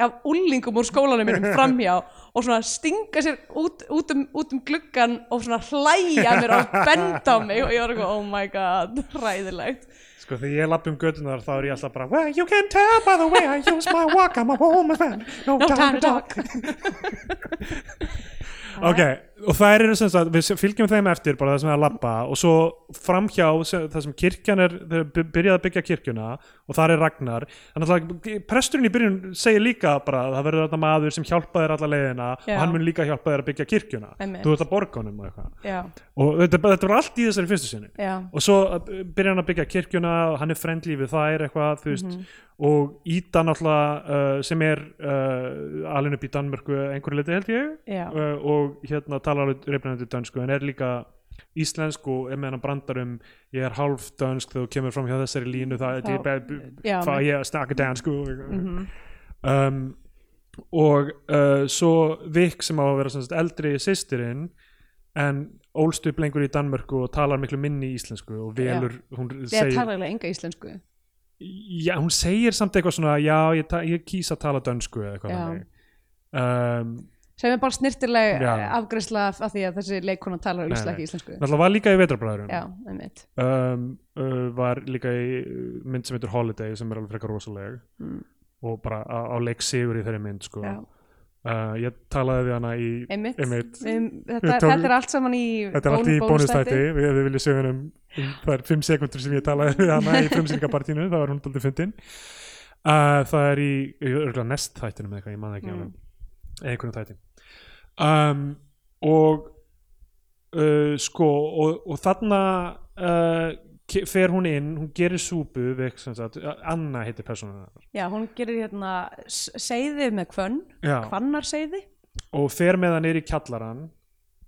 Speaker 1: af ullingum úr skólanum minnum
Speaker 2: [LAUGHS]
Speaker 1: framhjá og svona stinga sér út, út, um, út um gluggan og svona hlæja að mér og benda á mig og ég var eitthvað, oh my god, ræðilegt
Speaker 2: Sko þegar ég lapp um gödunar þá er ég alltaf bara Well you can tell by the way I use my walk I'm a woman fan No,
Speaker 1: No
Speaker 2: time to talk Ok, og það eru sem sagt Við fylgjum þeim eftir bara það sem er að lappa Og svo framhjá sem, það sem kirkjan er Þeir by- byrjað að byggja kirkjuna Og þar er Ragnar Þannig að presturinn í byrjun segir líka bara að Það verður þetta maður sem hjálpa þér alla leiðina
Speaker 1: Já.
Speaker 2: Og hann mun líka hjálpa þér að byggja kirkjuna
Speaker 1: Einmitt.
Speaker 2: Þú ert að borga honum og eitthvað
Speaker 1: já,
Speaker 2: Og þetta, þetta var allt í þessari fyrstu sinni
Speaker 1: já,
Speaker 2: og svo uh, byrjar hann að byggja kirkjuna og hann er frendli við þær eitthvað þú veist
Speaker 1: Mhm.
Speaker 2: og Ída náttúrulega uh, sem er uh, alveg upp í Danmörku að einhverju leiti held ég
Speaker 1: Já.
Speaker 2: uh, og hérna talar alveg reyfnandi dönsku en er líka íslensk og er með hann brandar um ég er hálf dönsk þegar þú kemur fram hjá þessari línu það
Speaker 1: Þá-
Speaker 2: er
Speaker 1: Já, Mhm.
Speaker 2: fá ég að snakka dansku um, og uh, svo Vik sem á að vera sem sagt, eldri sýstirinn en ólst upp lengur í Danmörku og talar miklu minni í íslensku og velur, hún
Speaker 1: ég
Speaker 2: segir
Speaker 1: tala eiginlega enga íslensku
Speaker 2: já, hún segir samt eitthvað svona já, ég, ta- ég kýs að tala dönsku eða eitthvað
Speaker 1: Já.
Speaker 2: þannig. um,
Speaker 1: sem er bara snirtileg
Speaker 2: Já.
Speaker 1: afgreysla af af því að þessi leikona talar
Speaker 2: Nei,
Speaker 1: auðvitað
Speaker 2: nei.
Speaker 1: ekki íslensku
Speaker 2: náttúrulega var líka í vetrarbræðurum
Speaker 1: já, einmitt
Speaker 2: um, uh, var líka í uh, mynd sem heitur Holiday sem er alveg frekar rosaleg
Speaker 1: Mm.
Speaker 2: og bara á, á leik sigur í þeirri mynd sko.
Speaker 1: Já.
Speaker 2: uh, ég talaði við hana í
Speaker 1: Einmitt.
Speaker 2: Einmitt.
Speaker 1: Um, þetta,
Speaker 2: Við tókum-
Speaker 1: þetta er allt saman í,
Speaker 2: Þetta er allt í bónustætti, við, við viljum sögum um, um það er fimm sekundur sem ég talaði við hana í frumsýningapartínu, það var hún aldrei fyndin uh, Það er í örgulega nest þættinum eða eitthvað, ég man það ekki
Speaker 1: Mm.
Speaker 2: mm. eða einhvern þætti um, og uh, sko og, og þarna uh, ke- fer hún inn, hún gerir súpu við, sem sagt, Anna heitir persónuna hennar.
Speaker 1: já, hún gerir hérna s- seiði með hvönn,
Speaker 2: Já,
Speaker 1: hvannarseiði
Speaker 2: og fer með hann niður í kjallaran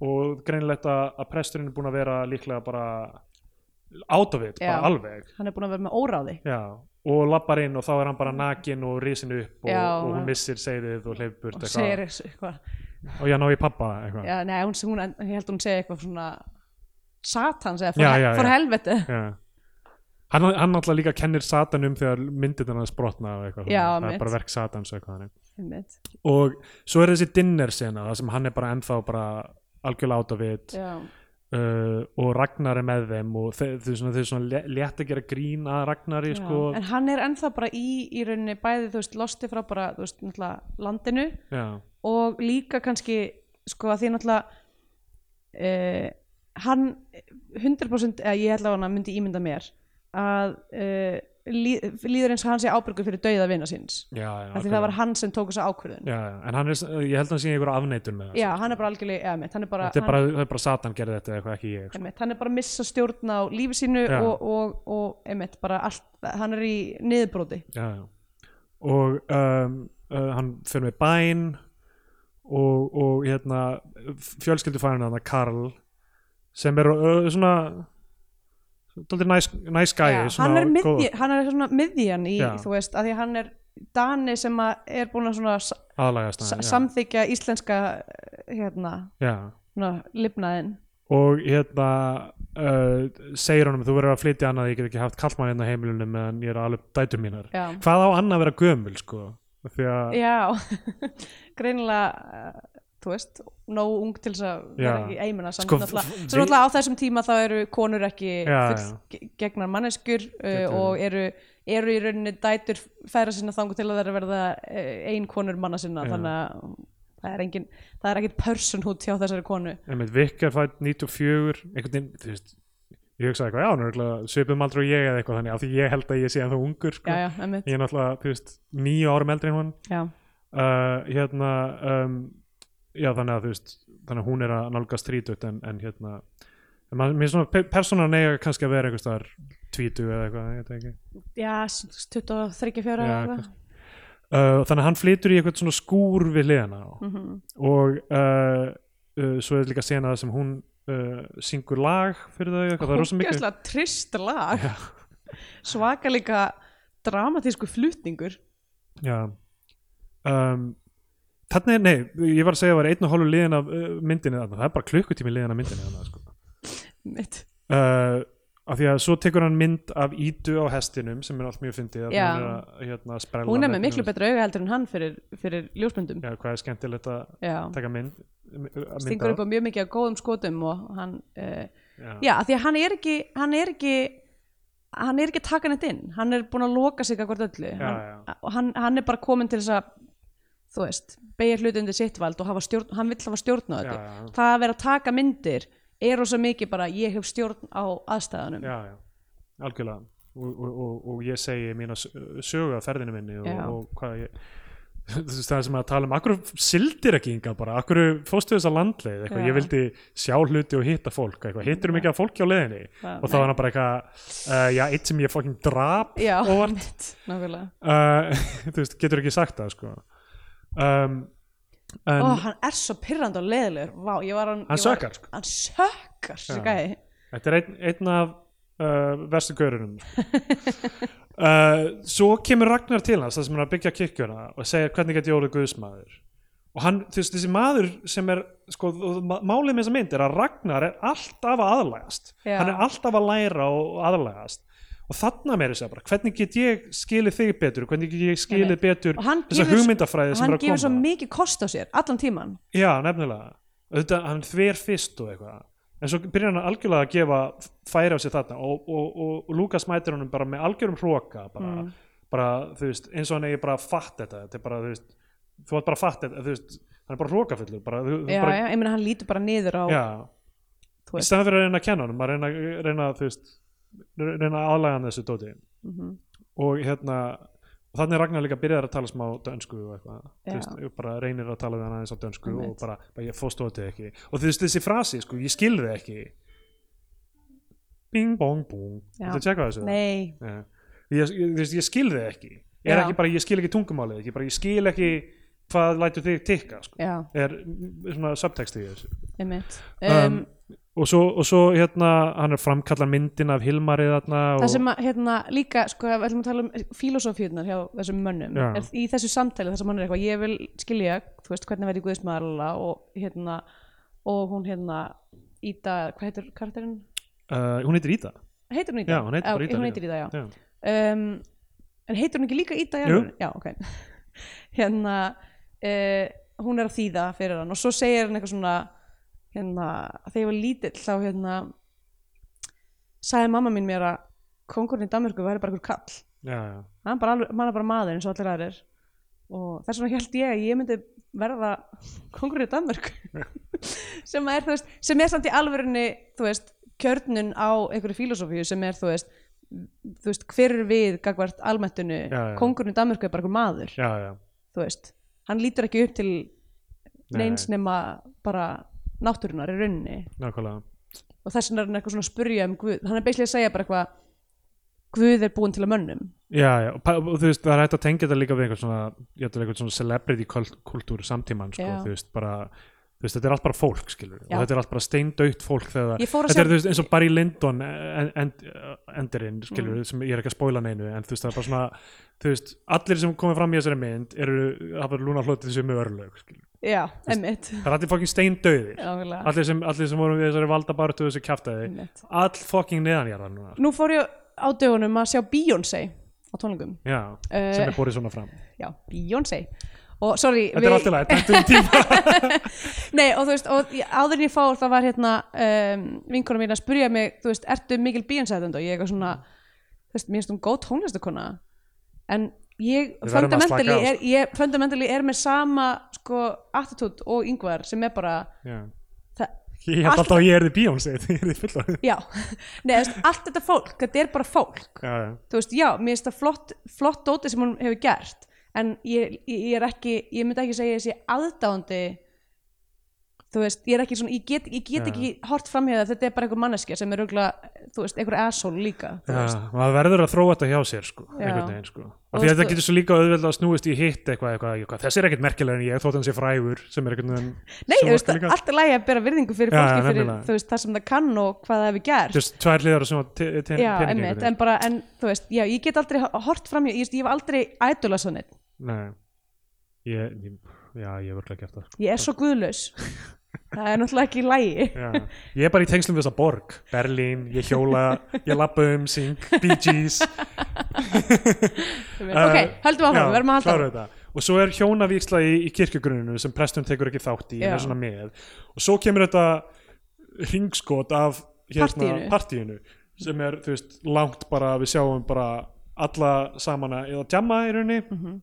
Speaker 2: og greinilegt að að presturinn er búin að vera líklega bara out of it, bara
Speaker 1: Já.
Speaker 2: alveg
Speaker 1: hann er búin að vera með óráði
Speaker 2: Já, og lappar inn og þá er hann bara nakin og risin upp og,
Speaker 1: Já.
Speaker 2: og hún missir segðið og hleypur burt
Speaker 1: og
Speaker 2: eitthvað
Speaker 1: segir eitthvað
Speaker 2: og já, ná ég pappa eitthvað
Speaker 1: já, nei, hún, hún, ég held hún segi eitthvað svona satans eða
Speaker 2: Já,
Speaker 1: fór,
Speaker 2: já,
Speaker 1: fór
Speaker 2: já.
Speaker 1: helviti
Speaker 2: Já. Hann, hann alltaf líka kennir Satan um þegar myndir hann að sprotna og eitthvað,
Speaker 1: Já,
Speaker 2: svona. það
Speaker 1: mitt.
Speaker 2: er bara verk Satans og eitthvað þannig.
Speaker 1: Einmitt.
Speaker 2: og svo er þessi dinner sena það sem hann er bara ennþá bara algjörlega out of it
Speaker 1: já,
Speaker 2: uh, og Ragnar er með þeim og þau þau svona, þau svona lé- létt að gera grín að Ragnari
Speaker 1: já.
Speaker 2: sko,
Speaker 1: en hann er ennþá bara í í rauninni bæði, þú veist, losti frá bara þú veist, náttúrulega landinu
Speaker 2: já,
Speaker 1: og líka kannski sko að því náttúrulega uh, hann 100% eða ég held að hann myndi ímynda mér að uh, lí, líður eins og hann sé ábyrgur fyrir dauða vina síns
Speaker 2: já, já,
Speaker 1: af því það
Speaker 2: algjörlega.
Speaker 1: var hann sem tók þessa ákvörðun já,
Speaker 2: já, já, en hann er, ég held að hann sé einhver afneitun með það sko.
Speaker 1: hann er bara algjörlega eða mitt hann er bara,
Speaker 2: þetta er bara, það er bara Satan gerði þetta eitthvað ekki ég sko.
Speaker 1: Einmitt, hann er bara að missa stjórn á lífi sínu
Speaker 2: Já.
Speaker 1: og, og, og einmitt, bara allt, hann er í niðurbróti
Speaker 2: já, já. og um, uh, hann fyrir með bæn og, og hérna fjölskyldufæðinu hann Karl sem er uh, svona daldið næs, næs gæi
Speaker 1: hann,
Speaker 2: svona
Speaker 1: er
Speaker 2: góð-
Speaker 1: miðji, hann er svona miðjan í,
Speaker 2: Já.
Speaker 1: þú veist, að því að hann er Dani sem að er búin að svona s-
Speaker 2: aðlagast
Speaker 1: sa-
Speaker 2: hann, já.
Speaker 1: samþykja íslenska eh, hérna,
Speaker 2: já.
Speaker 1: svona, lifnaðinn
Speaker 2: og hérna uh, segir honum þú verður að flytja annað ég get ekki haft kallmann hérna á heimilinu meðan ég er alveg dætur mínar
Speaker 1: já,
Speaker 2: hvað á annað að vera gömul sko því að
Speaker 1: já. [LAUGHS] greinilega eh, þú veist, nóg ung til þess að vera
Speaker 2: Já.
Speaker 1: ekki eimina samt
Speaker 2: Sko,
Speaker 1: náttúrulega
Speaker 2: f-
Speaker 1: svo náttúrulega á þessum tíma þá eru konur ekki
Speaker 2: Já,
Speaker 1: fullgegnar manneskur uh,
Speaker 2: Þetta-
Speaker 1: og eru, eru í rauninni dætur færa sinna þangu til að þeirra verða uh, ein konur manna sinna
Speaker 2: Já.
Speaker 1: þannig að það er, engin, það er ekkit personhood hjá þessari konu
Speaker 2: einmitt Vikar fætt 94 einhvern veginn, þú veist ég hugsaði eitthvað, já, hann er örugglega svipum aldrei og ég eða eitthvað þannig, af því ég held að ég sé ennþá ungur sko.
Speaker 1: já, já, emmitt
Speaker 2: ég er náttúrulega, þú veist, nýju árum eldri en hann
Speaker 1: já,
Speaker 2: uh, hérna um, já, þannig að þú veist þannig að hún er að nálgast þrítut en, en hérna, en maður- mér er svona pe- persónan eiga kannski að vera einhvers staðar tvítu eða eitthvað, ég veit ekki
Speaker 1: já 23-24
Speaker 2: Já,
Speaker 1: eða eitthvað.
Speaker 2: kannski. Eh, uh, þannig að hann flytur í eitthvað svona skúr við hliðina á
Speaker 1: Mhm.
Speaker 2: og uh, uh, svo er líka sena þar sem hún uh, syngur lag fyrir þau eitthvað, það er rosa mikið
Speaker 1: Ógeðslega trist lag Svaka líka dramatísku flutningur
Speaker 2: já um, þannig, nei, ég var að segja að það var einn og hálfu liðin af uh, myndinni þarna, það er bara klukkutími liðin af myndinni þarna, sko.
Speaker 1: Mitt.
Speaker 2: uh, af því að svo tekur hann mynd af ídu á hestinum sem er allt mjög fyndið að
Speaker 1: Já.
Speaker 2: hún er að hérna, sprella
Speaker 1: Hún er með
Speaker 2: veggnum
Speaker 1: miklu
Speaker 2: hans.
Speaker 1: betra auga heldur en hann fyrir, fyrir ljósmyndum
Speaker 2: já, hvað er skemmtilegt að
Speaker 1: Já.
Speaker 2: taka mynd, mynd
Speaker 1: Stingur upp á mjög mikið af góðum skotum og hann uh,
Speaker 2: já.
Speaker 1: Já, af því að hann er ekki hann er ekki hann er ekki að taka neitt inn, hann er búin að loka sig að hvort öllu hann,
Speaker 2: já.
Speaker 1: og hann, hann er bara komin til þess að þú veist, beigja hluti undir sitt vald og hafa stjórn, hann vill hafa stjórn á
Speaker 2: Já,
Speaker 1: þetta
Speaker 2: já.
Speaker 1: það að vera að taka myndir er rosa mikið bara ég hef stjórn á aðstæðanum
Speaker 2: já, já, algjörlega og, og, og, og ég segi mína s- sögu að ferðinu minni og,
Speaker 1: Já.
Speaker 2: og hvað ég [LAUGHS] þú veist það sem að tala um akkur sildir ekki inga bara, akkur fórstu þessa landleið eitthvað,
Speaker 1: Já.
Speaker 2: ég vildi sjá hluti og hitta fólk eitthvað, hittur mikið af fólki á leiðinni
Speaker 1: Já,
Speaker 2: og þá var hann bara eitthvað uh, já, eitt sem ég fucking drap
Speaker 1: Já,
Speaker 2: óvart
Speaker 1: mitt, nákvæmlega
Speaker 2: uh, [LAUGHS] þú veist, getur ekki sagt það sko um, en
Speaker 1: Ó, hann er svo pirrandi og leðilegur Vá, ég var hann, Oh,
Speaker 2: hann
Speaker 1: ég var,
Speaker 2: sökkar sko.
Speaker 1: Hann sökkar,
Speaker 2: Já.
Speaker 1: þessi gæi
Speaker 2: Þetta er einn, einn af uh, verstu görunum
Speaker 1: [LAUGHS]
Speaker 2: uh, Svo kemur Ragnar til hans þar sem hann er að byggja kirkjuna og segir hvernig get ég orðið guðsmaður og hann, þú veist, þessi maður sem er sko, og ma- málið með þessa mynd er að Ragnar er alltaf að aðlægast
Speaker 1: Já.
Speaker 2: hann er alltaf að læra og aðlægast og þarna meiri segja bara, hvernig get ég skilið þig betur, hvernig get ég skilið
Speaker 1: Einmitt.
Speaker 2: betur
Speaker 1: Og hann
Speaker 2: þessa
Speaker 1: gefur-
Speaker 2: hugmyndafræði sem
Speaker 1: Hann
Speaker 2: er að
Speaker 1: gefur
Speaker 2: koma
Speaker 1: svo mikið kost á sér, allan tíman
Speaker 2: Já, nefnilega Þetta, hann þver fyrst og eitthvað en svo byrjar hann algjörlega að gefa færi á sér þarna og, og, og, og Lukas mætir honum bara með algjörum hróka bara,
Speaker 1: Mm.
Speaker 2: bara, þú veist, eins og hann eigi bara að fatta þetta, þetta er bara, þú veist þú ert bara að fatta þetta, þú veist, hann er bara hrókafullur bara, þú, þú
Speaker 1: Já,
Speaker 2: bara,
Speaker 1: já, ég meina hann lítur bara niður á
Speaker 2: já.
Speaker 1: Þú veist.
Speaker 2: í staðan fyrir að reyna að kenna honum að reyna, reyna, þú veist reyna að aðlaga hann þessu dóti
Speaker 1: Mhm.
Speaker 2: og hérna og þannig er Ragnar líka byrjar að tala smá dönsku og eitthvað,
Speaker 1: Já.
Speaker 2: þú veist, og bara reynir að tala við hann aðeins á dönsku og
Speaker 1: Einmitt.
Speaker 2: bara, bara ég fórstu þetta ekki og þú veist þessi frasi, sko, ég skil þið ekki bing bong bong
Speaker 1: Já.
Speaker 2: þetta tjekka á þessu
Speaker 1: Nei,
Speaker 2: Nei. ég, ég, þú veist, ég skil þið ekki ég er
Speaker 1: Já.
Speaker 2: ekki bara, ég skil ekki tungumálið ekki bara, ég skil ekki hvað lætur þig tikka sko.
Speaker 1: já,
Speaker 2: er mm, svona subtexti í þessu
Speaker 1: einmitt um,
Speaker 2: Um, og svo, og svo hérna, hann er framkallar myndin af Hilmari þarna
Speaker 1: Það
Speaker 2: og,
Speaker 1: sem að, hérna, líka, sko, ef við ætlum að tala um filosófíunar hjá þessum mönnum
Speaker 2: Já.
Speaker 1: er, í þessu samtali þar sem hann er eitthvað, ég vil skilja þú veist, hvernig verði guðismæður lala og hérna, og hún hérna Ída, hvað heitir karakterinn?
Speaker 2: uh, hún heitir Ída
Speaker 1: Heitir hún Ída?
Speaker 2: Já, hún heitir bara Ida
Speaker 1: Hún
Speaker 2: líka.
Speaker 1: heitir Ida, já
Speaker 2: Já.
Speaker 1: um, En heitir hún ekki líka Ída?
Speaker 2: Jú.
Speaker 1: Já, ok [LAUGHS] Hérna, uh, hún er að þýða fyrir hann og svo segir hann eitthvað svona hérna, þegar ég var lítill þá hérna sagði mamma mín mér að kongurinn í Danmörku væri bara einhver kall
Speaker 2: Já, já.
Speaker 1: hann bara, alveg, hann er bara maður eins og allir aðrir og þess vegna held ég að ég myndi verða kongurinn í
Speaker 2: [LAUGHS]
Speaker 1: Danmörk sem er, þú veist, sem er samt í alvörunni þú veist, kjörnun á einhverju filosófíu sem er, þú veist þú veist, hver er við gagvart almættinu
Speaker 2: Já, já.
Speaker 1: kongurinn í Danmörku er bara einhver maður
Speaker 2: já, já.
Speaker 1: þú veist, hann lítur ekki upp til
Speaker 2: Nei,
Speaker 1: neins nema bara náttúrunar í rauninni
Speaker 2: nákvæmlega
Speaker 1: og þess vegna er hann eitthvað svona að spurja um Guð hann er beislega að segja bara eitthvað Guð er búinn til að mönnum
Speaker 2: Já, já, og pa- og þú veist, það er hægt að tengja þetta líka við einhvern svona, ég ætla einhvern svona celebrity kult- kultúr samtímann, sko,
Speaker 1: Já.
Speaker 2: þú veist, bara þú veist, þetta er allt bara fólk, skilur,
Speaker 1: Já.
Speaker 2: og þetta er allt bara steindautt fólk þegar,
Speaker 1: Ég fór að
Speaker 2: þetta er,
Speaker 1: sjá-
Speaker 2: þú veist, eins og Barry Lyndon en, en, endurinn, skilur,
Speaker 1: Mm.
Speaker 2: sem ég er ekki að spóla neinu, en þú veist, það er bara svona þú veist, allir sem komið fram í þessari mynd eru, hafa lúna hlotið sem er örlög, skilur,
Speaker 1: já, emmitt
Speaker 2: það er allir fokkin steindauðir,
Speaker 1: Nákvæmlega.
Speaker 2: allir sem, allir sem voru við þessari valdabartu og þessu kjaftaði,
Speaker 1: Einmitt.
Speaker 2: all fokkin neðanjarðar núna, sko.
Speaker 1: Nú fór ég á dögunum að sjá Beyoncé á tónlingum.
Speaker 2: já, sem er borið svona fram
Speaker 1: Já, Beyoncé. Og sorry,
Speaker 2: Þetta er allt í lagi, taktum
Speaker 1: [LAUGHS]
Speaker 2: tíma
Speaker 1: nei, og þú veist, og ég- áður en ég fór þá var hérna um, vinkonum mín að spurja mig, þú veist, ertu mikil Beyoncé-aðdónd og ég eitthvað svona, þú veist, mér finnst hún góð tónlistakona, en ég,
Speaker 2: Við verðum að slaka
Speaker 1: fundamentally
Speaker 2: á,
Speaker 1: er, ég fundamentally er með sama, sko, attitút og yngvar sem er bara,
Speaker 2: Já.
Speaker 1: það,
Speaker 2: Ég held
Speaker 1: Allt-
Speaker 2: alltaf að ég erði Beyoncé [LAUGHS] þegar ég erði fullorðin.
Speaker 1: já, [LAUGHS] nei, þú veist, allt þetta fólk, þetta er bara fólk.
Speaker 2: Já, já.
Speaker 1: þú veist, já, mér finnst það flott, flott dóti sem hún hefur gert en ég, ég, ég er ekki, ég myndi ekki segja þessi aðdáandi þú veist, ég er ekki svona, ég get, ég get ekki hort framhjáð að þetta er bara einhver manneskja sem er auðvitað, þú veist, einhver asshole líka þú veist.
Speaker 2: Já, maður verður að þróa þetta hjá sér sko,
Speaker 1: Já.
Speaker 2: einhvern veginn sko
Speaker 1: Og
Speaker 2: af því að
Speaker 1: veistu-
Speaker 2: þetta getur svo líka auðveld að snúist í hitt eitthvað, eitthvað, eitthvað, þessi er ekkert merkilega en ég þótt hann sé frægur sem er einhvern veginn
Speaker 1: Nei, þú veist,
Speaker 2: líka,
Speaker 1: allt er lægi að bera virðingu fyrir
Speaker 2: Já,
Speaker 1: fólki fyrir,
Speaker 2: nefnilega.
Speaker 1: þú veist, það sem það kann og hvað það hefur gert
Speaker 2: just tvær hliðar sem að te- te-
Speaker 1: Já,
Speaker 2: peningi
Speaker 1: einmitt,
Speaker 2: einhvern
Speaker 1: en bara, en þú veist, já, ég get aldrei hort framhjáð, ég, veist, ég hef aldrei ædula svo neitt,
Speaker 2: veginn. Nei. Ég- ég- Já, ég hef örglega gert það sko.
Speaker 1: ég er svo
Speaker 2: [LAUGHS]
Speaker 1: guðlaus það er náttúrulega ekki lægi
Speaker 2: Já. Ég er bara í tengslum við þessa borg Berlín, ég hjóla, ég lappa um syng, Bee Gees
Speaker 1: Ok, höldum áfram,
Speaker 2: Eh, Já,
Speaker 1: við verðum að halda
Speaker 2: klárum þetta. og svo er hjónavíksla í, í kirkjugruninu sem prestum tekur ekki þátt í
Speaker 1: Já.
Speaker 2: hann er svona með. og svo kemur þetta ringskot af
Speaker 1: Partíinu.
Speaker 2: hérna, partíinu sem er þú veist, langt bara við sjáum bara alla saman að eða djamma í rauninni
Speaker 1: Mhm.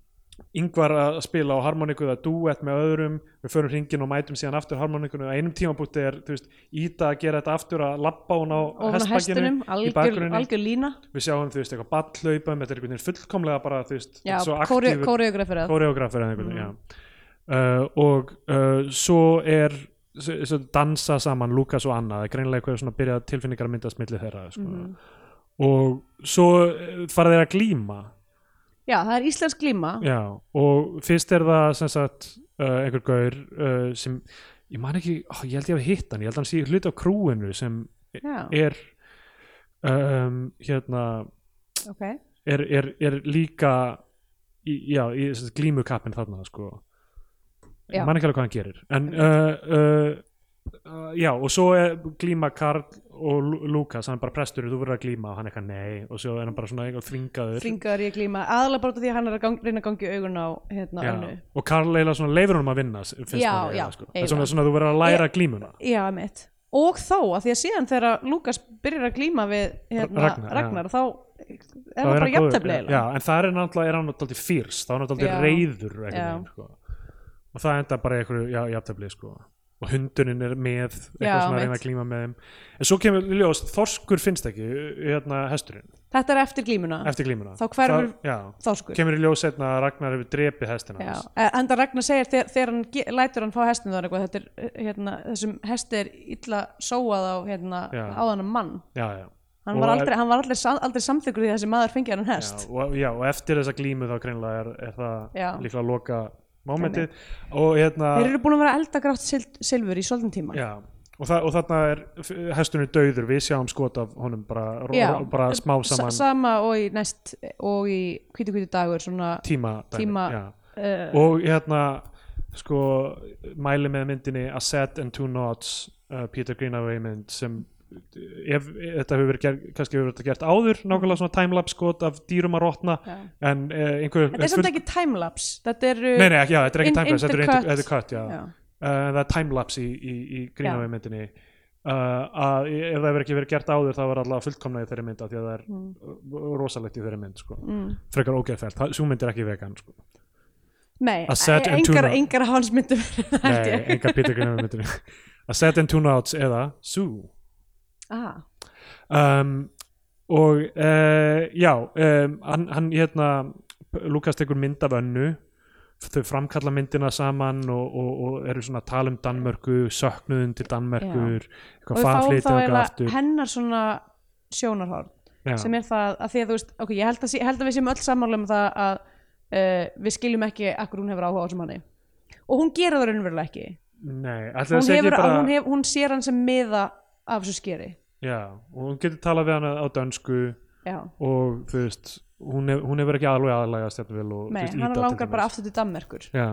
Speaker 2: yngvar að spila á harmoniku eða duett með öðrum, við förum hringin og mætum síðan aftur harmonikunu, á einum tímabúti er þú veist, Íta að gera þetta aftur að labba hún á
Speaker 1: ofan á hestinum,
Speaker 2: hestbakkinu í
Speaker 1: algjör,
Speaker 2: bakgrunni
Speaker 1: algjör lína
Speaker 2: við sjáum þú veist eitthvað ballhlaupa þetta er einhvern veginn fullkomlega bara þú veist
Speaker 1: Já, Mm.
Speaker 2: svo aktífur
Speaker 1: kóreografur eða
Speaker 2: kóreografur eða einhvern veginn já. uh, og uh, svo er svo, svo dansa saman Lukas og Anna það er greinilega eitthvað svona byrjað tilfinningar að myndast milli þeirra sko.
Speaker 1: Mm.
Speaker 2: og svo eh, fara þeir að glíma
Speaker 1: Já, það er íslensk glíma
Speaker 2: já, og fyrst er það sem sagt uh, einhver gaur uh, sem ég man ekki, ó, ég held ég að hitt hann ég held hann sé hluti á krúinu sem
Speaker 1: Já,
Speaker 2: er um, hérna
Speaker 1: ok
Speaker 2: er, er, er líka í, já, í sem sagt glímukappin þarna sko.
Speaker 1: Já. Mm.
Speaker 2: ég man ekki alveg hvað hann gerir en uh, uh, uh, já og svo er glíma Karl og Lu- Lukas, hann er bara prestur þú verður að glíma og hann eitthvað nei og svo er hann bara svona eitthvað þvingaður
Speaker 1: Þringaður í að glíma, aðalega bara út af því að hann er að gang, reyna að gangi augun á hérna
Speaker 2: Já,
Speaker 1: önnu
Speaker 2: og Karl eiginlega svona leifur honum að vinna s- finnst
Speaker 1: Já,
Speaker 2: honum eiginlega,
Speaker 1: já,
Speaker 2: sko.
Speaker 1: eiginlega.
Speaker 2: en svona, svona þú verður að læra glímuna
Speaker 1: Já, mitt Og þó, að því að síðan þegar Lukas byrjar að glíma við hérna,
Speaker 2: Ragnar, já.
Speaker 1: Ragnar, þá er
Speaker 2: Þá
Speaker 1: hann bara
Speaker 2: góður,
Speaker 1: jafntefli eiginlega.
Speaker 2: já, en það er náttúrulega er hann náttúrulega fyrst, þá er hann náttúrulega
Speaker 1: Já.
Speaker 2: reyður einhvern
Speaker 1: Já.
Speaker 2: veginn, sko. og það enda bara í einhverju já, jafntefli sko. og hundurinn er með eitthvað
Speaker 1: Já,
Speaker 2: svona að reyna
Speaker 1: mitt.
Speaker 2: að klíma með þeim en svo kemur í ljós, Þorskur finnst ekki hérna hesturinn,
Speaker 1: Þetta er eftir glímuna
Speaker 2: eftir klímuna
Speaker 1: Þá hverfur-
Speaker 2: Það- já,
Speaker 1: Þorskur
Speaker 2: kemur í ljós hérna að Ragnar hefur drepið hestina
Speaker 1: Já,
Speaker 2: hans
Speaker 1: eh, enda Ragnar segir þegar, þegar hann ge- lætur hann fá hestin þar eitthvað, þetta er, eh, hérna, þessum hesti er illa sóað á, hérna,
Speaker 2: Já.
Speaker 1: áðanum mann.
Speaker 2: já, já.
Speaker 1: Hann
Speaker 2: Og
Speaker 1: var
Speaker 2: ef-
Speaker 1: aldrei, hann var aldrei, sam- aldrei samþykkur því að þessi maður fengi hann
Speaker 2: já,
Speaker 1: hest.
Speaker 2: og, já, og eftir þessa glímu þá greinlega er, er það
Speaker 1: Já.
Speaker 2: líklega að loka momentið og hérna
Speaker 1: Þeir eru búin að vera að elda grátt sil, silfur í svolítinn tíma.
Speaker 2: Já, og, þa og þarna er f- hesturinn dauður, við sjáum skot af honum bara, ro-
Speaker 1: Já.
Speaker 2: ro- bara smá saman
Speaker 1: Sa- sama og í næst og í hvítu hvítu dagur svona eh,
Speaker 2: tíma, dæmi,
Speaker 1: tíma,
Speaker 2: já. og hérna sko, mæli með myndinni A Set and Two Knots uh, Peter Greenaway mynd sem ef, þetta hefur verið gert, kannski hefur þetta gert áður nákvæmlega svona timelapse skot af dýrum að rotna
Speaker 1: Já.
Speaker 2: en uh, einhver
Speaker 1: Þetta er samt ekki timelapse Þetta er
Speaker 2: Nei, nei, ekki, já, þetta er ekki
Speaker 1: In-
Speaker 2: timelapse, þetta er
Speaker 1: intercut.
Speaker 2: inter- þetta er cut, já.
Speaker 1: Já.
Speaker 2: Uh, en það er timelapse í, í, í Greenaway myndinni uh, að e, ef það hefur ekki verið gert áður þá var alltaf fullkomna í þeirri mynd af því að það er mm. rosalegt í þeirri mynd sko. mm. frekar ógeðfælt, svo mynd er ekki vegan
Speaker 1: [LAUGHS]
Speaker 2: sko.
Speaker 1: Nei, e-
Speaker 2: A set and
Speaker 1: engar,
Speaker 2: tuna.
Speaker 1: engar hálsmyndur [LAUGHS] held
Speaker 2: Nei,
Speaker 1: ég.
Speaker 2: enga Peter Greenaway myndinni [LAUGHS] A Set and Two Outs eða Sue
Speaker 1: Ah,
Speaker 2: um, og uh, já um, hann, hann hérna Lukas tekur mynd af önnu þau framkalla myndina saman og, og, og eru svona að tala um Danmörku söknuðun til
Speaker 1: Og
Speaker 2: Danmörkur eitthvað
Speaker 1: við fáum
Speaker 2: farflýti
Speaker 1: þá
Speaker 2: og eitthvað
Speaker 1: eiginlega
Speaker 2: aftur
Speaker 1: hennar svona sjónarhorn
Speaker 2: Já.
Speaker 1: sem er það að því að þú veist ok, ég held að, sé- ég held að við séum öll sammála um það að uh, við skiljum ekki akkur hún hefur áhuga á þessum manni og hún gerir það raunverulega ekki
Speaker 2: Nei, ætli það
Speaker 1: hún,
Speaker 2: sé ekki
Speaker 1: hefur,
Speaker 2: bara
Speaker 1: hún, hef, hún sér hann sem miða af þessu skeri
Speaker 2: Já, og hún getur talað við hana á dönsku
Speaker 1: Já.
Speaker 2: og þú veist hún, hef, hún hefur ekki alveg aðlægast þetta vel og
Speaker 1: Nei,
Speaker 2: þú veist,
Speaker 1: hann
Speaker 2: Ida til
Speaker 1: langar bara
Speaker 2: dæmis.
Speaker 1: aftur til Danmerkur
Speaker 2: Já,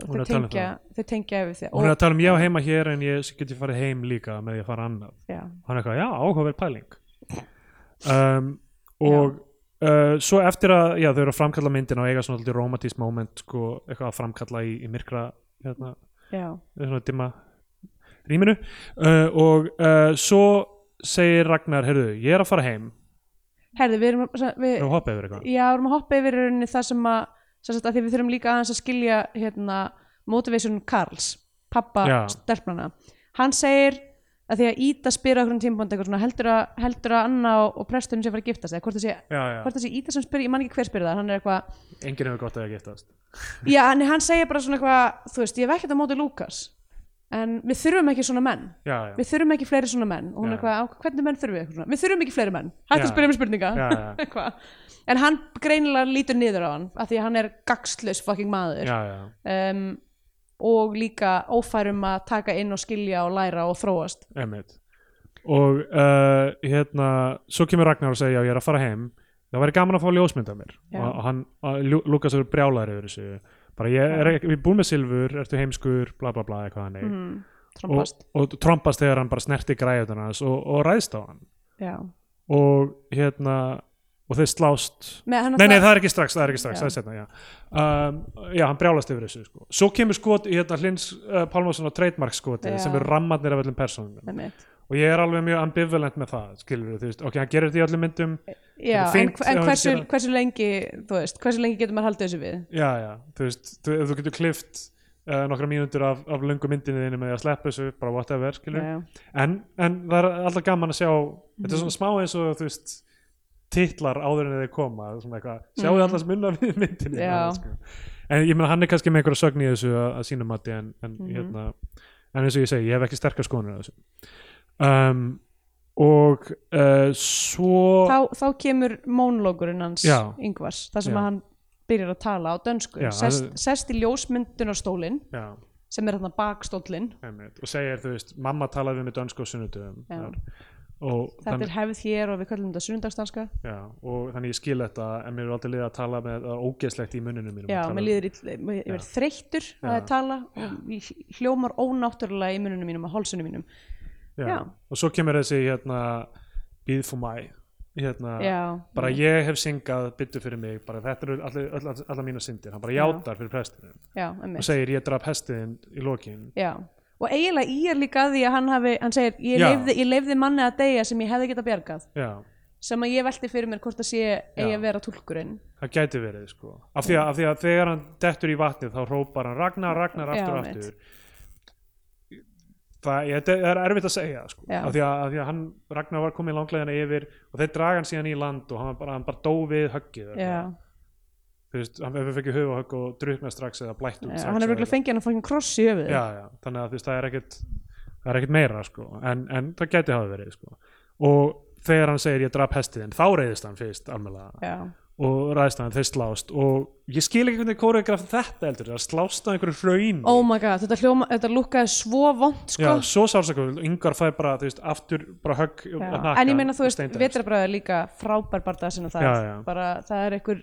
Speaker 1: og þau
Speaker 2: Hún er að tala um
Speaker 1: tengja, þau tengja yfir því
Speaker 2: hún er að tala um ég á heima hér en ég geti farið heim líka með því að fara annað
Speaker 1: já,
Speaker 2: hann er eitthvað, já, áhugaverð pæling um, og uh, svo eftir að, já, þau eru að framkalla myndina og eiga svona alltaf romantísk moment sko, eitthvað að framkalla í, í myrkra hérna,
Speaker 1: já,
Speaker 2: svona dimma rýminu uh, og uh, svo segir Ragnar, heyrðu, ég er að fara heim
Speaker 1: herði, við erum við,
Speaker 2: og hoppa yfir eitthvað
Speaker 1: Já, við erum að hoppa yfir í rauninni það sem að, sem sagt, að því við þurfum líka aðeins að skilja hérna, motivation Karls pappa
Speaker 2: Já.
Speaker 1: stelpnana hann segir að því að Íta spyr á hverjum tímpónd eitthvað svona heldur að, heldur að Anna og, og presturinn sem fara að giftast eða hvort það sé,
Speaker 2: já, já,
Speaker 1: hvort það sé Íta sem spyr, ég man ekki hver spyr það hann er eitthvað,
Speaker 2: enginn hefur gott að það giftast
Speaker 1: já en hann segir bara svona eitthvað þú veist, ég hef ekkert á móti Lukas en við þurfum ekki svona menn
Speaker 2: já, já,
Speaker 1: við þurfum ekki fleiri svona menn og hún
Speaker 2: Já.
Speaker 1: er hvað, "Á, hvernig menn þurfum við Eitthvað svona. við þurfum ekki fleiri menn, hætti að
Speaker 2: Já.
Speaker 1: spyrja mér spurninga
Speaker 2: já, já,
Speaker 1: [LAUGHS] Eitthvað. en hann greinilega lítur niður á hann af því að hann er gagslaus fucking maður
Speaker 2: já, já.
Speaker 1: um, og líka ófærum að taka inn og skilja og læra og þróast
Speaker 2: Einmitt. og uh, hérna svo kemur Ragnar og segja já ég er að fara heim það væri gaman að fá ljósmynd af mér
Speaker 1: Já.
Speaker 2: og, og hann, að, Lú- Lukas er brjálæður yfir þessu bara ég er ekki, við erum búin með silfur ertu heimskur, bla bla bla eitthvað hann
Speaker 1: mm,
Speaker 2: og,
Speaker 1: trompast
Speaker 2: og trompast þegar hann bara snerti græðunar hans og, og ræðst á hann
Speaker 1: já.
Speaker 2: og hérna og þeir slást
Speaker 1: Með hann
Speaker 2: Nei, nei,
Speaker 1: alltaf-
Speaker 2: það er ekki strax, það er ekki strax,
Speaker 1: Já.
Speaker 2: það er setna, já. Um, já, hann brjálast yfir þessu, sko. Svo kemur skot í hérna Hlins uh, Pálmarsson á trademark skotið
Speaker 1: Já.
Speaker 2: sem eru rammarnir af öllum personum.
Speaker 1: Einmitt.
Speaker 2: og ég er alveg mjög ambivalent með það skilur þú veist, ok, hann gerir þetta í öllum myndum
Speaker 1: Já,
Speaker 2: Þetta er
Speaker 1: en,
Speaker 2: fínt,
Speaker 1: en
Speaker 2: já,
Speaker 1: hversu,
Speaker 2: þetta er-
Speaker 1: hversu lengi þú veist, hversu lengi getur maður haldið þessu við
Speaker 2: já, já, þú veist, þú, ef þú getur klift uh, nokkra mínútur af, af löngu myndinni þinni með því að sleppa þessu, bara whatever skilur,
Speaker 1: Já,
Speaker 2: en, en það er alltaf gaman að sjá, þetta
Speaker 1: Mhm.
Speaker 2: er svona smá eins og þú veist, titlar áður en þeir koma, svona eitthvað, sjáu mm.
Speaker 1: Mhm.
Speaker 2: allars munna við [LAUGHS] myndinni
Speaker 1: Já.
Speaker 2: sko. en ég meina hann er kannski með einhverja sögn í þessu að, að sínum mati en, en
Speaker 1: Mhm.
Speaker 2: hérna, en eins og ég segi, ég hef ekki sterkar skonur af þessu um, og uh, svo
Speaker 1: Þá, þá kemur mónlókurinn hans
Speaker 2: Já.
Speaker 1: Ingvars, það sem
Speaker 2: Já.
Speaker 1: að hann byrjar að tala á dönsku,
Speaker 2: Já,
Speaker 1: sest,
Speaker 2: það-
Speaker 1: sest í ljósmyndunarstólinn
Speaker 2: já.
Speaker 1: sem er þarna bakstólinn
Speaker 2: Einmitt. og segir, þú veist, mamma talaði við með dönsku og sunnudum
Speaker 1: Já.
Speaker 2: og,
Speaker 1: þetta
Speaker 2: þann,
Speaker 1: er hefð hér og við kallum þetta sunnudagstanska
Speaker 2: já, og þannig ég skil þetta en mér er aldrei liðið að tala með það er ógeðslegt í muninu mínum
Speaker 1: Já,
Speaker 2: að tala um-
Speaker 1: mér líður ill, ég verð þreyttur að
Speaker 2: Já.
Speaker 1: tala og ég hljómar ónáttúrulega í mununum mínum og hálsunum mínum
Speaker 2: já.
Speaker 1: já.
Speaker 2: og svo kemur þessi hérna, býð fór mæ hérna,
Speaker 1: Já,
Speaker 2: bara ég hef syngað byttu fyrir mig, bara þetta eru allir- öll- öll- allar mína syndir, hann bara
Speaker 1: Já.
Speaker 2: játar fyrir prestinum
Speaker 1: já,
Speaker 2: og
Speaker 1: emmitt
Speaker 2: segir ég draf hestiðin í lokin
Speaker 1: Já, og eiginlega ég er líka að því að hann hafi, hann segir, ég
Speaker 2: Já.
Speaker 1: leifði, ég leifði manni að deyja sem ég hefði geta bjargað
Speaker 2: já,
Speaker 1: sem að ég velti fyrir mér hvort að sé eigi að vera tulkurinn
Speaker 2: það gæti verið sko. af, því að, af því að þegar hann dettur í vatnið þá hrópar hann Ragnar, Ragnar aftur og
Speaker 1: Já,
Speaker 2: aftur það ég- þetta er erfitt að segja sko.
Speaker 1: Já.
Speaker 2: af, því að, af því að hann, Ragnar var komið langlegina yfir og þeir draga hann síðan í land og hann bara, hann bara dó við höggið eða
Speaker 1: Já,
Speaker 2: eitthvað. þú veist, hann hefur fengið höfuhögg og druknað strax eða blætt út
Speaker 1: já
Speaker 2: strax
Speaker 1: hann er
Speaker 2: eða
Speaker 1: virkulega fengið hann að fókin kross í höfuð
Speaker 2: já, já, þannig að þú veist, það er ekkert það er ekkert meira, sko, en, en það gæti hafa verið, sko, og þegar hann segir ég draf hestiðin, þá reyðist hann fyrst almenlega
Speaker 1: já,
Speaker 2: og ræðst á hann, þeir slást og ég skil ekki hvernig kóreograf þetta heldur það slást á einhverju hraun
Speaker 1: Oh my god, þetta, hljóma, þetta lúkkaði svo vond sko
Speaker 2: já, svo sársakum, yngvar fær bara þú veist, aftur bara högg
Speaker 1: Já.
Speaker 2: á hnakkann
Speaker 1: En ég meina þú
Speaker 2: og
Speaker 1: veist,
Speaker 2: steindrefst.
Speaker 1: vetrabræði er líka frábær barða sinna það
Speaker 2: Já, já.
Speaker 1: bara það er einhver,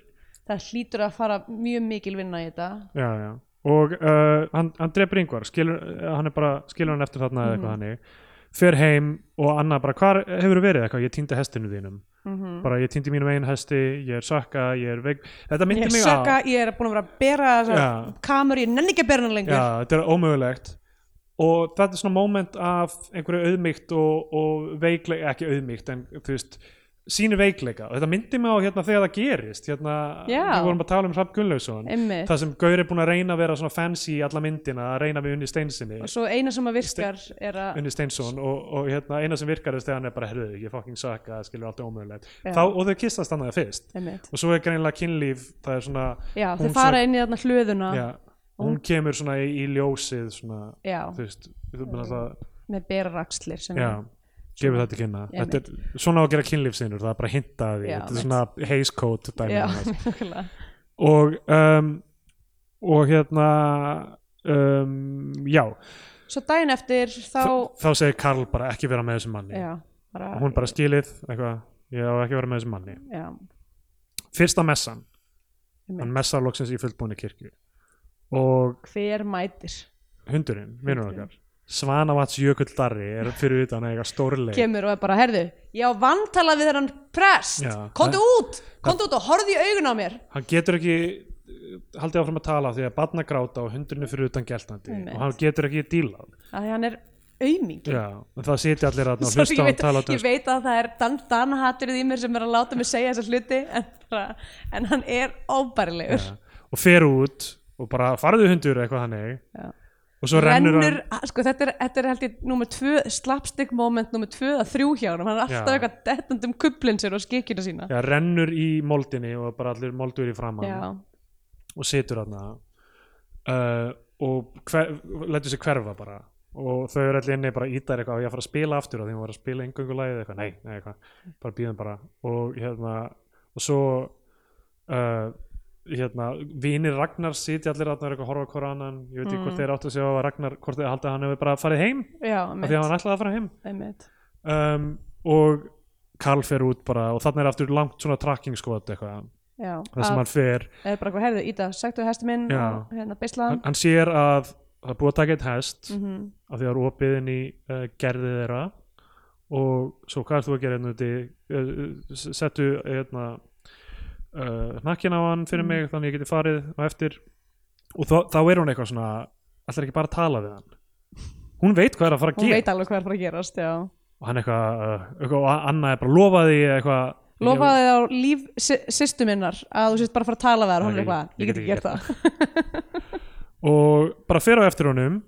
Speaker 1: það hlýtur að fara mjög mikil vinna í þetta
Speaker 2: já, já. og uh, hann, hann drefur yngvar skilur, eh, hann er bara, skilur hann eftir þarna eða
Speaker 1: Mhm.
Speaker 2: eitthvað hannig fer heim og Anna bara, hvar hefur verið eitthvað, ég týndi hestinu þínum
Speaker 1: Mhm.
Speaker 2: bara ég týndi mínum einu hesti, ég er sakka ég er veik, þetta myndi
Speaker 1: Ég
Speaker 2: mig
Speaker 1: sökka,
Speaker 2: á
Speaker 1: ég er búin að vera að bera
Speaker 2: Já.
Speaker 1: þessar kamur, ég nenni ekki að bera hann lengur
Speaker 2: já, þetta er ómögulegt og þetta er svona moment af einhverju auðmygt og, og veikleika, ekki auðmygt en þú veist, sínu veikleika og þetta myndi mig á hérna þegar það gerist hérna,
Speaker 1: Já.
Speaker 2: við vorum að tala um Hrafn Gunnlaugsson
Speaker 1: Einmitt.
Speaker 2: það sem Gaur er búin að reyna að vera svona fancy í alla myndina, að reyna við unni steinsinni
Speaker 1: og svo eina sem að virkar er að
Speaker 2: unni steinsson og, og hérna, eina sem virkar er þegar hann er bara, herðu, ég fucking saka, skilur allt ómögulegt
Speaker 1: Já.
Speaker 2: Þá, og þau kissast þannig að fyrst
Speaker 1: Einmitt.
Speaker 2: og svo er greinilega kynlíf, það er svona
Speaker 1: já,
Speaker 2: Hún
Speaker 1: þau fara
Speaker 2: svo-
Speaker 1: inn í þarna hlöðuna
Speaker 2: já, hún kemur svona í, í ljósið svona,
Speaker 1: Já.
Speaker 2: þú veist, þú veist það
Speaker 1: með berarakslir sem
Speaker 2: já, gefur þetta kynna
Speaker 1: Einmitt.
Speaker 2: þetta er svona á að gera kynlífsinur það er bara að hinta að því,
Speaker 1: Já,
Speaker 2: þetta er svona heiskót dæmi
Speaker 1: já,
Speaker 2: annars.
Speaker 1: [LAUGHS] nákvæmlega.
Speaker 2: og um, og hérna um, já,
Speaker 1: svo daginn eftir þá
Speaker 2: þá segir Karl bara ekki vera með þessum manni
Speaker 1: já, bara,
Speaker 2: og hún bara skilið, eitthvað, ég á ekki að vera með þessum manni
Speaker 1: já,
Speaker 2: fyrsta messan,
Speaker 1: Einmitt.
Speaker 2: hann messar loksins í fullbúinni kirkju og
Speaker 1: hver mætir
Speaker 2: hundurinn, vinnur
Speaker 1: Hundurinn.
Speaker 2: okkar Svanavats Jökull Darri er fyrir utan að eiga stórleik
Speaker 1: kemur og er bara, herðu ég á vantala við þennan prest
Speaker 2: Já.
Speaker 1: komdu út, komdu út og horfðu í augun á mér
Speaker 2: hann getur ekki uh, haldið áfram að tala af því að barna gráta og hundurinn er fyrir utan geltandi
Speaker 1: Einmitt.
Speaker 2: og hann getur ekki dílað
Speaker 1: að því hann er aumingi
Speaker 2: já, en það sitja allir að
Speaker 1: Sorry,
Speaker 2: hlusta
Speaker 1: ég,
Speaker 2: á hann
Speaker 1: veit,
Speaker 2: tala
Speaker 1: ég
Speaker 2: dönsku.
Speaker 1: veit að það er dan, danahaturinn í mér sem er að láta mig segja þessa hluti en, bara, en hann er óbærilegur
Speaker 2: Já. og fer út og bara farðu hundur eitthvað hannig
Speaker 1: Já.
Speaker 2: og svo
Speaker 1: rennur,
Speaker 2: rennur,
Speaker 1: rennur að- sko, þetta, er, þetta er held ég nummer tvö, slapstick moment nummer tvö að þrjú hjá hann hann er alltaf
Speaker 2: Já.
Speaker 1: eitthvað dettandum kuplin sér og skikina sína
Speaker 2: hann já, rennur í moldinni og bara allir moldur í framann
Speaker 1: já,
Speaker 2: Eh, og situr hann uh, og hver, lætur sig hverfa bara og þau eru allir inni bara ítar eitthvað og ég að fara að spila aftur og þeim var að spila engungu lagið eitthvað, nei, nei eitthvað, bara býðum bara og hérna, og svo uh, hérna vinir Ragnar sitja allir þarna og eru eitthvað að horfa á hvora annan, ég veit ekki hvort þeir áttu að segja að Ragnar, hvort þeir haldið að hann hefur bara farið heim
Speaker 1: já,
Speaker 2: af því að
Speaker 1: einmitt,
Speaker 2: hann ætlaði að fara heim
Speaker 1: einmitt
Speaker 2: um, og Karl fer út bara og þarna er aftur langt svona tracking skot eitthvað,
Speaker 1: já,
Speaker 2: það sem
Speaker 1: að-
Speaker 2: hann fer
Speaker 1: eða bara eitthvað, heyrðu, Ída, sagtu hesti minn
Speaker 2: Já.
Speaker 1: og hérna, beislaðan
Speaker 2: hann, hann sér að það er búið að taka eitt hest
Speaker 1: mm
Speaker 2: af því að það er opið inn í uh, gerðið þeirra og svo hvað er þú að gera hérna úti uh, settu hérna uh, hnakkin á hann
Speaker 1: Mm.
Speaker 2: fyrir mig þannig ég geti farið á eftir og þá, þá er hún eitthvað svona allir ekki bara að tala við hann hún veit hvað er að fara að
Speaker 1: hún
Speaker 2: gera
Speaker 1: veit alveg hvað er að fara að gerast já.
Speaker 2: og hann eitthvað, uh, eitthvað og Anna er bara lofaði eitthvað
Speaker 1: lofaði þið á líf sy- systur minnar að þú sést bara að fara að tala við þær og hún
Speaker 2: Nei,
Speaker 1: er eitthvað, ég get ekki gert það
Speaker 2: og bara fer á eftir honum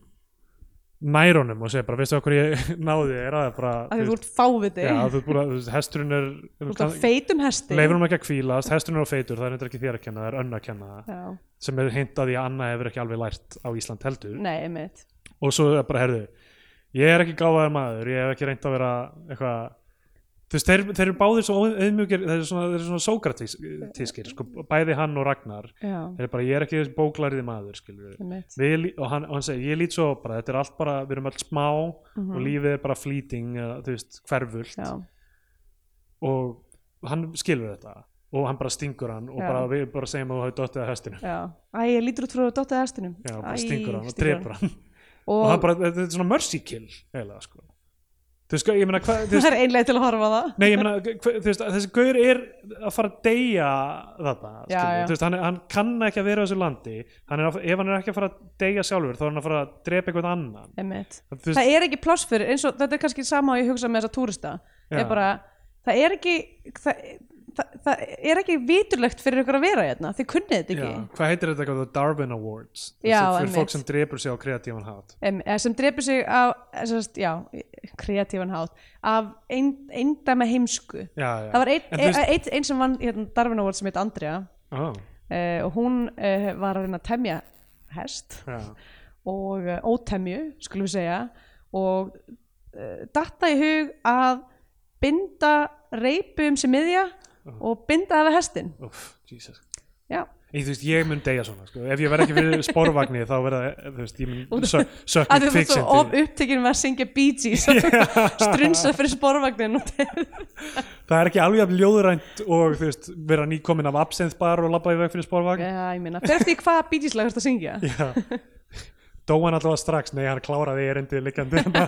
Speaker 2: nær honum og segir bara veistu okkur ég [LAUGHS] náði þér að það er bara
Speaker 1: af því þú
Speaker 2: þú veist,
Speaker 1: ert fáviti
Speaker 2: já, þú ert búin að, þú veist, hesturinn er
Speaker 1: þú ert á feitum hesti
Speaker 2: leifur hann ekki að kvílast, hesturinn er á feitur það er eitthvað ekki þér að kenna, það er önn að kenna það
Speaker 1: Já,
Speaker 2: sem er hintað í að Anna hefur ekki alveg lært á Ísland heldur
Speaker 1: nei, einmitt
Speaker 2: og svo er bara, herðu, ég er ekki gáðaður maður ég hef ekki reynd að vera eitthvað þú veist, þeir, þeir eru báðir svo auðmjúkir, þeir eru svona, þeir eru svona sókratískir sko, bæði hann og Ragnar
Speaker 1: já,
Speaker 2: þeir eru bara, ég er ekki þessi bóklæriði maður skilur
Speaker 1: einmitt
Speaker 2: við, lí- og hann, og hann segir, ég lít svo á bara, þetta er allt bara, við erum allt smá og lífið er bara flýting, eða, þú veist, hverfult
Speaker 1: Mm. Mhm. já,
Speaker 2: og hann skilur þetta og hann bara stingur hann og
Speaker 1: Já.
Speaker 2: bara, við bara segjum að þú hafi dottið að hestinu
Speaker 1: já Æ, ég lítur út frá að dottaði hestinum
Speaker 2: Já,
Speaker 1: Æ,
Speaker 2: bara stingur hann og
Speaker 1: stingur
Speaker 2: drepur hann og
Speaker 1: og
Speaker 2: hann bara, þetta er svona mercy kill eiginlega, sko þú veist, ég meina, hvað,
Speaker 1: [LAUGHS]
Speaker 2: þú
Speaker 1: það
Speaker 2: veist
Speaker 1: er einlega til að horfa á það
Speaker 2: Nei, ég meina, hva- þú veist, þessi gaur er að fara að deyja þetta,
Speaker 1: Já,
Speaker 2: skilurðu.
Speaker 1: já.
Speaker 2: þú veist, hann, er- hann kann ekki að vera á þessu landi, hann er, að- ef hann er ekki að fara að deyja sjálfur, þá er hann að fara að drepa einhvern annan,
Speaker 1: einmitt
Speaker 2: þú veist,
Speaker 1: það er ekki pláss fyrir eins og þetta er kannski sama og ég hugsa með þessa túrista
Speaker 2: Já.
Speaker 1: er bara, það er ekki það, það, það er ekki viturlegt fyrir ykkur að vera hérna, þið kunnið þetta ekki
Speaker 2: Já, hvað heitir þetta eitthvað, The Darwin Awards
Speaker 1: Já,
Speaker 2: Þú veist, fyrir
Speaker 1: einmitt.
Speaker 2: fólk sem drepur sig á kreatívan hát
Speaker 1: em, eða sem drepur sig af sest, já, kreatífan hátt af ein, eindæma heimsku
Speaker 2: já, já.
Speaker 1: það var einn e-
Speaker 2: En þú
Speaker 1: ein,
Speaker 2: veist-
Speaker 1: ein, ein sem vann hérna, Darwin Award sem heit Andrea
Speaker 2: Ó,
Speaker 1: uh, og hún uh, var að reyna að temja hest
Speaker 2: já.
Speaker 1: og uh, ótemju, skulum við segja og uh, datta í hug að binda reipu um sig miðja og binda það við hestin
Speaker 2: Úff, Jesus.
Speaker 1: já,
Speaker 2: Ég, þú veist, ég mun deyja svona sko. ef ég verð ekki fyrir sporvagnir þá verða þú veist, ég mun sö-
Speaker 1: að
Speaker 2: sökkum
Speaker 1: þú ert
Speaker 2: fixin
Speaker 1: svo of upptekinn með að syngja Bee Gees
Speaker 2: [LAUGHS]
Speaker 1: og strunsa fyrir sporvagnin og
Speaker 2: það er ekki alveg af ljóðrænt og þú veist, vera nýkomin af absinthe bar og labba í veg fyrir sporvagn
Speaker 1: já, ég meina, fyrir eftir hvað Bee Gees lag ertu að syngja
Speaker 2: já. dó hann allavega strax nei, hann kláraði erindið hérna. likandi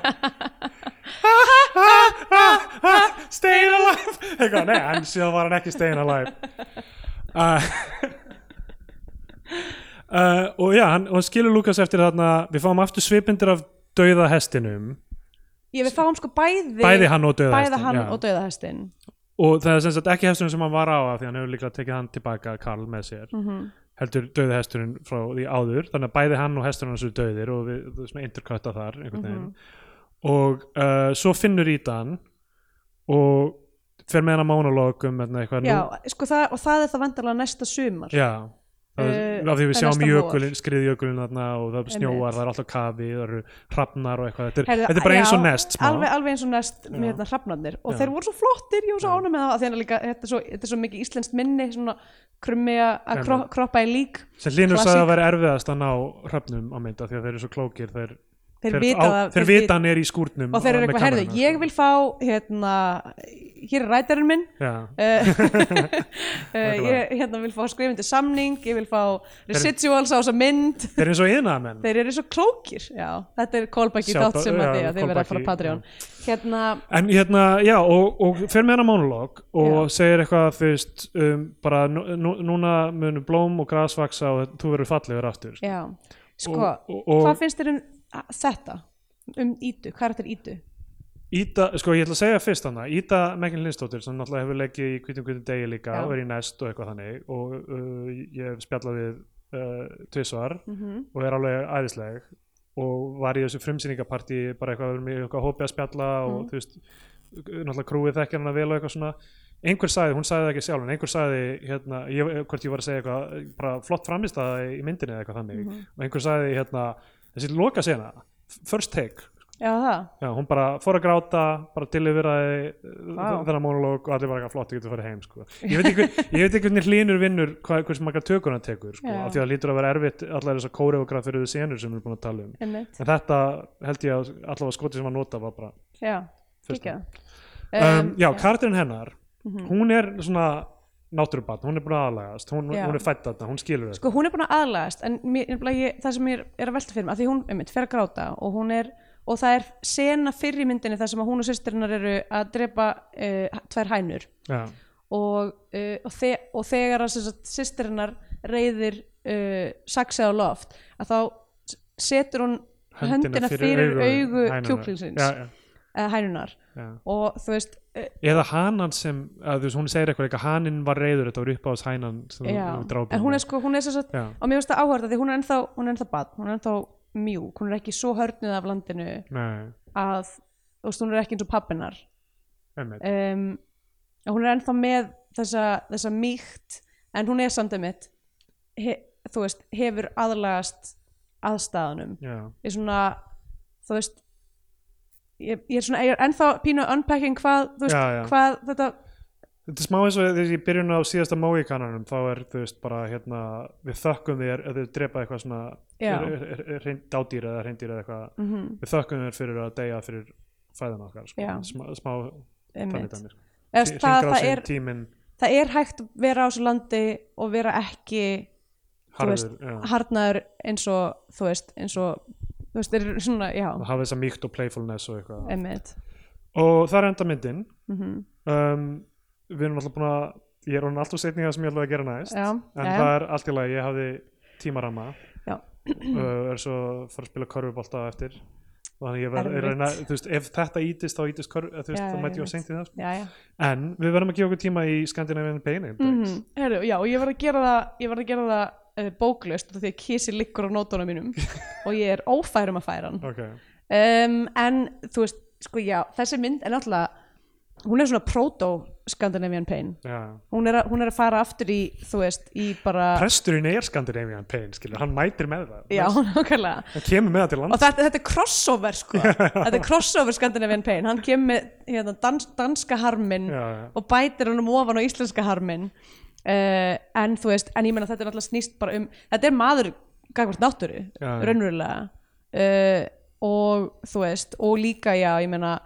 Speaker 2: stayin alive eitthvað, nei, hann síðan var hann ekki stayin alive uh, uh, og já, hann, og hann skilur Lukas eftir þarna, við fáum aftur svipindir af dauða hestinum
Speaker 1: ég við fáum sko bæði
Speaker 2: bæði hann og dauða
Speaker 1: bæði
Speaker 2: hestin
Speaker 1: hann
Speaker 2: já.
Speaker 1: og dauða hestin
Speaker 2: og það er sem sagt ekki hestunum sem hann var á af því hann hefur líklega tekið hann tilbaka Karl með sér
Speaker 1: Mhm.
Speaker 2: heldur dauði hesturinn frá því áður þannig að bæði hann og hesturinn hans eru dauðir og við þú veist, interkutta þar einhvern veginn
Speaker 1: Mhm.
Speaker 2: og uh, svo finnur í dan og fer með hann að mónalóg um hérna, eitthvað
Speaker 1: já,
Speaker 2: nú,
Speaker 1: sko það, og það er það vandarlega næsta sumar
Speaker 2: já Það,
Speaker 1: Eh,
Speaker 2: af því
Speaker 1: það
Speaker 2: við
Speaker 1: er
Speaker 2: sjáum
Speaker 1: næsta vor.
Speaker 2: jökulinn, skriðjökulinn þarna og það snjóar,
Speaker 1: Einmitt.
Speaker 2: það er alltaf kafi það eru hrafnar og eitthvað þetta er,
Speaker 1: Heyrðu,
Speaker 2: þetta er bara eins og
Speaker 1: já,
Speaker 2: nest smá.
Speaker 1: alveg, alveg eins og nest með hérna hrafnarnir og
Speaker 2: Já.
Speaker 1: þeir voru svo flottir, ég var svo ánum með það af því að líka, þetta, er svo, þetta er svo mikið íslenskt minni svona krummi að- að
Speaker 2: Einmitt.
Speaker 1: kro, kroppa í lík
Speaker 2: sem Linur
Speaker 1: Klassík.
Speaker 2: sagði að vera erfiðast að ná hrafnum á mynda því að þeir eru svo klókir þeir
Speaker 1: þeir vita
Speaker 2: á-
Speaker 1: það
Speaker 2: þeir
Speaker 1: þeir
Speaker 2: vita hann er í skúrnum
Speaker 1: og þeir eru
Speaker 2: með
Speaker 1: eitthvað, herðu,
Speaker 2: kameruna,
Speaker 1: ég
Speaker 2: sko.
Speaker 1: vil fá hérna, hér er rætarinn
Speaker 2: [LAUGHS]
Speaker 1: minn
Speaker 2: já,
Speaker 1: [LAUGHS] Uh, uh, ég hérna, vil fá skrifundi samning ég vil fá residuals á þessa mynd
Speaker 2: þeir eru eins og yðnaðamenn
Speaker 1: þeir eru svo klókir já, þetta er callback í
Speaker 2: Shout
Speaker 1: þátt
Speaker 2: out-
Speaker 1: sem að
Speaker 2: já,
Speaker 1: því að þeir verða að fara á
Speaker 2: callback í-
Speaker 1: Patreon hérna,
Speaker 2: en hérna, já, og, og fer með hann að monolog og segir eitthvað, þú veist um, bara nú, nú- núna munu blóm og gras vaksa og þú verður fallegur aftur
Speaker 1: já, sko
Speaker 2: Og- og- og-
Speaker 1: hvað finnst þér um a- þetta um Ídu, karakter Ídu
Speaker 2: Íta, sko ég ætla að segja fyrst hana Íta Megan Lindstóttir sem náttúrulega hefur leikið í hvítum hvítum degi líka
Speaker 1: Já.
Speaker 2: og er í næst og eitthvað þannig og uh, ég hef spjallað við uh, tvisvar og er alveg æðisleg og var í þessu frumsýningapartí bara eitthvað með eitthvað hópi að spjalla og þú veist náttúrulega krúið þekkir hana vel og eitthvað svona einhver sagði, hún sagði það ekki sjálf en einhver sagði hérna, ég, hvort ég var að segja
Speaker 1: Mm.
Speaker 2: eitthvað bara flott framist í myndinni eða eitthvað þannig og einhver sagði hérna, þessi loka first take
Speaker 1: já það
Speaker 2: Já, hún bara fór að gráta, bara tilifiraði wow.
Speaker 1: Vá.
Speaker 2: þennan monolog og allir bara eitthvað flott, þú getur farið heim, sko. Ég veit ekki, ég veit ekki hvernig hlínur vinnur, hvað, hversu margar tökur hann tekur, sko,
Speaker 1: Já.
Speaker 2: af því að það lítur að vera erfitt allar þessar kóreograf fyrir þau senur sem við erum búin að tala um.
Speaker 1: einmitt,
Speaker 2: En þetta held ég að allavega skoti sem hann nota var bara
Speaker 1: já,
Speaker 2: fyrst.
Speaker 1: kíkja
Speaker 2: Um, já, karakterinn hennar,
Speaker 1: Mhm.
Speaker 2: hún er svona náttúrubarn, hún er búin að aðlagast, hún,
Speaker 1: Já.
Speaker 2: hún er fætt þarna, hún skilur þetta.
Speaker 1: sko hún er búin að aðlagast en mér, nefnilega ég, það sem ég er, er að velta fyrir mig að því hún einmitt, fer að gráta og hún er og það er sena fyrir myndinni þar sem að hún og systirinnar eru að drepa uh, tvær hænur
Speaker 2: Já,
Speaker 1: og, uh, og, þe og þegar að sem sagt systirinnar reyðir uh, saksið á loft að þá s- setur hún höndina fyrir, augu
Speaker 2: hænunnar.
Speaker 1: kjúklingsins
Speaker 2: Já, já,
Speaker 1: eða hænunar
Speaker 2: já.
Speaker 1: uh, og þú veist uh,
Speaker 2: eða hanan sem að þú veist, hún segir eitthvað eitthvað hanin var reyður þetta var upp á þess hænan sem
Speaker 1: já,
Speaker 2: þú drápum
Speaker 1: en hún er sko hún er sem sagt
Speaker 2: já,
Speaker 1: og mér finnst það áhverða því hún er ennþá hún er ennþá bad, hún er ennþá mjúk hún er ekki svo hörnuð af landinu
Speaker 2: nei,
Speaker 1: að þú veist, hún er ekki eins og pappinar
Speaker 2: einmitt
Speaker 1: um, og hún er ennþá með þessa, þessa mýkt en hún er samt einmitt he, þú veist, hefur aðlagast aðstæðanum
Speaker 2: já,
Speaker 1: ég svona, þú veist ég, ég er svona, ég er ennþá pínu að unpacking hvað, þú veist,
Speaker 2: já, já.
Speaker 1: hvað þetta
Speaker 2: þetta er smá eins og þessi í byrjun á síðasta mói kannanum þá er þú veist bara hérna við þökkum þér að þau drepa eitthvað svona
Speaker 1: Já.
Speaker 2: er- er- er- er hrein- dádýr eða hreindýr eða eitthvað
Speaker 1: mm
Speaker 2: við þökkum þér fyrir að deyja fyrir fæðan okkar sko.
Speaker 1: Já.
Speaker 2: smá, smá
Speaker 1: einmitt,
Speaker 2: þannig sko.
Speaker 1: Eða, þú veist, það, það,
Speaker 2: hringrásin,
Speaker 1: er,
Speaker 2: tíminn,
Speaker 1: það er hægt að vera á þessu landi og vera ekki
Speaker 2: harður já.
Speaker 1: harnaður eins og þú veist, eins og þú veist, þeir eru svona, já,
Speaker 2: og hafa þessa mýkt og playfulness og eitthvað
Speaker 1: einmitt
Speaker 2: og það er enda myndin
Speaker 1: mm
Speaker 2: um, við erum alltaf búin að ég er orðin alltaf setninga sem ég ætlaði að gera næst
Speaker 1: Já,
Speaker 2: en
Speaker 1: jæja.
Speaker 2: það er allt í lagi, ég hafði tímarama
Speaker 1: Já.
Speaker 2: uh, er svo að fara að spila körfubolta á eftir og þannig ég verð, er
Speaker 1: Erfitt.
Speaker 2: reyna, þú veist, ef þetta ítist þá ítist körf, þú veist,
Speaker 1: Já,
Speaker 2: þá
Speaker 1: já,
Speaker 2: mæti ég
Speaker 1: einmitt.
Speaker 2: að sengti það sko.
Speaker 1: já, já
Speaker 2: en við verðum að gefa okkur tíma í Scandinavian Pain
Speaker 1: mm
Speaker 2: Index
Speaker 1: Heru, já, og ég var að gera það, ég var að gera það uh, bóklaust því að kísi liggur á nótunum
Speaker 2: [LAUGHS]
Speaker 1: mínum og ég er ófærum að færa hann
Speaker 2: ok,
Speaker 1: um, en þú veist, sko já, þessi mynd er náttúrulega hún er svona proto-Scandinavian pain
Speaker 2: já
Speaker 1: hún er, að, hún er að fara aftur í, þú veist, í bara
Speaker 2: presturinn er Scandinavian Pain, skilur, hann mætir með það
Speaker 1: já, [LAUGHS] nákvæmlega
Speaker 2: hann kemur með það til
Speaker 1: og
Speaker 2: land
Speaker 1: þetta, þetta er crossover sko þetta er crossover Scandinavian Pain hann kemur með hérna, dans, danska harminn
Speaker 2: Já, já.
Speaker 1: og bætir hann um ofan á íslenska harminn uh, en þú veist en ég meina þetta er alltaf snýst bara um þetta er maður gagvart náttúru
Speaker 2: Já, já.
Speaker 1: raunverulega uh, og þú veist og líka já ég meina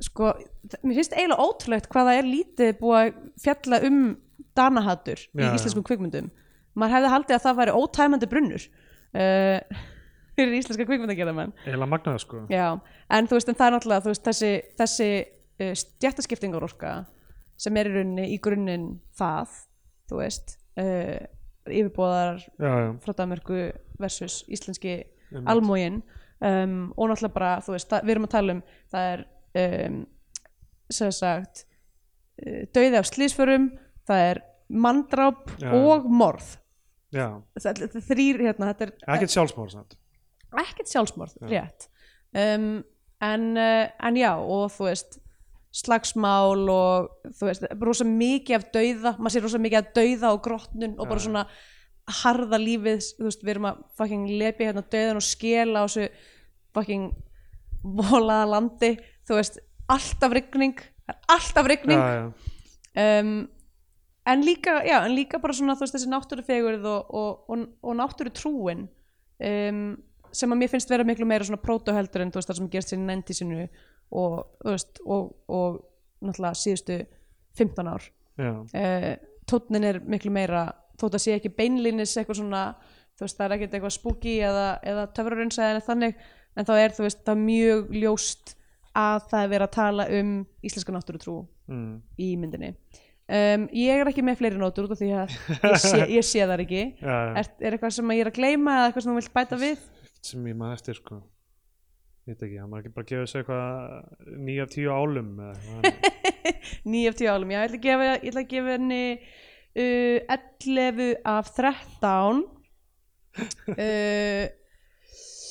Speaker 1: sko þ- mér finnst eiginlega ótrúlegt hvað það er lítið búið að fjalla um danahattur í
Speaker 2: Já, já.
Speaker 1: íslenskum kvikmyndum maður hefði haldið að það væri ótæmandi brunnur uh, [LAUGHS] fyrir íslenska kvikmyndagerðamenn
Speaker 2: eiginlega magnað sko
Speaker 1: Já, en þú veist, en það er náttúrulega þú veist, þessi, þessi uh, stjættaskiptingar orka sem er í rauninni í grunninn það, þú veist uh, yfirbóðar
Speaker 2: já, já,
Speaker 1: frá Danmörku versus íslenski
Speaker 2: Einmitt.
Speaker 1: almógin um, og náttúrulega bara, þú veist, það, við erum að tala um það er um, sem sagt uh, dauði af slísförum, það er mandráp
Speaker 2: Já.
Speaker 1: og morð
Speaker 2: já,
Speaker 1: það, það, þrýr, hérna, þetta er
Speaker 2: ekkert sjálfsmór samt
Speaker 1: ekkert sjálfsmorð, rétt um, en, uh, en já og þú veist slagsmál og þú veist, rosa mikið af dauða, maður sér rosa mikið af dauða og grotnun og bara
Speaker 2: Já.
Speaker 1: svona harða lífið, þú veist, við erum að fucking lepi hérna dauðan og skela á þessu fucking volaða landi, þú veist, alltaf rigning, það er alltaf rigning
Speaker 2: já, já.
Speaker 1: um, en líka já, en líka bara svona þú veist þessi náttúrufegurð og, og, og, og náttúrutrúin um, sem að mér finnst vera miklu meira svona prótóheldur en þú veist það sem gerst sér nendi sinu og, þú veist, og, og náttúrulega síðustu 15 ár
Speaker 2: já,
Speaker 1: uh, tónnin er miklu meira þótt að sé ekki beinlínis eitthvað svona þú veist það er ekkert eitthvað spooky eða, eða töfrarunsa eða neitt þannig en þá er þú veist það er mjög ljóst að það er verið að tala um íslenska náttúrutrú
Speaker 2: mm.
Speaker 1: í myndinni um, ég er ekki með fleiri nótur út af því að ég sé, ég sé þar ekki
Speaker 2: já, já.
Speaker 1: er, er eitthvað sem ég er að gleyma eða eitthvað sem þú vilt bæta við
Speaker 2: ekkert sem ég maður eftir sko ég veit ekki, hann var ekki bara að gefa þessu eitthvað nýja af tíu álum eða
Speaker 1: [LAUGHS]
Speaker 2: eitthvað.
Speaker 1: 9 af 10 álum, já, ég ætla að gefa, ég ætla að gefa henni uh, 11 af
Speaker 2: [LAUGHS]
Speaker 1: 13 uh,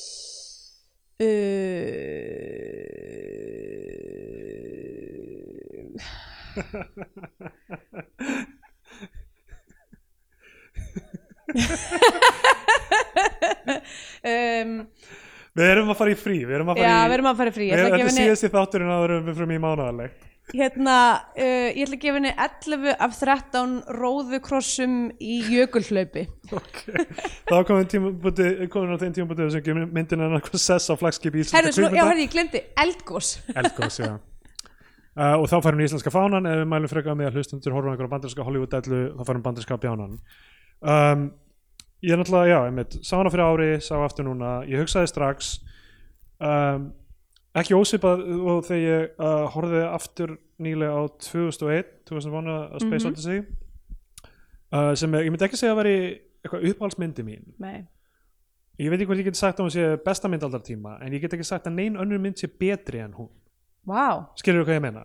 Speaker 1: [LAUGHS] uh,
Speaker 2: [LAUGHS]
Speaker 1: um,
Speaker 2: við Við erum að fara í frí Við erum
Speaker 1: Um,
Speaker 2: að fara
Speaker 1: já,
Speaker 2: í
Speaker 1: við erum að fara í frí ég ætla að
Speaker 2: Við- Þetta
Speaker 1: gefa
Speaker 2: er
Speaker 1: henni,
Speaker 2: síðasti þátturinn að við fyrir mig
Speaker 1: [LAUGHS]
Speaker 2: mánaðarlegt
Speaker 1: hérna, uh, ég ætla að gefa henni 11 af 13 róðukrossum í jökulhlaupi
Speaker 2: okay. Þá komin tímabúti komin á þeim tímabúti sem gefur myndin en eitthvað sess á flagskip í
Speaker 1: herðu, svo, já, herðu, ég glemdi, eldgós
Speaker 2: Eldgós, já Uh, og þá færum við íslenska fánan ef við mælum frekar með að hlustundur horfum einhverja bandarinska Hollywood-dellu þá færum bandarinska bjánan um, ég er náttúrulega, já, einmitt sá hana fyrir ári, sá aftur núna ég hugsaði strax um, ekki ósipað og þegar ég uh, horfði aftur nýlega á 2001, 2001 að Space Odyssey uh, sem er, ég myndi ekki segja að veri eitthvað uppáhaldsmyndi mín
Speaker 1: nei,
Speaker 2: ég veit ekki hvort ég get sagt að hún sé besta mynd aldar tíma en ég get ekki sagt að nein önnur mynd sé betri en hún
Speaker 1: vá
Speaker 2: skilur þú hvað ég meina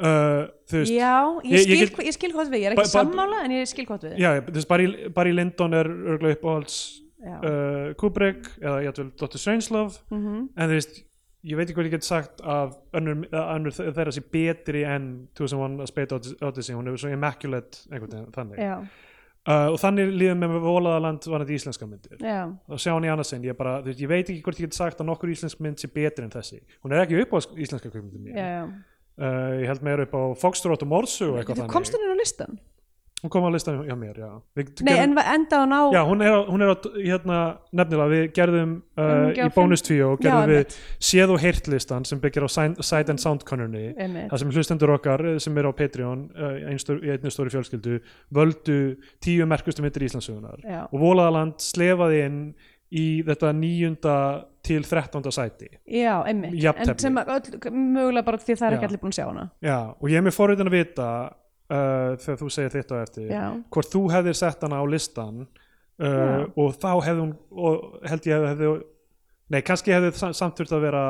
Speaker 2: uh, þú veist
Speaker 1: já,
Speaker 2: Ég-
Speaker 1: ég
Speaker 2: ég
Speaker 1: skil, ég,
Speaker 2: get-
Speaker 1: ég skil hvort við ég er ekki
Speaker 2: Ba- ba-
Speaker 1: sammála en ég skil hvort við
Speaker 2: já, þú veist, Barry, Barry Lyndon er örgulega uppáhalds
Speaker 1: Já.
Speaker 2: uh, Kubrick eða ég ætlum Dr. Strangelove
Speaker 1: Mhm.
Speaker 2: en þú veist, ég veit ekki hvað ég get sagt að önnur, að önnur þe- þeirra sé betri en 2001 A Space Odys- Odyssey hún er svo immaculate einhvern veginn þannig
Speaker 1: já,
Speaker 2: uh, og þannig líður mér með volaðaland varandi íslenska myndir
Speaker 1: já,
Speaker 2: og sjá hann í annars en ég bara, þú veist, ég veit ekki hvort ég get sagt að nokkur íslensk mynd sé betri en þessi hún er ekki upp á íslenska kvikmyndin
Speaker 1: já,
Speaker 2: mín
Speaker 1: já.
Speaker 2: uh, ég held meira upp á Foxtrot og Morsu og eitthvað
Speaker 1: Þú komst henni á listan?
Speaker 2: hún kom á listan hjá mér, já Við
Speaker 1: Nei,
Speaker 2: gerðum-
Speaker 1: en va- enda hún á
Speaker 2: já, hún er, á- hún er á, hérna, nefnilega við gerðum uh,
Speaker 1: Hún gerði
Speaker 2: í bónustvíu og gerðum
Speaker 1: Já,
Speaker 2: við séð og heyrt listan sem byggir á Sign- Sight and Sound kannunni
Speaker 1: Einmitt.
Speaker 2: það sem hlustendur okkar eh, sem eru á Patreon uh, einstor, í einni stóri fjölskyldu völdu tíu merkustu myndir Íslandsugunar
Speaker 1: Já.
Speaker 2: og Volaðaland slefaði inn í þetta níunda til þrettánda sæti
Speaker 1: Já, einmitt
Speaker 2: Jafntefli.
Speaker 1: En sem að öll, mögulega bara því það er
Speaker 2: Já.
Speaker 1: ekki allir búin að sjá hana
Speaker 2: já, og ég er með forriðin að vita uh, þegar þú segir þetta á eftir
Speaker 1: Já,
Speaker 2: hvort þú hefðir sett hana á listan uh,
Speaker 1: Já.
Speaker 2: og þá hefði hún og held ég hefði nei, kannski hefði sam- samt þurft að vera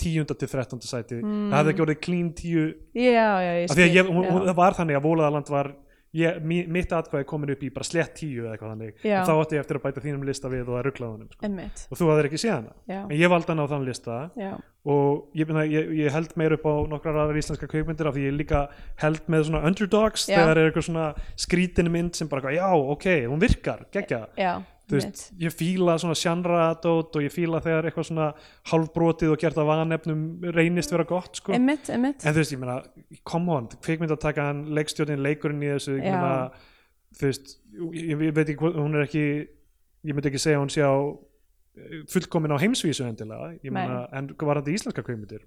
Speaker 2: tíunda til þrettánda sæti það hefði ekki orðið clean tíu
Speaker 1: já, já, ég
Speaker 2: af
Speaker 1: skil
Speaker 2: því að ég, hún, hún,
Speaker 1: Hmm. já.
Speaker 2: það var þannig að Vólaðaland var ég, mi- mitt atkvæði komin upp í bara slett tíu eða eitthvað þannig
Speaker 1: Já.
Speaker 2: og þá átti ég eftir að bæta þínum lista við og að ruggla honum sko.
Speaker 1: Einmitt,
Speaker 2: og þú hafðir ekki séð hana
Speaker 1: já,
Speaker 2: en ég valdi hana á þann lista
Speaker 1: já,
Speaker 2: og ég, meina, ég, ég held meir upp á nokkrar aðrar íslenska kveikmyndir af því ég líka held með svona underdogs
Speaker 1: Já.
Speaker 2: þegar er eitthvað svona skrítin mynd sem bara, eitthvað, já, ok, hún virkar, geggja
Speaker 1: já
Speaker 2: þú veist,
Speaker 1: Eh, einmitt.
Speaker 2: ég fíla svona sjannradót og ég fíla þegar eitthvað svona hálfbrotið og gert af vanefnum reynist vera gott, sko
Speaker 1: Einmitt, einmitt
Speaker 2: en þú veist, ég meina, come on kveikmyndatakan, leikstjórnin, leikurinn í þessu ég
Speaker 1: Já.
Speaker 2: meina, þú veist ég, ég veit ekki, hvað- hún er ekki ég myndi ekki segja að hún sé á eh, fullkomin á heimsvísu endilega ég
Speaker 1: Nei.
Speaker 2: meina, en varandi íslenska kveikmyndir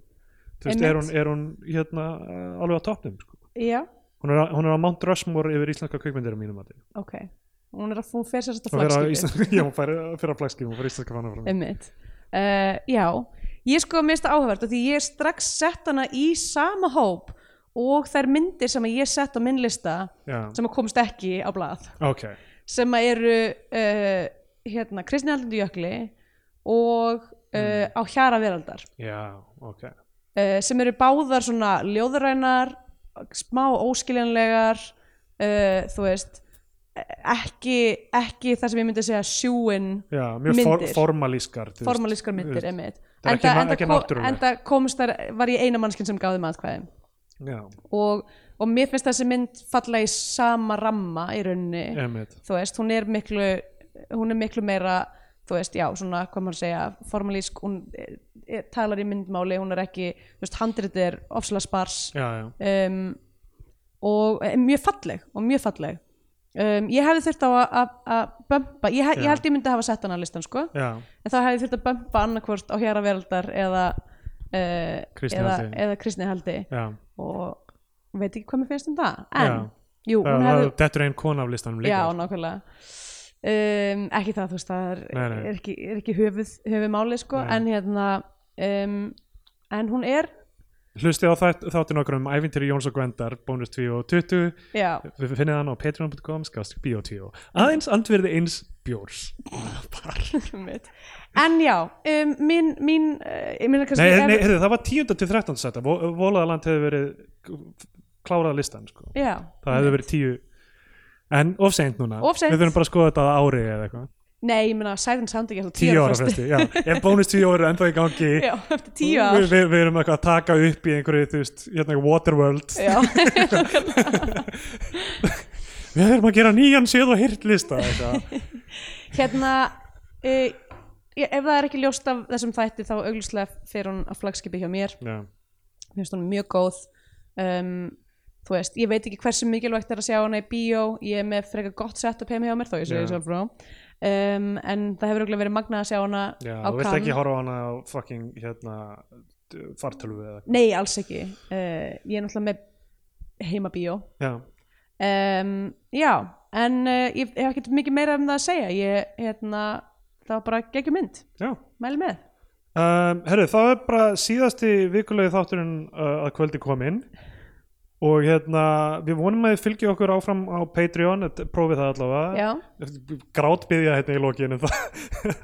Speaker 2: þú veist, er hún,
Speaker 1: Einmitt.
Speaker 2: er hún hérna eh, alveg á toppnum sko.
Speaker 1: Já,
Speaker 2: hún, er á- hún er á Mount Rushmore yfir íslenska kveikmyndir á mínum mati
Speaker 1: ok Hún er að hún fer sér þetta
Speaker 2: Hún fer á
Speaker 1: flagskipi
Speaker 2: íslenska- [LAUGHS] já, hún fær fyrir að flagskipi, hún fær íslenska fannar frá
Speaker 1: Einmitt uh, Já, ég sko mista áhverð Því ég strax sett hana í sama hóp Og þær myndir sem að ég sett á minn lista
Speaker 2: já,
Speaker 1: Sem að komst ekki á blað
Speaker 2: ok,
Speaker 1: sem að eru uh, hérna, Kristni Allindu Jökli og uh,
Speaker 2: Mm.
Speaker 1: á Hjara Veraldar
Speaker 2: já, ok
Speaker 1: uh, sem eru báðar svona ljóðrænar smá óskiljanlegar uh, þú veist ekki, ekki það sem ég myndi segja sjúin
Speaker 2: já, mjög for,
Speaker 1: Myndir.
Speaker 2: formalískar þú veist.
Speaker 1: formalískar myndir
Speaker 2: Þú
Speaker 1: einmitt
Speaker 2: Það er
Speaker 1: enda,
Speaker 2: ekki-
Speaker 1: enda,
Speaker 2: ekki
Speaker 1: ko-
Speaker 2: náttúrulegt.
Speaker 1: enda komst þar var ég eina mannskinn sem gáði matkvæðin
Speaker 2: já,
Speaker 1: og, og mér finnst þessi mynd falla í sama ramma í rauninni
Speaker 2: emitt
Speaker 1: þú veist, hún er miklu hún er miklu meira, þú veist, já svona, hvað maður að segja, formalísk hún er, er, talar í myndmáli, hún er ekki þú veist, handritið er ofslega spars
Speaker 2: já, já,
Speaker 1: um, og er mjög falleg og mjög falleg um, ég hefði þurft á að- að að bömpa, ég, he-
Speaker 2: Já.
Speaker 1: ég held ég myndi hafa sett hana á listan, sko,
Speaker 2: já
Speaker 1: en þá hefði þurft að bömpa annarkvort á Hjara Veraldar eða uh,
Speaker 2: Kristni
Speaker 1: eða,
Speaker 2: Haldi.
Speaker 1: eða Kristni Haldi
Speaker 2: Já,
Speaker 1: og veit ekki hvað mér finnst um það en,
Speaker 2: Já.
Speaker 1: jú,
Speaker 2: það,
Speaker 1: hún hefði
Speaker 2: það, þetta er einn kona af listanum líka
Speaker 1: Já, nákvæmlega um, ekki það, þú veist, það er,
Speaker 2: Nei, nei.
Speaker 1: er ekki, er ekki höfuð, höfumáli sko,
Speaker 2: Nei.
Speaker 1: en hérna um, en hún er
Speaker 2: Hlustið á þætt, þáttin okkur um æfintýri Jóns og Gwendar, bónus 2 og 20
Speaker 1: já,
Speaker 2: Við finnið hann á patreon.com skást bíó 2 Aðeins andverði eins bjórs Bara.
Speaker 1: mitt en já, um, mín mín, uh, mín
Speaker 2: Nei, nei heyrðu, það var 10. til 13. sæta Vólaðaland hefði verið klárað listan sko.
Speaker 1: já,
Speaker 2: Það hefði verið 10 En of seint núna,
Speaker 1: Of seint.
Speaker 2: við þurfum bara að skoða þetta á ári eða eitthvað,
Speaker 1: nei, ég meina Silent Sound ekki eftir
Speaker 2: 10 ára fresti já. Ef bónus 10 ára er ennþá í gangi
Speaker 1: já, eftir tíu
Speaker 2: Við,
Speaker 1: ár
Speaker 2: við, við erum eitthvað að taka upp í einhverju, þú veist, hérna Waterworld
Speaker 1: já, [LAUGHS]
Speaker 2: Við erum að gera nýjan séð og hirt lista eitthvað.
Speaker 1: hérna uh, ég, ef það er ekki ljóst af þessum þætti þá augljóslega fer hún á flagskipi hjá mér
Speaker 2: já,
Speaker 1: mér finnst hún mjög góð um, þú veist, ég veit ekki hversu mikilvægt er að sjá hana í bíó ég er með frekar gott setup heima hjá mér þó ég segi
Speaker 2: Já.
Speaker 1: sjálf frá um, en það hefur örugglega verið magnað að sjá hana
Speaker 2: já
Speaker 1: á
Speaker 2: þú vilt
Speaker 1: Cannes.
Speaker 2: ekki horfa á hana á fucking hérna d- fartölvu eða
Speaker 1: nei, alls ekki uh, ég er náttúrulega með heima bíó
Speaker 2: já,
Speaker 1: um, já, en uh, ég hef ekkert mikið meira um það að segja ég, hérna, það var bara geggjum mynd
Speaker 2: já
Speaker 1: mæli með
Speaker 2: Um, herru, það er bara síðasti vikulegi þátturinn uh, að kvöldi kominn og hérna við vonum að þið fylgja okkur áfram á Patreon, þetta- prófið það allavega
Speaker 1: já,
Speaker 2: grátbyðja hérna í lokinu það [LAUGHS]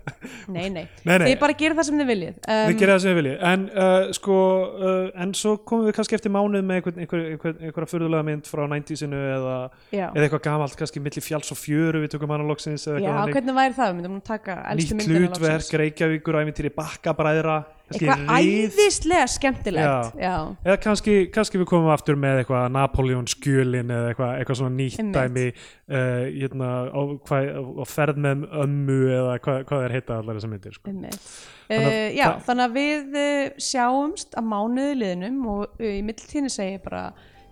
Speaker 1: nei, nei,
Speaker 2: Nei, nei.
Speaker 1: þið bara gerir það sem þið viljið
Speaker 2: við
Speaker 1: um,
Speaker 2: gerum það sem við viljum en, uh, sko, uh, en svo komum við kannski eftir mánuð með einhver, einhver, einhver, einhverja furðulega mynd frá 90sinu eða,
Speaker 1: já,
Speaker 2: eða eitthvað gamalt, kannski milli fjáls og fjöru við tökum hana loksins eða
Speaker 1: já
Speaker 2: eitthvað þannig.
Speaker 1: hvernig væri það, við myndum nú taka elstu
Speaker 2: nýtt
Speaker 1: myndina loksins.
Speaker 2: hlutverk, Reykjavíkur æfintýri bakkabræðra kannski
Speaker 1: eitthvað
Speaker 2: Rið.
Speaker 1: æðislega skemmtilegt já,
Speaker 2: eða kannski, kannski við komum aftur með eitthvað Napoleon skjölin eða eitthvað, eitthvað svona nýtt
Speaker 1: Einmitt.
Speaker 2: dæmi uh, hérna, á, hva, á ferð með ömmu eða hvað, hvað er heita allar þessar myndir sko.
Speaker 1: einmitt.
Speaker 2: Þannig að
Speaker 1: Uh, já,
Speaker 2: það-
Speaker 1: þannig að við uh, sjáumst að mánuði liðnum og uh, í mittiltíðinni segi ég bara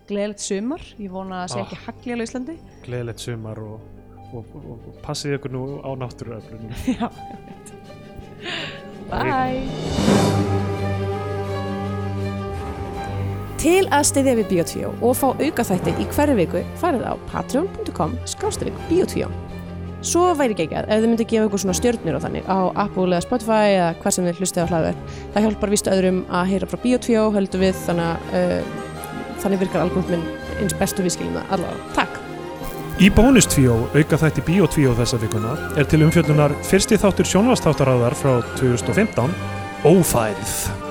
Speaker 1: gleðilegt sumar, ég vona að segja
Speaker 2: Ah.
Speaker 1: ekki hagljál í Íslandi
Speaker 2: gleðilegt sumar og, og, og, og passið ykkur nú á náttúruöflunum
Speaker 1: já, bye Til að stiðja við Bíotvíó og fá aukaþætti í hverju viku farið á patreon.com skástrík Bíotvíó. Svo væri geggjað ef þið myndu gefa ykkur svona stjörnir á þannig á Apple eða Spotify eða hvað sem þið hlustið á hlaðverð. Það hjálpar víst öðrum að heyra frá Bíotvíó, höldum við, þannig að uh, þannig virkar algoritminn eins best og við skiljum það allavega. Takk!
Speaker 2: Í bónustvíó, auka þætti bíotvíó þessa vikuna, er til umfjöllunar fyrsti þáttur sjónvastáttarraðar frá 2015, Ófærið.